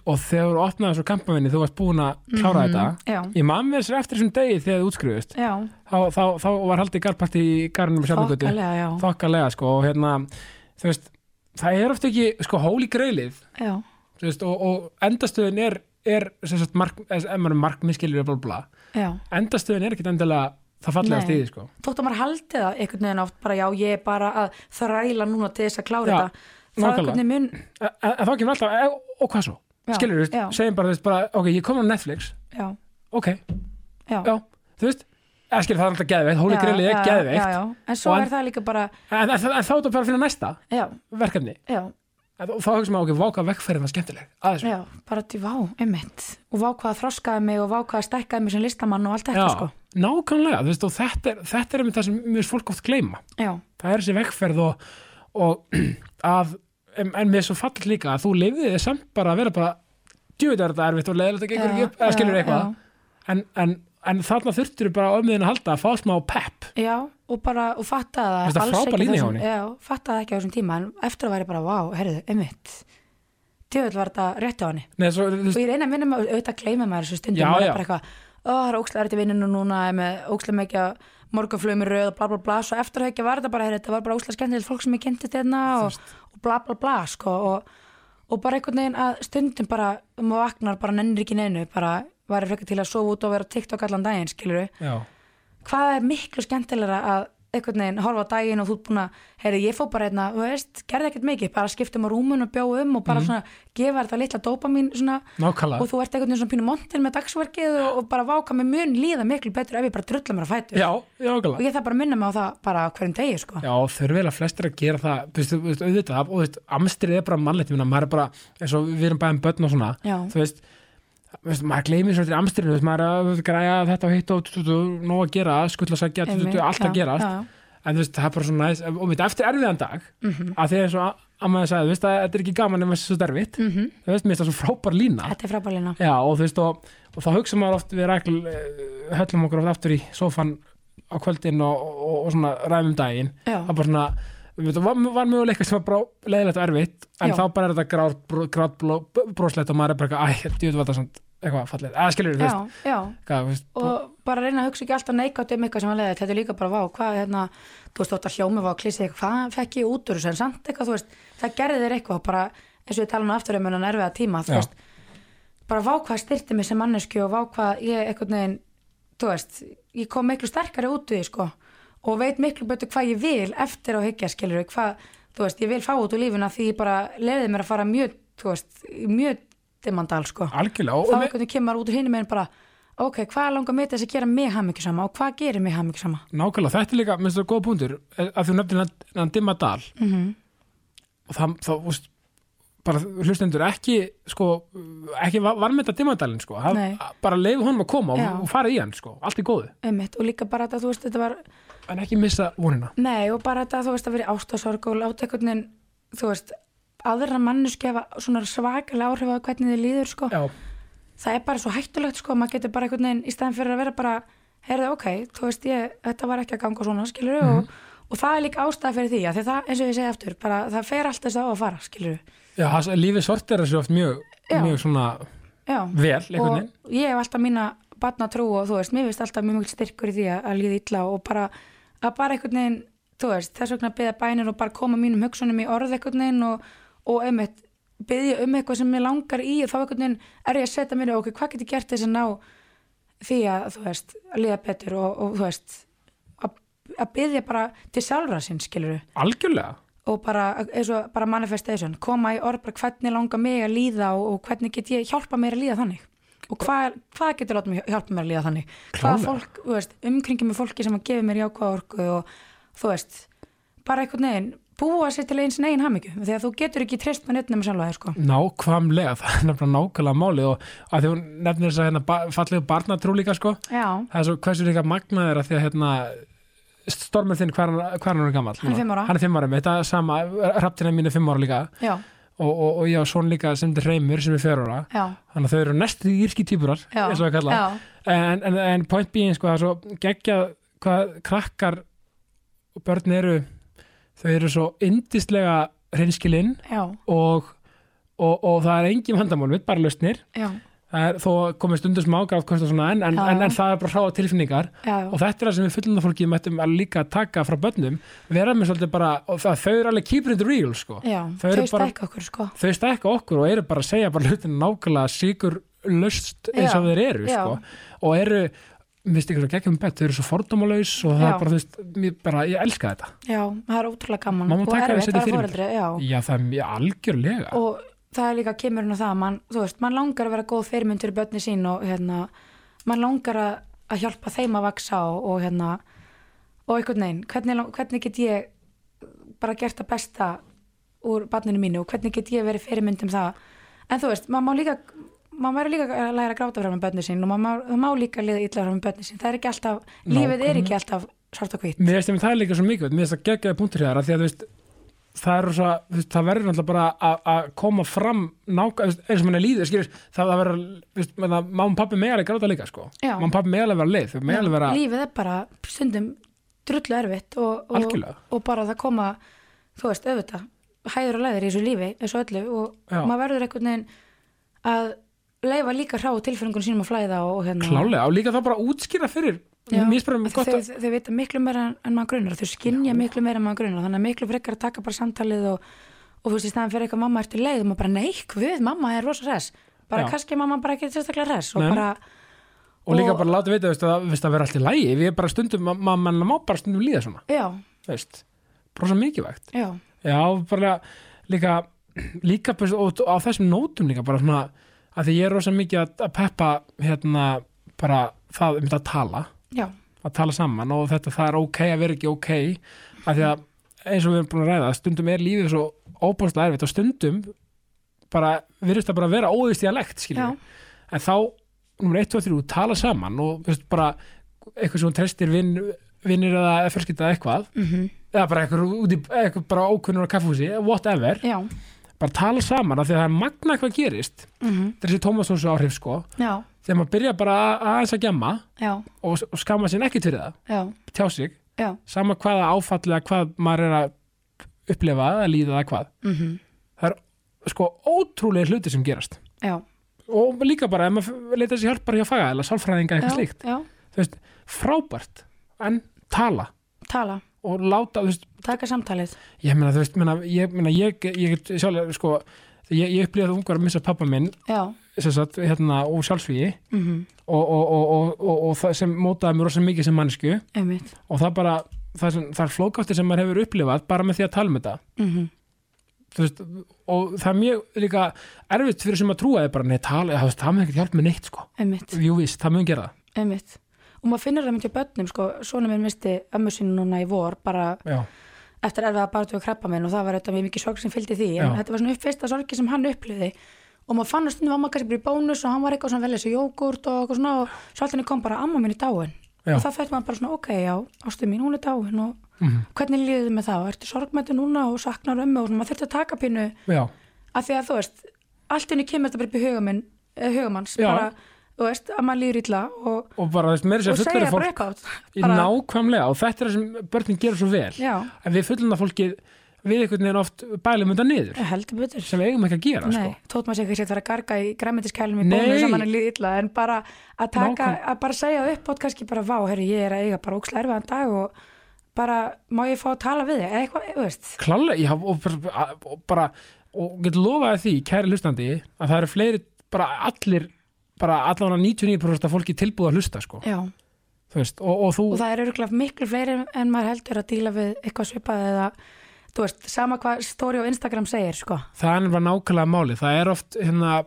Og þegar þú opnaði þessu kampavinni, þú varst búin að klára þetta.
Mhm. já,
Ég man mér sér eftir þessum degi þegar þú útskriðust.
já,
Þá, þá, þá var haldið garpart í garnum í sjálfgötu.
þokkalega, já,
Þokkalega, sko, og hérna, þú veist, það er ofta ekki, sko, hóli greilið,
já
þú veist, og, og endastöðin er, er, sem sagt, mark, en maður markmiskilur, bla, bla, bla.
já,
Endastöðin er ekkit endilega það fallegast
Nei.
í því, sko.
þótt að maður haldi það einhvern veginn oft bara, já, ég er bara að þræla núna til þess að klára
Já,
þetta þá
nákvæmlega.
einhvern veginn mun,
en e, en þá kemur alltaf, e, og hvað svo?
Já,
skilur þú,
já.
segjum bara, þú veist, bara, ok, ég kom á Netflix
já,
ok,
já
já, þú veist eða skilur það er alltaf geðveikt, hóli
Já,
grillið er
já, já,
geðveikt
já. en svo
Og en-
er það líka bara
en, en, en þá er það bara að finna næsta
já,
verkefni,
já,
en, og þá hugsa maður, ok, váka vegferðin var skemmtileg, aðeins,
já, bara til vá, einmitt og vá hvað þroskaði mig og vá hvað stækkaði mig sem listamann og allt þetta sko
nákvæmlega, þú veist, og þetta er, þetta er einmitt það sem mér finnst fólk oft gleyma
já,
það er þessi vegferð og, og að, en, en mér er svo fall líka að þú lifið þið samt bara að vera bara djúið er þetta erfitt og leiðilegt að gengur
Já,
ekki upp eða
já,
skilur eitthvað en, en, en þarna þurftur bara á ömmuðin að halda að fá smá pepp
já, og bara, og fattaði
Mér finnst
það
það
alls
frábær
ekki
lína hjá
þessum-
henni.
já, fattaði það ekki á þessum tíma en eftir að væri bara, vá, herðu, einmitt djöfull var þetta rétt á henni
Nei, svo, þú
og
veist,
ég reyna að minna mig, auðvitað gleyma maður þessu stundum
Já,
maður
já.
er bara eitthvað, ó, það er ókslega erfitt í vinninu núna ég er með ókslega mikið að morgunflugum í röð og bla bla bla, svo eftir að ekki var þetta bara heyrðu, þetta var bara ókslega skemmtilegt fólk sem ég kynntist þérna og, og bla bla bla, sko og, og bara einhvern veginn að stundum bara maður vaknar bara nennir ekki neinu bara væri frekar til að sofa út og vera á TikTok allan daginn, skilur
já,
hvað er miklu skemmtilegra að einhvern veginn horfa á daginn og þú ert búin að heyri, ég fór bara einna, þú veist, gerði ekkert mikið bara skiptum á rúmun og bjóðu um og bara svona gefa þetta litla dópamín svona
nákvæmlega
og þú ert einhvern veginn svona pínu montin með dagsverkið og, og bara váka með mun líða miklu betur ef ég bara drulla mér á fætur
Já, já,
og
okkarlega
ég þarf bara að minna mig á það bara á hverjum degi sko.
Já, þau eru vel að flestir að gera það þú veist, þú veist, auðvitað, og þú veist, amstrið er bara mannlegt, minna, maður er bara, eins og við erum bæðin börn og svona,
Já.
þú veist þú veist, maður gleymir svolítið amstrinu, þú veist, maður er að þú veist, græja þetta og hitt og þú veist, nóg að gera skuttla sækja, þú
Einmitt,
veist, allt að
já,
gera
já,
en þú veist, það er bara svona næs, og mitt eftir erfiðan dag
Mhm.
að því eins og ammaði sagði, þú veist, að þetta er ekki gaman ef maður er svo derfitt,
Mhm.
þú veist, mér er það svo frábær lína
þetta er frábælina
Já, og þú veist, og, og þá hugsa maður oft við rækl, eh, höllum okkur oft aftur í sófan á kvöldin og, og, og svona ræðum um daginn
já,
það er bara svona, við veitum, var, var möguleika sem var bara leiðilegt og erfitt, en
Já.
þá bara er þetta grár, bró- grár bló, broslegt og maður er bara eitthvað, æ, djúið var það svona eitthvað fallið, eða skilur þú
já,
veist,
já
hvað, þú veist
og bara reyna að hugsa ekki alltaf neikvæmt um eitthvað sem að leiða þetta er líka bara vá, hvað hérna þú veist þótt að hljómi var að klísi eitthvað hvað fekk ég út úr þessu en samt eitthvað, þú veist það gerði þér eitthvað bara eins og við talum aftur um hennan erfiða tíma þú
Já.
veist, bara vá hvað styrti mig sem mannesku og vá hvað ég eitthvað neginn þú veist, ég kom miklu sterkari út úr því sko og veit miklu betur hvað ég vil eftir á higgja skilur við hvað, þú veist, ég vil fá út úr lífina því ég bara leiði mér að fara mjög, þú veist, í mjög demandal sko
algjörlega, og,
þá
og,
einhvern veginn kemur maður út úr hinum en bara ok, hvað langar mig til þess að gera mig hamingjusama og hvað gerir mig hamingjusama
nákvæmlega, þetta er líka, minnst það er góða punktur eh, að þú nefnir hann, hann dimma dal
mm -hmm.
og það, þá, þú veist bara hlustendur ekki sko, ekki varmynda dimmadalinn sko, það,
Nei.
bara leifu honum að koma
Já.
og, og fara í hann sko, allt í góðu
einmitt, og líka bara þetta, þú veist, þetta var
en ekki missa vonina
nei, og bara þetta, þú veist, að vera í ástasorg og láta einhvern veginn, þú veist aðra mannuski hafa svona svakalega áhrif á hvernig þið líður, sko
já,
það er bara svo hættulegt, sko, maður getur bara einhvern veginn í stæðan fyrir að vera bara, heyrðu, ok þú veist, ég, þetta var ekki að ganga svona, skilur
Mhm.
og, og það er líka ástæða fyrir því, af því að það, eins og ég segi aftur, bara, það fer allt þess að á að fara, skilur
já það, lífið sortir þessu oft mjög,
Já.
mjög svona
já,
vel, einhvern veginn
og ég hef alltaf mína batna trú og þú veist, mér finnst alltaf mjög mjög styrkur í því að, að líða illa og bara að bara einhvern veginn, þú veist, þess vegna að byggja bænir og bara koma mínum hugsunum í orð einhvern veginn og, og einmitt byggja um eitthvað sem mér langar í og þá einhvern veginn er ég að setja mér ok, hvað get ég gert til þess að ná því að þú veist, að liða betur og, og þú veist að, að byggja bara til sjálfra sinn skilur
algjörlega
og bara, eins og bara manifestation koma í orð bara hvernig langar mig að líða og, og hvernig get ég hjálpa mér að líða þannig og hvað, hvað getur látum hjálpa mér að líða þannig
Klárlega.
hvað fólk, þú veist, umkringi með fólki sem að gefa mér jákvæða orku og þú veist, bara einhvern veginn búa sér til eins negin hamingju því að þú getur ekki treyst með neittnum sjálfa þér sko
nákvæmlega, það er nefnilega nákvæmlega málið og að því hún nefnir þess að hérna ba fallegu barnatrú líka sko
Já,
það er svo hversu líka magnað er að því að hérna stormur þinn, hvað er hann er gammal?
Hann er fimm ára.
Hann er fimm ára, þetta er sama, raptina mín er fimm ára líka
já,
og, og, og ég á svona líka sem þetta reymur sem er fjör ára
já,
þannig að þau eru næstu írski týpurar
já
eins og að kalla
Já,
en, en, en point being sko það er svo geggja hvað krakkar og börn eru þau eru svo yndislega hreinskilinn
já,
og, og, og það er engin vandamál mitt, bara lausnir
já,
það er þó komið stundur sem ágrátt kost og svona en, en,
Já,
en,
já.
en það er bara hráa tilfinningar
já,
og þetta er það sem við fullunda fólkið mættum að líka taka frá börnum vera með svolítið bara, og það, þau eru alveg keeping it real sko
já,
Þau eru
þau
bara-
stækka okkur sko
þau stekka okkur og eru bara að segja bara hlutin nákvæmlega sigur löst eins og
Já,
þeir eru
já.
sko. og eru, mér finnst ekki svo geggjum bett þau eru svo fordómalaus og það
Já.
er bara, þú veist, mér bara, ég elska þetta
Já, það er ótrúlega gaman
Má hún
og
taka
erfitt
þessi
að
fyrir?
vera foreldri, já.
já, það er mjög algjörlega
og það er líka kemur hún á það að mann, þú veist, mann langar að vera góð fyrirmynd fyrir börni sín og hérna mann langar að, að hjálpa þeim að vaksa og, og hérna og einhvern veginn, hvernig, lang- hvernig get ég bara gert það besta úr barninu mínu og hvernig get ég verið fyrirmynd um það, en þú veist, maður má líka maður verður líka að læra að gráta frá með börni sín og maður má- það má líka liða illa frá með börni sín það er ekki alltaf, lífið er ekki alltaf svart og hvitt,
mér finnst einmitt það líka svo mikið, mér finnst það geggjaði punktur hér því að, þú veist, það eru svo þú veist, það verður náttúrulega bara að- að koma fram nákvæmlega, eins og manni líður, skilur það, það verður, þú veist, menna, mamma og pappi meðalega gráta líka, sko,
Já.
mamma og pappi meðalega vera leið, þau meðalega vera,
lífið er bara stundum drullu erfitt og, og,
Algjörlega.
og bara það koma þú veist, auðvitað, hæður og læður í þessu lífi þessu öllu og
Já.
maður verður einhvern veginn að leifa líka hrá tilfinningun sínum að flæða og, og hérna
klálega, og líka það bara útskýra fyrir,
Já,
mér finnst bara
af því
gott
þau, þau, þau vita miklu meira en- en maður grunar og þau skinja miklu meira en maður grunar þannig að miklu frekar að taka bara samtalið og, og þú veist í staðan fyrir eitthvað mamma ertu leið og maður bara nei, hvað, mamma er rosa res bara
Já.
kannski er mamma bara ekki sérstaklega res og
Nei, nei.
bara,
og líka
Og-
bara láta vita veist, að það verður allt í lægi við erum bara stundum, ma- ma- mann má bara stundum líða svona
já,
veist, bara svo mikilvægt
já,
já, bara líka líka bara svo- og á þessum nótum líka bara svona, að því ég er rosa mikið að, að peppa hérna bara það um þetta að tala
já
að tala saman og þetta það er ok að vera ekki ok að því að eins og við erum búin að ræða stundum er lífið svo óbúrslega erfitt og stundum bara virðist það bara vera óðistíðanlegt
Já.
skiljum en þá, nummer 1, 2, 3, tala saman og þú veist, bara eitthvað sem hún treystir vin, vinnir eða fjölskylda eða eitthvað
mm
eða bara eitthvað út í eitthvað bara ókunnur á kaffhúsi whatever,
já,
bara tala saman af því að það er magna hvað gerist
mm
þessi Tómasónsu áhrif sko
já,
þegar maður byrja bara að- aðeins að gemma
já,
og, og skama sér ekkert fyrir það,
já,
tjá sig
já,
sama hvaða áfall eða hvað maður er að upplefa eða líða eða hvað
mm
það er sko ótrúlega hluti sem gerast
já,
og líka bara ef maður leita sér hjálp bara hjá faga eða sálfræðinga eitthvað
já,
slíkt
já,
þú veist, frábært en tala
tala,
og láta, þú veist,
taka samtalið
ég meina þú veist meina, ég, meina, ég, ég, get sjálf sko, ég, ég upplýða það ungar að missa pappa minn
já,
sem sagt, hérna, og sjálfsvíi
mm
og, og, og, og, og, og það sem mótaði mér rosa mikið sem mannsku
einmitt
og það bara, það, sem, það er flókáttir sem maður hefur upplifað bara með því að tala með þetta
mm
Þú veist, og það er mjög líka erfitt fyrir sem að trúa þið bara, nei, tala, það, það mun ekkert hjálp með neitt sko.
einmitt,
jú víst, það mun gera
einmitt og maður finnur það myndi á börnum sko, svona minn misti ömmu sinni núna í vor bara
það já,
eftir erfiða barðu og krabba minn og það var þetta mjög mikið sorg sem fylgdi því en
Já.
þetta var svona upp fyrsta sorgi sem hann upplýði og maður fann að stundum að maður kannski bara í bónus og hann var eitthvað svona vel þessu jógurt og eitthvað svona og svo alltaf kom bara amma mín í dáin
Já.
og það fætti maður bara svona ok, já, ástu mín, hún er dáin og
Mhm.
hvernig líðið með það og ertu sorgmættu núna og saknar ömmu og svona, maður þurfti að taka pínu
já,
af því að þú veist, allt henni kemur þetta bara upp í hugaminn, hugamanns
Já.
bara, þú veist, að maður líður illa og,
og bara, þú veist, meira
og
sér
segja
fullur
bara
fólk
upp átt
í nákvæmlega og þetta er það sem börnin gerur svo vel
já,
en við fullurna fólkið, við einhvern veginn oft bælum þetta niður,
heldur betur
sem við eigum ekki að gera
Nei,
sko.
tótt maður sér ekki að vera að garga í græmitiskælum í
Nei.
bónu sem hann er líð illa en bara að taka,
Nákvæm-
að bara segja upp átt kannski bara, vá, herri, ég er að eiga bara óksla erfiðan dag og bara, má ég fá að tala við þig eða eitthvað, þú veist,
klálega, já, og bara og, bara, og get lofaði því, kæri hlustandi að það eru fleiri, bara allir bara allan að 99% af fólki tilbúið að hlusta sko,
já.
þú veist, og, og þú
og það er örgulega miklu fleiri en maður heldur að díla við eitthvað svipað eða þú veist, sama hvað story á Instagram segir sko.
það er bara nákvæmlega máli það er oft hérna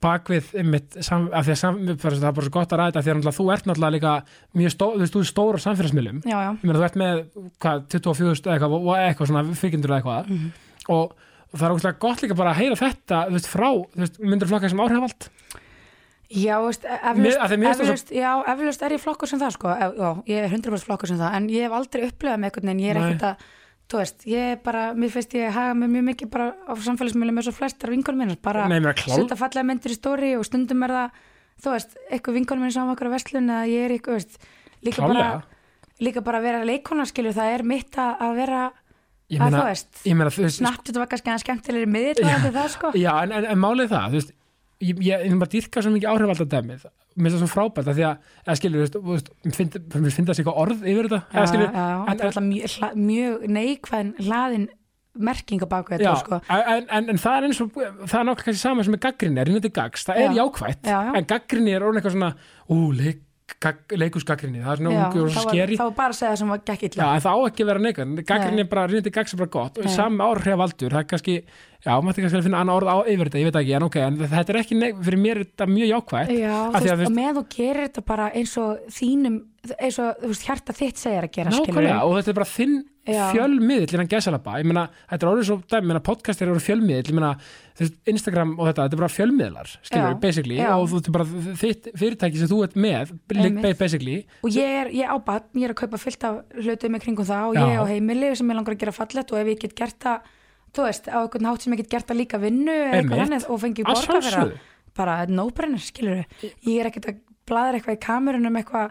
bakvið einmitt, sam, af því að sam, bara, það er bara svo gott að ræta af því að náttúrulega þú ert náttúrulega líka mjög stó, þú veist, þú er stóra samfélagsmiðlum
já, já,
ég meina þú ert með hvað, 24 eða eitthvað, og eitthvað svona fyrkindur eða eitthvað
Mhm.
og, og það er ógustlega gott líka bara að heyra þetta þú veist, frá, þú veist, myndir flokka sem áhrifald
já, veist
Mér- að því mér finnst það svo-
eflust, já, eflust er ég flokkur sem það sko, ef, já, ég er 100% flokkur sem það en ég hef aldrei upplifað með einhvern veginn ég er
Nei.
ekkert að, þú veist, ég er bara mér finnst ég haga mér mjög mikið bara á samfélagsmiðlum eins og flestar vinkonum minnar bara
Nei, ég meina, klár-
setja fallega myndir í stóri og stundum er það, þú veist, eitthvað vinkonum minn saman okkur á verslun eða ég er eitthvað, veist, líka
Klárlega.
bara líka bara að vera leikonarskilju, það er mitt að, að vera
ég
Að
meina,
þú veist.
ég meina, þú veist
Snapchat var kannski aðeins skemmtilegri miðill varðandi það sko
já, en, en, en málið er það, þú veist ég, ég, ég bara dýrka svo mikið áhrifald að dæmið mér finnst það svo frábært að því að, eða skilur, þú veist, þú veist, mér finnst- mér finnst það sér eitthvað orð yfir þetta,
Já,
eða skilur,
já,
en-
þetta er alltaf mjög, hla- mjög neikvæðin hlaðin merking á baku þetta sko
en, en, en það er eins og það er nákvæmlega kannski sama sem er gaggrinni, er innandi gags það er
Já.
jákvætt,
Já, já.
en gaggrinni er orðin eitthvað svona, ú, leik, gag, leikusgaggrinni það er svona
Já,
ungu og
þá var-
skeri
þá var bara að segja það sem var gekk
Já,
illa
en það á ekki að vera neikvæð, gaggrinni er bara rinni gags er bara gott og
Nei.
sami áhrif aldur, það er kannski já, maður kannski að finna annað orð á yfir þetta, ég veit það ekki en ok, en þetta er ekki, neik, fyrir mér er þetta mjög jákvætt
Já,
Af því að,
þú veist,
þú
og
veist-
með þú gerir þetta bara eins og þínum, eins og þú veist, hjarta þitt segir að gera, skilur
nákvæmlega, og þetta er bara þinn
Já.
fjölmiðill innan gæsalabba, ég meina, þetta er orðið svo dæmi, ég meina, podcast er orðið fjölmiðill, ég meina þú veist, Instagram og þetta, þetta er bara fjölmiðlar skilur,
Já.
basically,
Já.
og þú þetta er bara þitt fyrirtæki sem þú ert með,
Einmitt.
lik- basically
Og ég er, ég á batn, ég er að kaupa fullt af hlutum í kringum það og
Já.
ég á heimili sem ég langar að gera fallegt og ef ég get gert það, þú veist, á einhvern hátt sem ég get gert það líka vinnu eða eitthvað
Einmitt.
annað og fengi
Að
borga fyrir það,
sjálfsögðu.
bara no-brenner, skilur Ég er ekkert að bladra eitthvað í kamerunum um eitthvað,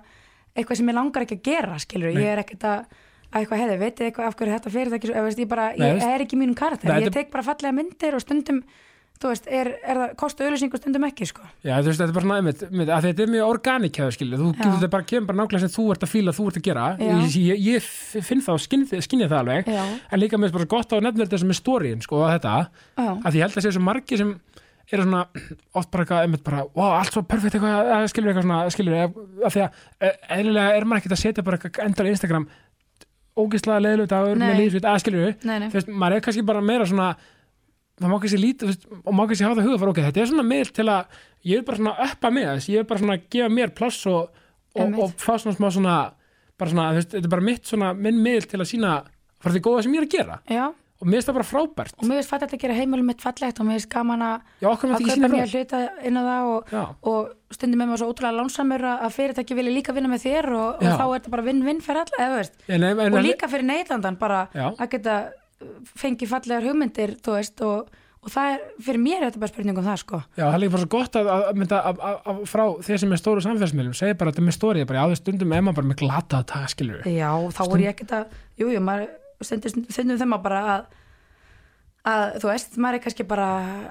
eitthvað sem ég langar ekki að gera, skilur Ég er ekkert að, að eitthvað hefði, veitir eitthvað af hverju þetta fyrir það ekki, eða veist, ég bara,
Nei,
ég
veist.
er ekki í mínum karakter,
Nei,
ég
þetta-
tek bara fallega myndir og stundum, þú veist, er, er það kostu auðlýsing og stundum ekki, sko.
Já, þú veist, þetta er bara svona, einmitt, einmitt, að þetta er mjög organik hefur skilur, þú
Já.
getur þetta bara kemur bara nákvæmlega sem þú ert að fíla, þú ert að gera
Já.
ég, ég, ég finn það og skinni, skinni það alveg
Já.
en líka mér er bara gott á nefnir þetta sem er stórin, sko, að þetta
Já.
að því ég held að sé svo margir sem eru svona oft bara eitthvað, einmitt bara, wow, allt svo perfekt eitthvað, að skilur eitthvað svona, skilur að því að eh, eðlilega er maður ekkert að setja bara eitthvað endar í Instagram ógeðslega leiðilegur dagur
Nei.
með lífsveit, að skilur
Nei, nei.
þú veist, maður er kannski bara meira svona það má kannski lítið, þú veist, og má kannski hafa það hugafar ok, þetta er svona miðl til að ég er bara svona uppa með þess, ég er bara svona að gefa mér pláss og, og,
Einmitt.
og fá svona smá svona, bara svona, þú veist, þetta er bara mitt svona, minn miðl til að sína frá því góða sem ég er að gera,
Já,
og mér finnst það bara frábært
og mér finnst fallegt að gera heimilum mitt fallegt og mér finnst gaman að
Já, okkur með
að
ekki
kaupa
sína frá
nýja hluta inn á það og,
Já.
og stundum með maður svo ótrúlega lánsamur að að fyrirtæki vilja líka vinna með þér og,
Já.
og þá er þetta bara vinn-vinn fyrir alla eða, þú veist.
En, en, en,
og líka fyrir neytandan bara
Já.
að geta uh, fengið fallegar hugmyndir þú veist, og, og það er fyrir mér er þetta bara spurning um það sko
Já, það er líka bara svo gott að, að, að, mynda- að, að, að frá þeir sem er stóru samfélagsmiðlum segja bara þetta með stórið, bara já, þau stundum er maður bara með glata að taka skilur
já, þá er ég ekkert að jú, jú, maður stendur stundum þeim að bara að að þú veist, maður er kannski bara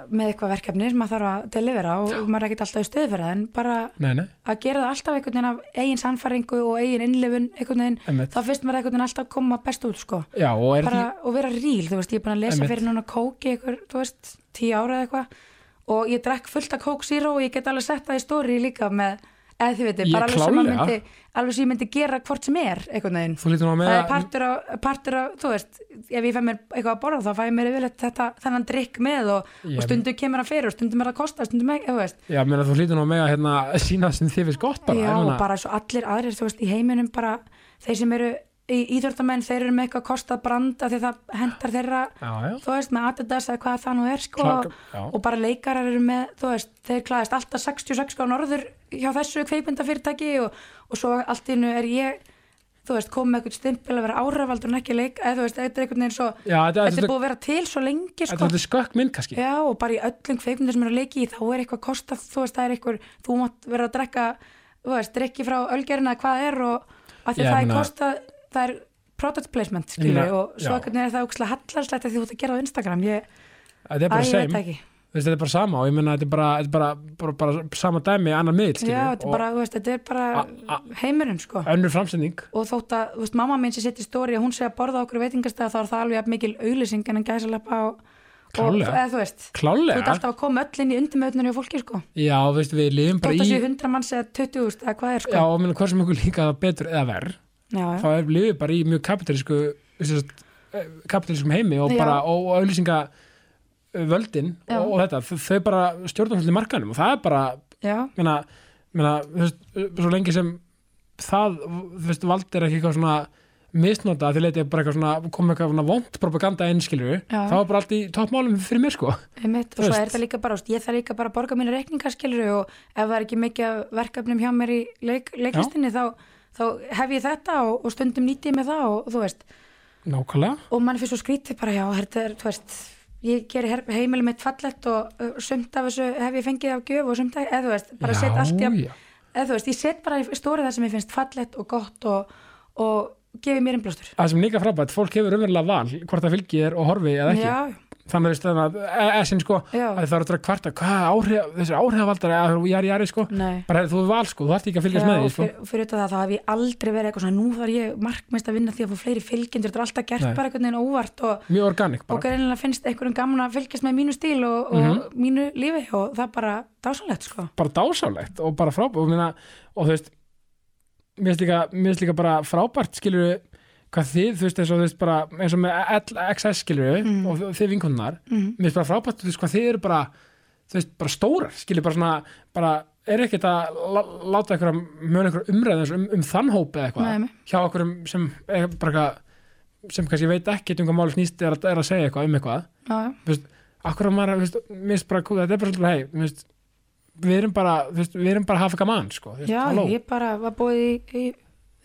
með eitthvað verkefni sem maður þarf að delivera og maður er ekkert alltaf í stöðu fyrir það en bara
Nei, nei,
að gera það alltaf einhvern veginn af eigin sannfæringu og eigin innlifun einhvern veginn,
Einmitt.
þá finnst maður einhvern veginn alltaf að koma best út sko,
já, og er
bara og vera ríl þú veist, ég er búin að lesa
Einmitt.
fyrir núna kóki einhver, þú veist, tíu ára eða eitthvað og ég drekk fullt af kók zero og ég get alveg sett það í stóri líka með eða þið veitir,
Ég
bara alveg sem, að
klárlega.
myndi, alveg sem ég myndi gera hvort sem er einhvern veginn,
Þú lítur nú að með
það er
að-
partur á, partur á þú veist, ef ég fæ mér eitthvað að borða þá fæ ég mér yfirleitt þetta, þennan drikk með og,
Ég-
og stundum kemur hann fyrir og stundum er það að kosta, stundum ekki, þú veist
Já, meina þú hlýtur nú að mega hérna sína sem þið finnst gott bara. ég
Já,
meina,
og bara svo allir aðrir, þú veist, í heiminum bara þeir sem eru í íþjórtamenn, þeir eru með eitthvað kostað branda því það hendar þeirra,
Já, já.
þú veist, með Adidas eða hvað það nú er, sko,
Klak- já.
og bara leikarar eru með, þú veist, þeir klæðast alltaf 66 á norður hjá þessu kveipindafyrirtæki og, og svo allt í nú er ég, þú veist, komið með eitthvað stimpil að vera áravaldur en ekki leik, eða þú veist, þetta er einhvern veginn svo,
Já, þetta-
þetta
þetta-
er búið að vera til svo lengi,
Þetta
sko.
er þetta skökk mynd kannski.
Já, og bara í öllum kveikmyndum sem eru að leiki í þá er eitthvað kostað, þú veist, það er eitthvað þú mátt vera að drekka, þú veist, drekki frá ölgerina hvað er og að því
Já,
það
meina-
er kostað, það er product placement, skilju,
Meina,
og svo
já.
ekkert er það ógslag hallarslegt að því þú ert að gera á Instagram ég,
Þetta er
að
bara
ég veit
same.
það ekki
Þú veist, Þetta er bara sama og ég meina þetta er bara, þetta er bara, bara, bara sama dæmi annar miðl.
Já, þetta er bara, þú veist, þetta er
A-
bara heimurinn, sko
Önnur framsending.
og þótt að, þú veist, mamma mín sem sitt í stóri hún sé að borða á okkur veitingastæða þá er það alveg jafn mikil auglýsing en hann gæsa lappa og,
Klárlega.
og, eða, þú veist, þú ert
klálega
alltaf að koma öll inn í undirmöðnunni og fólki sko
já, veist, við lifum bara
Dóttar
í
séu 100 manns eða 20 úrst eða hvað er sko
já, og minna, hversum okkur líka það betur eða verð
já, já.
þá er lifið bara í mjög kapitalísku sérst, kapitalískum heimi og
Já.
bara og, og auðlýsinga völdin
Já.
og, og þetta, þau- þau bara stjórnum allir markanum og það er bara
já.
meina, meina, þú veist, svo lengi sem það, þú veist, vald er ekki eitthvað svona misnota því leiti bara eitthvað svona komið eitthvað svona vond propaganda einskilju,
Já.
þá er bara allt í toppmálum fyrir mér sko,
Einmitt,
Þú
og svo
veist.
er þetta líka bara, þú veist, ég þarf líka bara að borga mínu reikningarskilur og ef það er ekki mikið af verkefnum hjá mér í leik, leiklistinni þá, þá hef ég þetta og, og stundum nýti ég með það og, og þú veist,
nákvæmlega
og mann fyrir svo skrítið bara já, þetta er, þú veist, ég geri her- heimilið mitt fallett og uh, sumt af þessu hef ég fengið af gjöf og sumt af, eða þú veist, bara set allt í að,
já,
eða þú veist, ég set bara í stórið það sem ég finnst fallett og gott og, og gefi mér innblástur.
það sem er líka frábært, fólk hefur umverulega val hvort það fylgir og horfi eða ekki
Já,
þannig veist, þannig að e- essin sko að
Já.
það eru að kvarta, hvað áhrif þessir áhrifavaldar, eða jari jari sko
nei.
bara heyrðu, þú er val sko, þú ætti ekki að fylgjast
Já,
með því
og
sko.
fyr, fyrir utan það þá hef ég aldrei verið eitthvað svona nú þarf ég markmest að vinna því að fá fleiri fylgjendur þetta er alltaf gert
Nei.
bara einhvern veginn óvart og,
mjög organik
og
bara,
greinilega finnst einhverjum gaman að fylgjast með mínu stíl og, og
Mhm.
mínu lífi og það er bara dásanlegt sko
bara dásalegt og bara frábært og, minna, og þú veist mér finnst líka, mér finnst líka bara frábært skilur hvað þið, þú veist, eins og þú veist bara eins og með L- XS skilur og þið- þið vinkunnar,
Mhm.
mér finnst bara frábært þú veist hvað þið eru bara, þú veist, bara stórar skilur bara svona, bara er ekkert að lá- láta einhverja, mjög einhverja umræðin um, um þann hóp eða eitthvað
Nei, nei.
hjá einhverjum sem er bara eitthvað sem kannski veit ekki um hvað máli snýst er að, er að segja eitthvað um eitthvað
já, já.
þú veist, akkur að maður, þú veist, mér finnst bara kúl, þetta er bara svolítið, hei, þú veist, við erum bara, þú veist, við erum bara að hafa gaman, sko, þú veist,
já
halló.
ég bara var búið í, í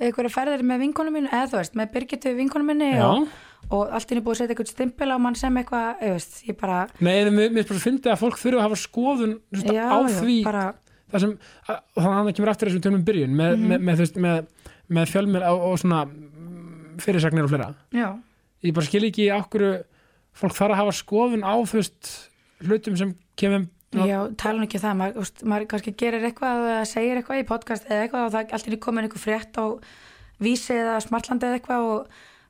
einhverja ferðir með vinkonum mínu eða þú veist, með Birgitu vinkonu minni
Já.
og, og allt inni búið að setja einhvern stimpil á mann sem eitthvað, ég veist, ég bara
Nei, en mér mér finnst bara að fyndi að fólk þurfa að hafa skoðun, þú veist,
já,
á
já,
því,
bara,
það sem, að- og þannig að hann kemur aftur þessum tölum í byrjun, með,
Mhm.
með, með, þú veist, með, með fjölmir og, og svona mm, fyrirsagnir og fleira.
já,
Ég bara skil ekki okkur, fólk þarf að hafa skoðun á, þú veist, hlutum sem kemur,
Já, tala nú ekki um það, maður, úst, maður kannski gerir eitthvað eða segir eitthvað í podcast eða eitthvað og það er allt inni komin einhver frétt á vísi eða smartlandi eða eitthvað og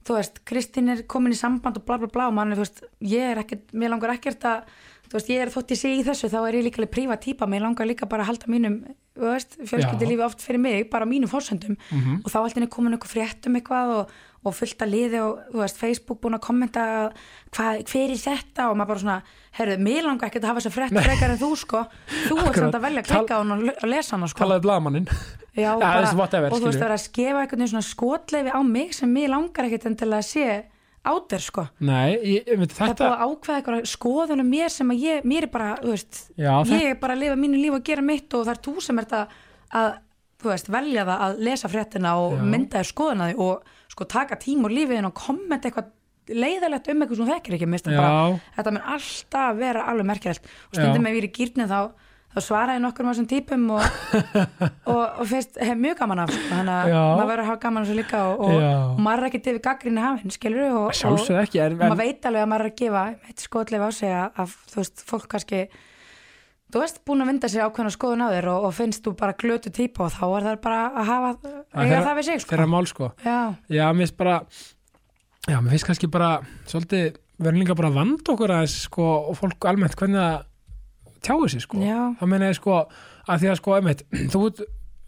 þú veist, Kristín er komin í samband og bla bla bla og mann er, þú veist, ég er ekkert, mér langar ekkert að, þú veist, ég er þótt ég sé í þessu, þá er ég líka alveg prífa típa, mér langar líka bara að halda mínum, þú veist, fjölskyldilífi oft fyrir mig, bara á mínum fórsöndum
Mhm.
og þá allt inni komin einhver frétt um eitthvað og, og fullt að liði og, þú veist, Facebook búin að kommenta hvað, hver er þetta og maður bara svona, herru, mér langar ekkert að hafa þess að frétt frekar en þú, sko, þú ert
Akkurat.
samt að velja að
Tal-
klika á hún og le- og lesa hana, sko.
talaði blaðmanninn. Ja,
Já, bara,
þessi whatever,
og þú veist
skilur.
það er að skefa einhvern veginn svona skotleifi á mig sem mig langar ekkert endilega að sé átir sko
Nei, ég, ég veit,
það er
þetta,
búið að ákveða einhverja skoðunum mér sem að ég, mér er bara, þú veist
já, þetta,
ég er bara að lifa mínu líf og gera mitt og það er þú sem ert að, að þú veist, velja það að lesa fréttina og
Já.
mynda þér skoðuna því og sko taka tíma úr lífiðin og kommenta eitthvað leiðilegt um eitthvað sem þú þekkir ekki, mér finnst það bara
já,
þetta mun alltaf vera alveg merkilegt og stundum
Já.
ef ég er í gýrni þá, þá svara ég nokkur um þessum típum og, og, og fyrst hef mjög gaman af sko, þannig að
Já.
maður verður að hafa gaman af þessu líka og, og,
Já.
og maður er ekkert yfir gaggrinni hafinn skilur og, og
sjálfsög ekki, en, en
maður veit alveg að maður er að gefa eitt skotleif á sig að, að þú veist, fólk kannski þú veist búin að vinda sér ákveðna skoðun á þér og, og finnst þú bara glötu típa og þá er það bara að hafa
Já,
eiga
þeirra-
það við sig sko.
þeirra mál sko
já,
já, mér finnst bara já, mér finnst kannski bara svolítið, við erum líka bara að vanda okkur aðeins sko og fólk almennt hvernig það tjáu sig sko
já,
það meina ég sko að því að sko einmitt, þú ert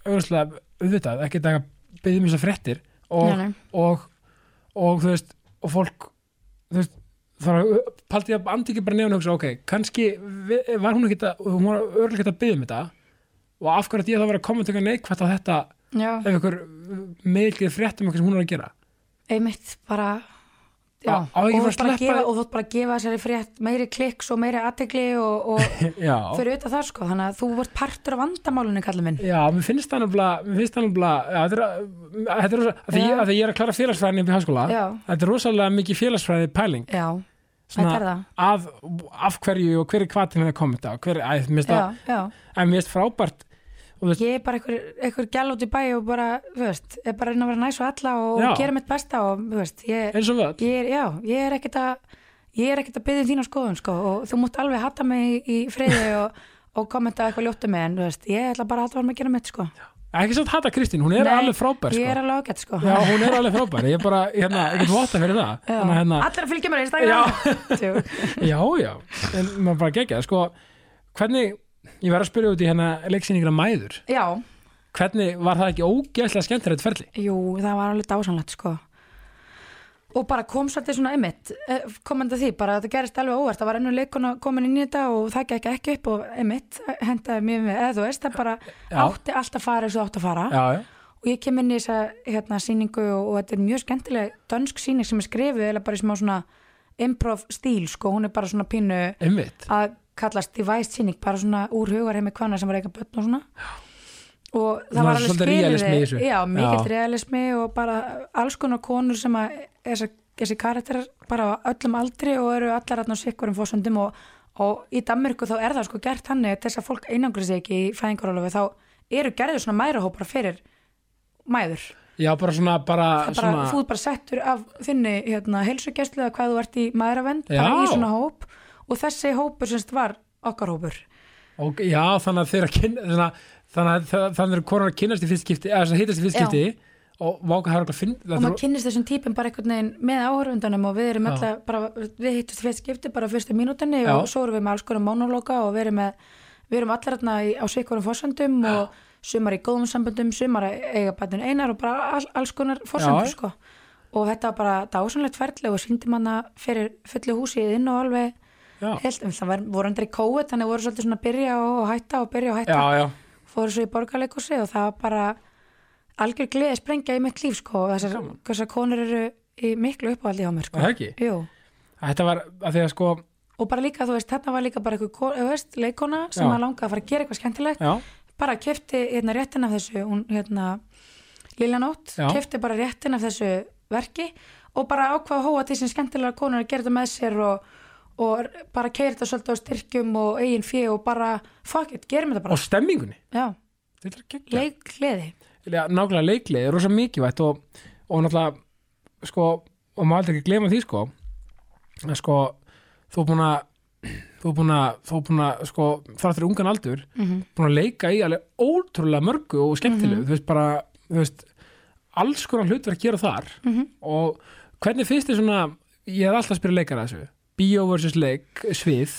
auðvitað, auðvitað ekki þetta að byggja mér svo fréttir og,
Nei, nei.
og, og þú veist og fólk þú veist þá paldi ég að andi ekki bara nefn og hugsa ok, kannski vi- var hún ekki að hún var örlega ekki að byggja mér þetta og af hverju ætti ég þá að vera að koma til eitthvað neikvætt á þetta
já,
ef einhver meðlið fréttum eitthvað sem hún er að gera
einmitt bara já,
Á- á
og
ekki
þú
bara
ert bara
sleppa-
að gefa, og þú ert bara að gefa þessari frétt meiri klikks og meiri aðtegli og, og
já,
fyrir auðvitað það sko, þannig að þú vart partur af vandamálunni kallið minn
já mér finnst það nefnilega mér finnst það nefnilega já, þetta er að- þetta er rosa- af því
Já.
ég- af því ég er að klara félagsfræðin upp í háskóla
já,
þetta er rosalega mikið félagsfræði pæling
já, þetta er
svona
það
af, af hverju og hver er hvað til henni að koma þetta og hver, að, mér finnst
já,
það-
já.
en mér finnst frábært
ég er bara einhver, einhver gæl út í bæ og bara, þú veist, er bara að reyna að vera næs og alla og
Já.
gera mitt besta og, þú veist, ég,
eins og við öll
ég er, já, ég er ekkert að ég er ekkert að byrja þína skoðun sko og þú mútt alveg um hatta mig í, í friði og, og kommenta eitthvað ljóttu mig en, þú veist, ég ætla bara að hatta var að gera mitt sko
ekki samt hata Kristín, hún er
Nei,
alveg frábær
Ég
sko.
er alveg ágætt sko
já, hún er alveg frábær, ég er bara hérna, ekkert votta fyrir það
Já.
Þannig að, hérna,
Allir að fylgja mér á Instagram Djók.
já, já, en maður bara gegja sko, hvernig, ég verð að spyrja út í hérna leiksýningra mæður,
Já,
hvernig var það ekki ógeðslega skemmtilegt ferli?
jú, það var alveg dásanlegt sko Og bara kom svolítið svona einmitt eh, komandi því, bara þetta gerist alveg óvart það var ennur leikuna komin inn í þetta og það gekk ekki upp og einmitt eh, hendaði mér með eða þú veist, það bara
Já.
átti allt að fara eins og átti að fara
Já, já,
og ég kem inn í þessa hérna, síningu og, og þetta er mjög skemmtileg dönsk síning sem er skrifuð eða bara í smá svona improv stíl sko, hún er bara svona pínu
einmitt
að kallast device síning, bara svona úr hugarheimi hvana sem var eitthvað börn og svona og það
Svona
var alveg
svolítið realismi í þessu.
skilirði já, mikill
Já.
realismi og bara alls konar konur sem að þessi, þessi karakterar bara á öllum aldri og eru allar aðná sikkurum fósundum og, og í Danmörku þá er það sko gert þannig að þess að fólk einangri sig ekki í fæðingarólofi þá eru gerður svona mærahópar fyrir mæður
Já, bara svona, bara,
það bara,
svona
þú ert bara settur af þinni hérna, heilsugæslu eða hvað þú ert í maðuravend
Já.
bara í svona hóp og þessi hópur semst var okkar hópur
og, Já, þannig að þeirra kynna svona, þannig að það- þannig að konar kynast í fyrstskipti eða þess að hittast í fyrstskipti og váka það er okkur finn
og maður kynnist þessum típum bara einhvern veginn með áhörfundunum og við erum
Já.
alltaf bara, við hittum fyrst skipti bara á fyrstu mínútinni
Já.
og svo erum við með alls konar monologa og við erum, með, við erum allar þarna í- á sikkurum fórsöndum og sumar í góðum samböndum, sumar eiga bætun einar og bara all, alls konar
Já.
fórsöndur sko. og þetta var bara dásanlegt ferli og síndi manna fyrir fullu húsið inn og alveg
Já,
Helt, en það var, voru andri kóið, þannig voru svolítið svona að byrja og og hætta og byrja og hætta.
já, já,
Fóru svo í borgarleikúsi og það var bara algjör gleði sprengja í mitt líf, sko. og Þessar,
Gaman.
þessar konur eru í miklu uppáhaldi hjá mér,
það
sko.
er ekki
Jú.
Þetta var að því að sko
Og bara líka, þú veist, þarna var líka bara eitthvað, þú veist, leikona sem
Já.
að langa að fara að gera eitthvað skemmtilegt.
Já,
Bara kefti hérna réttin af þessu, hún hérna, Lilja Nótt,
Já.
kefti bara réttin af þessu verki og bara ákvað að hóa til sem skemmtilega konur að gera þetta með sér og, og bara keira þetta svolítið á styrkjum og eigin fjö og bara, fuck it, gerum þetta bara.
og stemmingunni
Já,
Þetta er ekki
leik hliði.
Já, nákvæmlega leiklið er rosa mikilvægt og, og náttúrulega sko, og maður aldrei ekki gleyma því sko að sko þú er búin að þú er búin að, þú er búin að sko, þarftur ungan aldur búin að leika í alveg ótrúlega mörgu og skemmtilegu, þú veist bara þú veist, alls konar hlutverk gera þar -hmm. og hvernig finnst þið svona ég er alltaf að spyrja leikara að þessu bíó versus leik, svið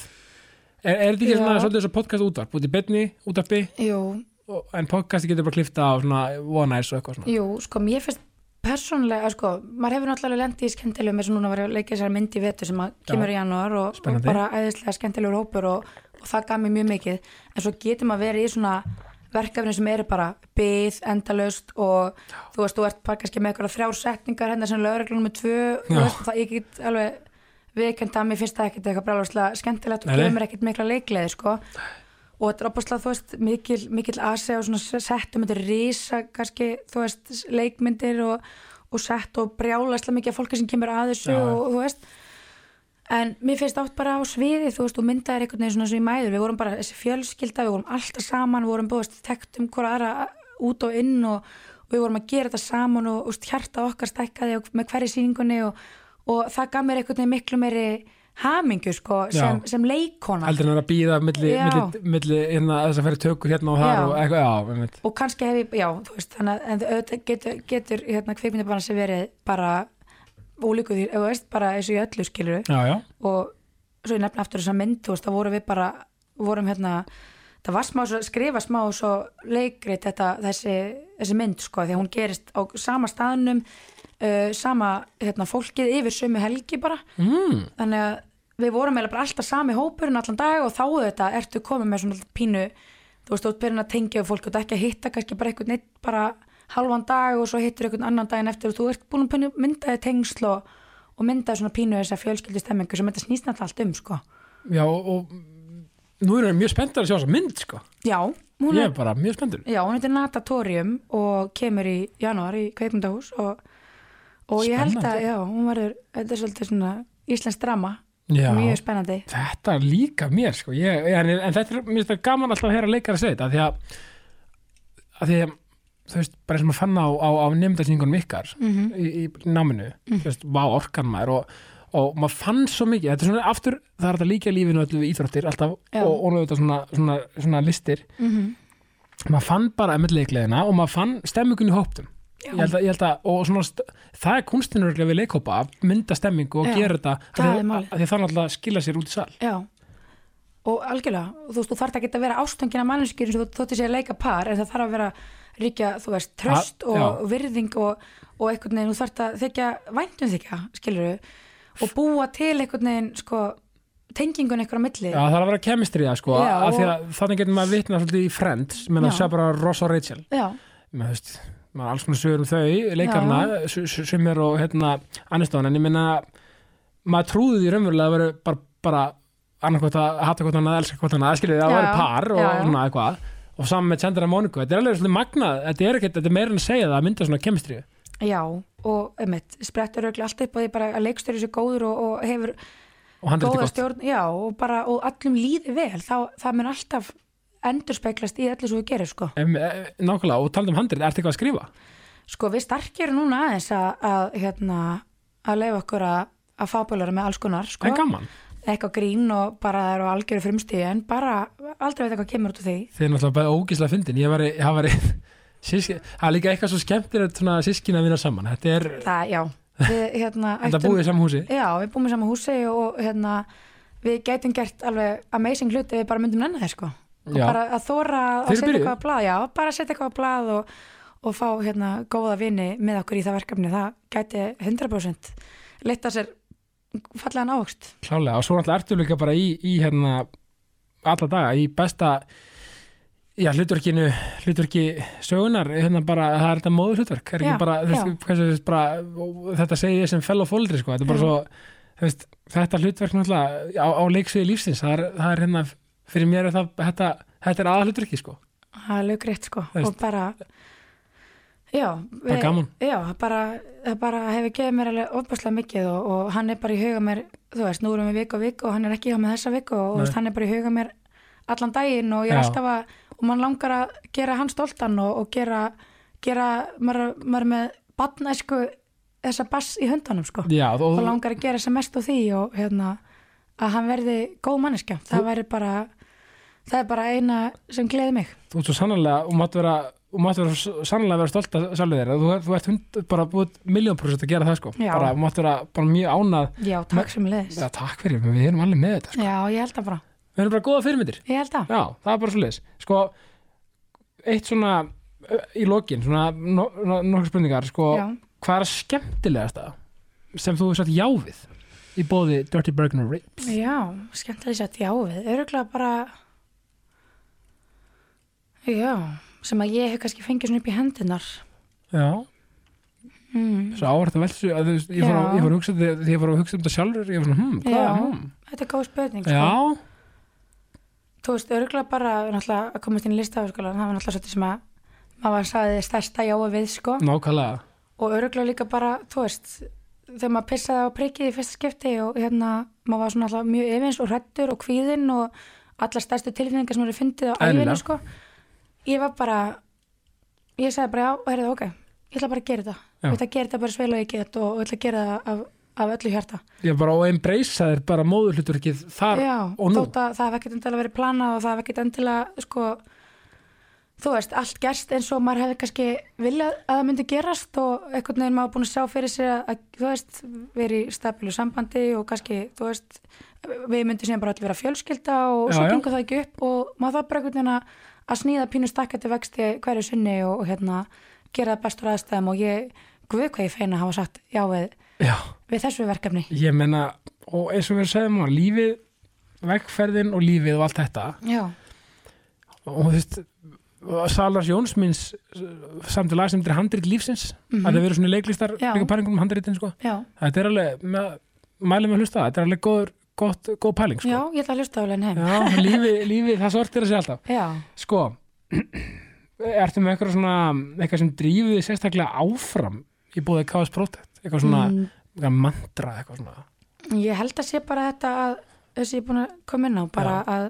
er, er þetta ekki
Já.
svona svolítið þess að podcast útvarp út í betni, útvarpi
Jú,
og- en podcasti getur bara klifta á svona one eyes og eitthvað svona
jú, sko, mér finnst persónlega, sko, maður hefur náttúrulega lendi í skemmtilegum eins og núna var ég að leika þessar myndi vetur sem að kemur í janúar og, og
Spennandi.
bara æðislega skemmtilegur hópur og, og það gaf mér mjög mikið en svo getur maður verið í svona verkefni sem eru bara byð, endalaust og þú veist, þú ert bara kannski með eitthvað þrjár setningar hérna sem lögreglunum með tvö þú
Já.
veist, það ég get alveg viðkend að mér finnst það ekkit eitthvað bráðlega skemmtilegt og
Nei, nei.
gefur mér ekkit mikla leikleði sko. og þetta er opaslega, þú veist, mikil, mikil asi og svona settum, þetta er risa kannski, þú veist, leikmyndir og, og sett og brjálaslega mikið af fólki sem kemur að þessu
Já, já.
og þú veist en mér finnst átt bara á sviði þú veist, og myndaðir einhvern veginn svona sem í mæður við vorum bara þessi fjölskylda, við vorum alltaf saman við vorum búið tekt um hvora aðra út og inn og, og við vorum að gera þetta saman og, og hjarta okkar stækkaði og, með hverju sýningunni og, og það gaf mér einhvern veginn miklu meiri hamingu sko, sem,
Já.
sem leikona
heldur en að býða milli,
Já.
milli, milli hérna, þess að fyrir tökur hérna og þar
Já.
og eitthvað, já, einmitt.
og kannski hef ég, já, þú veist þannig að en auðvitað getur, getur hérna, kveikmyndabanna sem verið bara ólíku því, þú veist, bara eins og í öllu skilur
já, já,
og svo ég nefna aftur þess að mynd, þú veist, þá vorum við bara vorum hérna, það var smá svo, skrifa smá svo leikrit þetta, þessi, þessi mynd, sko, því að hún gerist á sama staðnum uh, sama, hérna, fólkið yfir sömu helgi bara,
mm,
þannig að við vorum eiginlega bara alltaf sami hópurinn allan dag og þá þetta ertu komið með svona pínu þú veist, þú ert byrjun að tengja við fólk og þetta ekki að hitta kannski bara einhvern neitt bara halvan dag og svo hittur einhvern annan daginn eftir og þú ert búin að pínu- mynda þér tengsl og, og mynda þér svona pínu þessa fjölskyldustemingu sem þetta snýst náttúrulega allt um, sko
já og, og nú erum við mjög spenntar að sjá þess að mynd sko.
Já, hún
ég
er,
er bara mjög spenntur
já, hún heitir Natatorium og kemur í janúar í kveikmyndahús og, og ég held
Spennandi.
að, já, hún verður þetta er svolítið svona íslensk drama
já,
mjög spennandi
þetta líka mér sko. ég, en, en þetta er mér finnst það gaman alltaf að heyra leikar að segja þetta af því að, að því að þú veist, bara sem að fann á, á, á nefndarsýningunum ykkar
Mhm.
í, í náminu, þú veist, vá orkan maður og, og maður fann svo mikið þetta er svona aftur, það er þetta líka lífinu öllu við íþróttir alltaf
Já.
og, og auðvitað svona, svona, svona listir
mm -hmm.
maður fann bara emmillegleðina og maður fann stemmingun í hóptum
Já.
ég held að, ég held að, og svona st- það er kunstinur við leikhópa að mynda stemmingu og
Já,
gera þetta
það
af
er
því-
málið.
af því það er náttúrulega að skila sér út í sal
Já, og algjörlega, þú veist, þú þarf ekki að vera ástöngina manneskir eins og þú þótti sér að leika par en það þarf að vera ríkja, þú veist, tröst
Ha-
og
já.
virðing og, og einhvern veginn, þú þarf að þykja væntum þykja, skilur og búa til einhvern veginn, sko, tengingun einhverja á milli.
Já, það er að vera kemistrið sko,
Já,
af því
og-
að þannig getur maður vitna svolítið í Friends, menn að
Já.
sjá bara Ross og Rachel,
Já,
maður veist maður alls konar sögur um þau, leikarna sem er og hérna annarstofan en ég minna, maður trúði því raunverulega að vera bara, bara annarkvæmt að hata hvort hann að elska hvort hann að skilja því að
Já,
vera par og
já, já.
svona eitthvað og saman með Chandra Monica, þetta er alveg svolítið magnað þetta er, ekkert, þetta er meira en að segja það að mynda svona kemistrið
já, og einmitt, sprettur auðvitað allt upp og því bara að leikstöri sér góður og, og hefur
og hann er
góða
gott
stjórn, já, og bara, og allum líði vel, þá, það mun alltaf endurspeglast í öllu svo við gerir, sko.
Em, eh, Nákvæmlega, og talandi um handrið, ertu eitthvað að skrifa?
Sko við starkjörum núna aðeins að, að hérna, að leifa okkur að, að fábólara með alls konar sko.
En gaman,
eitthvað grín og bara það eru algjöru frumstíði en bara aldrei veit eitthvað kemur út úr því
þið er náttúrulega bara ógíslega fyndin Ég var, það var síski, það er líka eitthvað svo skemmtilegt svona sískin að vinna saman Þetta er,
það, já, við hérna
þetta búið í saman húsi
já, við búum í sama húsi og hérna við gætum gert alveg amazing hluti ef við bara myndum nenni þeir sko og
Já.
bara að þóra að
Þeir
setja
byrjuðu.
eitthvað á blað já, bara setja eitthvað á blað og, og fá hérna góða vini með okkur í það verkefni það gæti 100% leitt að sér fallegan ávöxt
Klálega, og svo náttúrulega ertu líka bara í, í hérna, alla daga, í besta já, hlutverkinu hlutverki sögunar, hérna bara það er þetta móður hlutverk, er ekki
Já,
bara, þú veist,
já.
hversu, þú veist, bara og þetta segi ég sem fellow fóldri, sko, þetta er bara
Já.
svo þú veist, þetta hlutverk náttúrulega á, á leiksviði lífsins, það er, það er hérna fyrir mér er það, þetta, þetta er aða hlutverki, sko,
Það er löggrétt sko
Þú veist.
og bara Já,
Bara gaman.
já það bara, það bara hefur gefið mér alveg ofbáslega mikið og, og hann er bara í huga mér þú veist, nú erum við viku og viku og hann er ekki hjá með þessa viku og þú
Nei.
veist, hann er bara í huga mér allan daginn og ég er
Já.
alltaf að og mann langar að gera hann stoltan og, og gera, gera maður, maður er með batnæsku þessa bass í höndunum sko
já,
og langar að gera sem mest á því og hérna að hann verði góð manneskja það væri bara það er bara eina sem gleði mig
þú ert svo sannlega og mátt vera, og mátt vera s- sannlega vera stolt að sjálfu þér, þú, þú ert hund, bara búið miljón prosent að gera það, sko,
Já.
bara mátt vera bara mjög ánað
Já, takk sem leiðis.
Já, takk fyrir, menn við erum alveg með þetta sko.
Já, ég held það bara.
Við erum bara góða fyrirmyndir
Ég held það.
Já, það er bara svo leiðis Sko, eitt svona ö, í lokin, svona no, no, nokkur spurningar sko,
Já.
Hvað er að skemmtilegasta sem þú hefur satt já við í bóði Dirty Bergen og Rip
Já, skemmt að ég sett já við. Öruglega bara, já, sem að ég hef kannski fengið svona upp í hendunar.
Já,
Mm.
svo áhært að velsu að, þú veist, ég, fór að,
Já.
ég, fór að hugsa, því- því ég fór að hugsa um þetta sjálfur ég fór svona, hm, hvað hmm."
Já.
er hm?
Þetta er góð spurning, sko.
Já,
Þú veist, öruglega bara, náttúrulega, að komast inn í listafaskólan, það var náttúrulega svolítið sem að maður sagði stærsta já við, sko.
nákvæmlega
og öruglega líka bara, þú veist þegar maður pissaði á prikið í fyrsta skipti og hérna, maður var svona alltaf mjög efins og hrættur og kvíðinn og allar stærstu tilfinningar sem maður hefur fundið á
Eðlilega.
æfinu sko. ég var bara ég sagði bara já, heyrðu, ok ég ætla bara að gera þetta,
Já.
ég ætla að gera þetta bara sveil og ég get og, og ætla að gera það af, af öllu hjarta
Ég bara og embracea þér bara móðurhluturkið þar
já,
og nú
þótt að það hef ekkert endilega verið planað og það hef ekkert endilega sko, þú veist, allt gerst eins og maður hefði kannski viljað að það myndi gerast og einhvern veginn maður búin að sjá fyrir sér að, að þú veist, verið í stabilu sambandi og kannski, þú veist við myndum síðan bara allir vera fjölskylda og
Já,
svo
já.
gengur það ekki upp og maður þarf bara einhvern veginn að- að snýða pínu stakkandi vexti hverju sinni og, og hérna gera það bestur aðstæðum og ég guð hvað ég feina að hafa sagt já við,
Já
við þessu verkefni
ég meina, og eins og við segjum á lífið, vegferðin og lífið og allt þetta
já,
og þú veist, Salars Jóns minns samt í lag sem þetta er handrit lífsins
Mhm.
að það verður svona leiklistar
Já.
líka pælingum um handritin sko.
já
þetta er alveg, með, mælum við að hlusta á það þetta er alveg góður, gott, góð pæling sko.
Já, ég ætla að hlusta á Len heim.
Já, lífið, lífið, það sortir að segja alltaf
Já.
sko, ertu með eitthvað svona eitthvað sem drífið þig sérstaklega áfram í búið KS Protect eitthvað svona,
Mm.
eitthvað mantra eitthvað svona
Ég held að sé bara þetta að þessi ég er búin að koma inn á bara
Já.
að,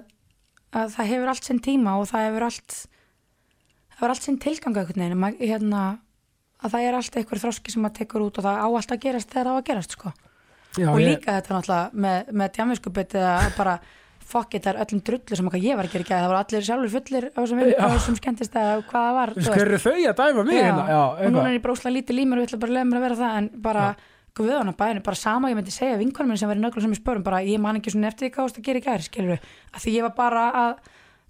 að það hefur allt sinn tíma og það hefur allt það hefur allt sinn tilgang einhvern veginn Mað, hérna, að það er allt einhver þroski sem maður tekur út og það á allt að gerast þegar það á að gerast sko.
Já,
og
ég-
líka þetta náttúrulega með, með djamiskupið eða bara fuck it, það er öllum drullu sem okkar ég var að gera ekki það voru allir sjálfur fullir á þessum,
Já.
á þessum skemmtist að hvað það var þú veist.
Hver eru þau að dæma mig?
Já,
hérna? Já,
og núna
eitthvað.
er ég bara óslega lítið límur og ég ætla bara að leiða mér að vera það en bara guðan að bæðinu, bara sama og ég myndi segja vinkonum minn sem verið nöglum sem ég spörum, bara ég man ekki svona eftir því hvað þú varst að gera í gær, skilur við að því ég var bara að,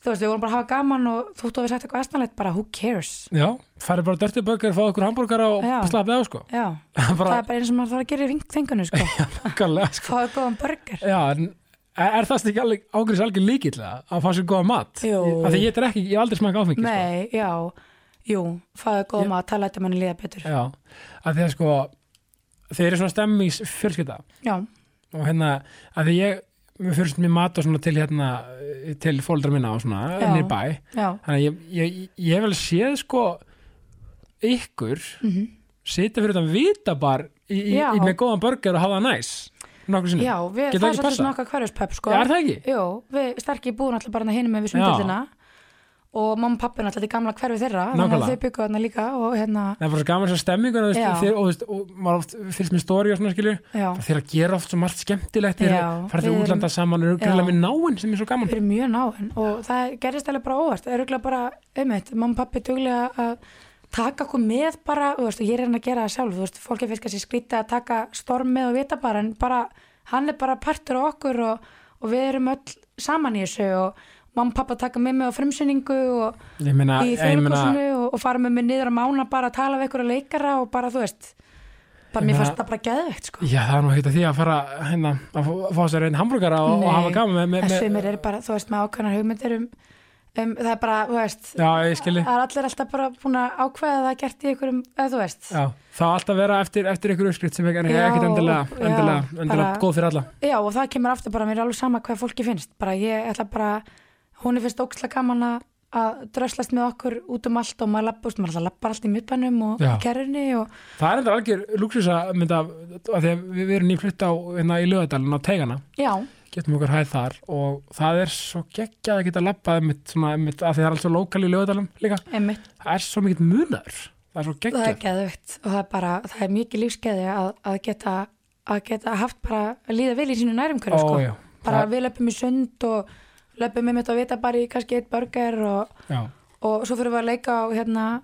þú veist, við vorum bara að hafa gaman og þú þú hefur sagt eitthvað estanlegt, bara who cares
Já, farið bara dörti bökar, fá okkur hambúrgara og
Já.
slappið á sko
já, það
bara
er bara eins og maður þarf að gera í þengunum, sko,
kallega sko
fáið góðan burger
Já, en er það ekki alveg ágriðs algjör líkill að fá sér góða mat?
Jú.
Af því ég er ekki, ég hef aldrei smaka áfengi sko.
nei, já, jú, fáið góðan maður tala þetta manni líða betur,
Já, af því að sko þeir eru svona stemmings fjölskylda
já,
og hérna, af því ég mér fyrst mér mat og svona til hérna til fóldra minna og svona,
Já.
ennir bæ
já
þannig að ég, ég, ég hef vel séð sko ykkur mm -hmm. sitja fyrir þetta vitabar í, í,
Mhm. Já.
í með góðan burger og hafa það næs nokkur sinni,
Já,
Getur
við,
ekki
það er svolítið
passað?
svona okkar hverjuspöp sko.
Já, er það ekki?
Jú, við sterkir búin alltaf bara hinn með við
Já.
sundhöllina og mamma og pappi er alltaf í gamla hverfi þeirra þannig að
Nákvæmlega.
þau byggu þarna líka og hérna,
það er bara svo gaman sér stemmingun og,
Já.
þeir, og, veist, og maður oft fyrst með stóri og svona skilju
já,
Bara þeir að gera oft svo margt skemmtilegt þeir
Já,
að fara til
við-
útlanda saman og grilla
Já.
með náinn sem er svo gaman
við erum mjög náinn og það gerist alveg bara óvart, það er auðvitað bara einmitt, mamma og pappi duglega að taka okkur með bara, þú veist, og ég er hann að gera það sjálf, þú veist, fólki finnst kannski skrítið að taka storm með og vita bara, en bara hann er bara partur á okkur og, og við erum öll saman í þessu og mamma og pappa taka með mig á frumsynningu og
ég meina,
í
ég meina
þjóðlíkosinu og, og fara með mig niður að mána bara að tala við einhverja leikara og bara þú veist bara
Ég
mér
meina-
fannst það bara geðvegt sko
já það er nú ekkert að því að fara hérna, að fá- fá sér einn hambúrgara og, og hafa gaman með,
en
með, með
sumir eru bara, þú veist, með ákveðnar hugmyndir um, um það er bara, þú veist
já ég skilji
það er allir alltaf bara búin að ákveða það gert í einhverjum, eða þú veist
já, það á alltaf vera eftir, eftir ykkur uppskrift sem er ekki
Já,
ekkert endilega,
já,
endilega, endilega
bara-
góð fyrir alla
Já, og það kemur aftur bara, mér er alveg sama hvað fólki finnst bara ég ætla bara, hún er fyrst óksla gaman að- að dröslast með okkur út um allt og maður lappar, maður alltaf lappar allt í miðbænum og
Já.
kerrunni og
það er endur algjör lúksus að mynda af því að við við erum nýflutt á hérna, í lögadalinn á tegana
já,
getum okkur hæð þar og það er svo geggjað að geta labbað einmitt, svona, einmitt, að því það er alls svo lókal í lögadalinn líka
einmitt
það er svo mikið munaður það er svo
það er
geggjað
geðvögt og það er bara, það er mikið lífskeði að, að geta að geta haft bara að líða vel í sínu
Ó,
nærumhverju sko.
já.
bara
Það-
við löpum í sund og löpum með mitt að vita bara í kannski eitt burger og,
Já.
og svo fyrir við að leika á hérna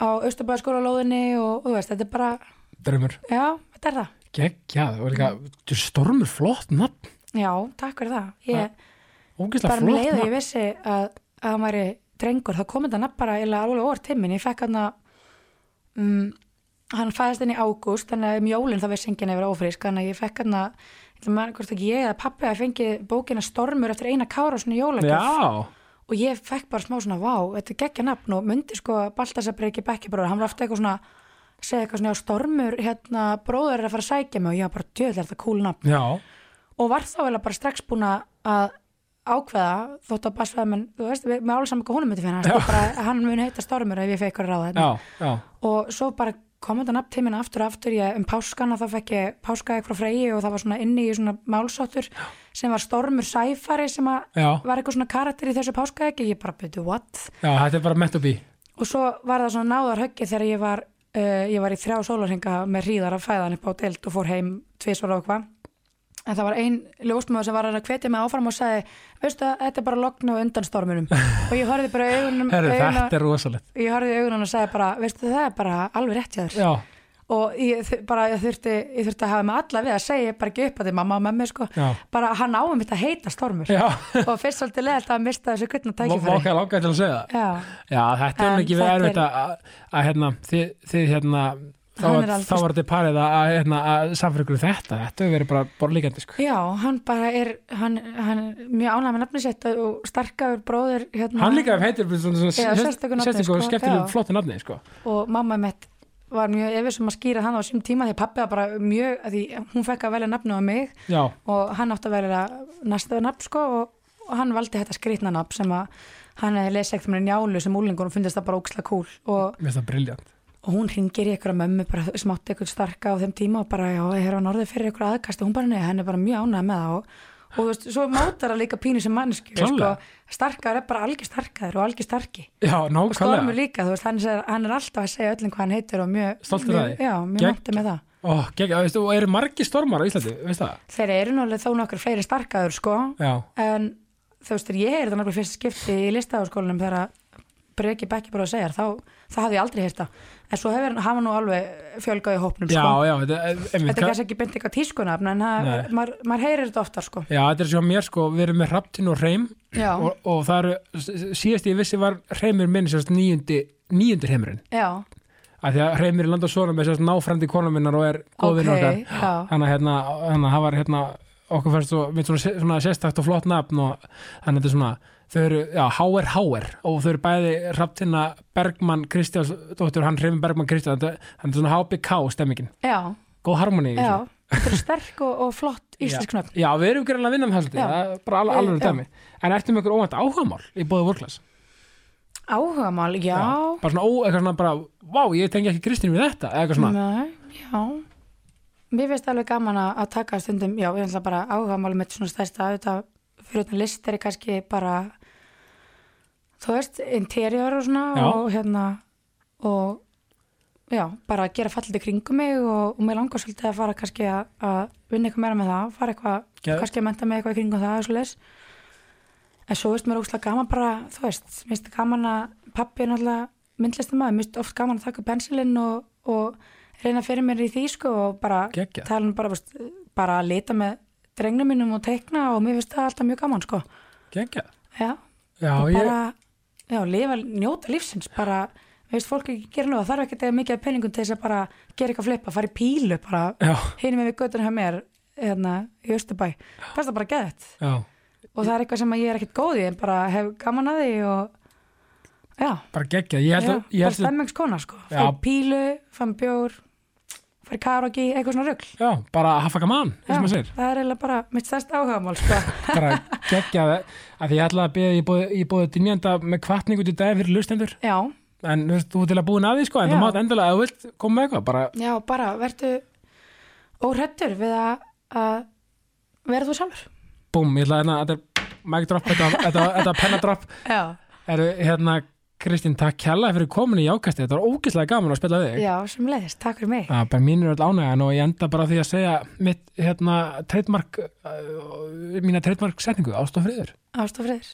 á Östurbæðarskólalóðinni og þú veist, þetta er bara
Drömmur.
já, þetta er það,
Geggjað og líka, þú stormur flott nafn,
já, takk fyrir það ég,
ógeðslega
bara um
flott
leið og ég
nafn.
vissi að, að hann væri drengur, þá kom þetta nafn bara eiginlega alveg óvart til minn, ég fekk hann að um, hann fæðist inn í ágúst þannig að um jólinn þá vissi enginn að ég vera ófrísk þannig að ég fekk hann að ég ætla maður hvort ekki ég eða pappi að fengi bókina Stormur eftir eina kára svona jólagjöf
Já,
og ég fekk bara smá svona vá, þetta er geggja nafn og myndi sko Baltasar Breki Bekki bróður, hann var alltaf eitthvað svona segja eitthvað svona "Já, Stormur hérna bróður er að fara að sækja mig og ég var bara djöðlega þetta cool nafn
já,
og var þá eiginlega bara strax búin að ákveða þótt að basfaða menn, þú veist, við með álisam eitthvað húnum myndi finna, hann, sko, bara, hann muni heita Stormur ef ég fekk eitthvað ráða
já, já.
og svo bara kom þetta nafn til minna aftur og aftur ég, um páskana þá fekk ég páskaegg frá Freyju og það var svona inni í svona málsáttur sem var Stormur Sæfari sem að
Já.
var eitthvað svona karakter í þessu páskaegg ég bara byrju what
Já, þetta er bara meant to be.
og svo var það svona náðar höggi þegar ég var, uh, ég var í þrjá sólarhinga með hríðar að fæðan upp á deild og fór heim tvisvar og eitthvað en það var ein ljósmöður sem var að hvetja mig áfram og sagði, veistu að þetta er bara logn og undan storminum og ég horfði bara í augunum,
Herru,
augunum
þetta er rosalegt.
ég horfði í augunum og sagði bara, veistu það er bara alveg rétt hjá þér
Já,
og ég, þ- bara, ég, þurfti, ég þurfti að hafa með alla við að segja ég bara ekki upp að því mamma og memmi sko.
Já.
bara hann áum mitt að heita stormur
já,
og fyrst svolítið leðalt að mista þessu kvittna tækifæri
mákað langar til að segja það.
Já,
Já, þetta er
En
mikið
þetta er-
erfitt að, að, að hérna, þið, þið hérna, þá,
Hann
var-
er alveg-
þá var þetta parið að, að, hérna, að samfyrir ykkur þetta, þetta hefur verið bara borlíkandi, sko.
Já, hann bara er hann, hann er mjög ánægð með nafni sitt og starkaður bróður hérna,
Hann líka heitir bara svona
Já,
sérst-
sérstöku nafni,
sérstöku og
sko,
skemmtilegu
já.
flottu nafni, sko.
og mamma mitt var mjög efisum að skýra hann á sím tíma því pappi var bara mjög, af því hún fekk að velja nafni á mig
Já,
og hann átti að velja næsta nafn sko og, og hann valdi þetta skrýtna nafn sem að hann hefði lesið ekkert með njálu sem úlingur og fundist það bara óksla kúl og,
mér finnst það briljant.
og hún hringir í einhverja mömmu bara smátt eitthvað starka á þeim tíma og bara já, ég er á norðið fyrir einhverja aðkast og hún bara neða, henn er bara mjög ánægð með það og, og þú veist, svo mótar það líka pínu sem mannskju sko,
Klárlega.
starkaður er bara algjör starkaður og algjör starki
Já,
og stormur
nákvæmlega.
líka, þú veist, hann, segir, hann er alltaf að segja öllum hvað hann heitir og mjög,
Stoltur af
mjög,
því.
já, mjög
Gegn-
mætti með það
Ó, gegg, veistu, og eru margir stormar á Íslandi, veist það?
Þeir eru náttúrulega þó nokkur fleiri sparkaður sko
Já,
en þú veist, þegar ég heyrði það nokkuð fyrst skipti í listaháskólanum þegar að Breki Bekki bara að segja þá, það hafði ég aldrei heyrt það en svo hefur hafa nú alveg fjölgað í hópnum
já,
sko.
já, þetta er einmitt,
þetta er kannski ekki beint eitthvað tískunafn en það-
Nei.
maður maður heyrir þetta oftar sko
Já, þetta er svo mér sko, við erum með Hraftin og Hreim
já,
og, og það eru, s- síðast ég vissi var Hreimur minn sérst níundi, níundi Hreimurinn
já,
af því að Hreimur er landa svona með sérst náfrændi kona minnar og er góðvinn
Ok,
okkar
já.
þannig að hérna, hérna, það var hérna okkur fannst svo, mitt svona, se- svona sérstakt og flott nafn og þannig að þetta er svona þau eru, já, H.R. H.R. og þau eru bæði Hraftina Bergmann Kristjánsdóttir og hann Hreimur Bergmann Kristjáns þannig að þetta er svona HBK stemmingin
já,
góð harmoni í
já
þessu
þetta er sterk og, og flott íslensk nöfn
Já, við erum gerðin að vinna með haldi,
Já.
það er bara alveg alveg
Já.
dæmi. En ertu með einhver óvænt áhugamál í bóði vorklass?
áhugamál, já,
Bara svona, ó, eitthvað svona bara, vá, ég tengi ekki Kristín við þetta, eða eitthvað svona.
Nei, já Mér finnst alveg gaman að að taka stundum já, ég ætla bara áhugamálum mitt svona stærsta auðvitað, fyrir utan list er ég kannski bara þú veist, interior og svona
Já.
og hérna og já, bara gera fallið í kringum mig og, og mér langar svolítið að fara kannski að, að vinna eitthvað meira með það fara eitthvað,
Geð-
kannski að menta mig eitthvað í kringum það og svoleiðis en svo veist mér ógstlega gaman bara, þú veist, mér finnst gaman að pappi er náttúrulega myndlistamæður, mér finnst oft gaman að taka upp pensilinn og, og reyna fyrir mér í því sko og bara
Geggjað.
tala um bara, veist, bara að lita með drengnum mínum og teikna og mér finnst það alltaf mjög gaman sko
Gengja.
já,
Já,
og
ég,
bara, já, lifa, njóta lífsins bara, við veist, fólk ekki gera nú það þarf ekki að mikið af peningum til þess að bara gera eitthvað flipa, fara í pílu bara
já,
hinum með við göttinu hjá mér hérna, í Östubæ, það er bara geðett
já,
og það er eitthvað sem að ég er ekkert góð í en bara hef gaman að því og já,
bara gegja. Ég held
já
að, ég
bara
held að,
stemmingskona sko
Já.
fara í pílu, fara með bjór fara í karaoke, eitthvað svona rugl
já, bara hafa gaman,
Já,
þess að maður segir.
það er eiginlega bara mitt stærst áhugamál sko.
Bara gegja, af því ég ætla að beða í bóði dynjanda með kvartningu til daginn fyrir lustendur.
já,
En þú veist, þú ert til að búin að því, sko, en
Já.
þú mátt endilega, ef þú vilt, koma með eitthvað, bara,
já, bara verðu óhrættur við að, að vera þú sjálfur
búm, ég ætla að, hérna, þetta er mic drop, þetta, þetta, þetta pennadrop,
já,
Eru, hérna, Kristín, takk kjallaði fyrir komin í jákasti, þetta var ógeðslega gaman að spila við þig.
já sem leiðist, takk fyrir mig
Það er bara mínur öll ánægðan og ég enda bara á því að segja mitt, hérna, treytmark, uh, mína treytmark setningu, ástofriður.
ástofriður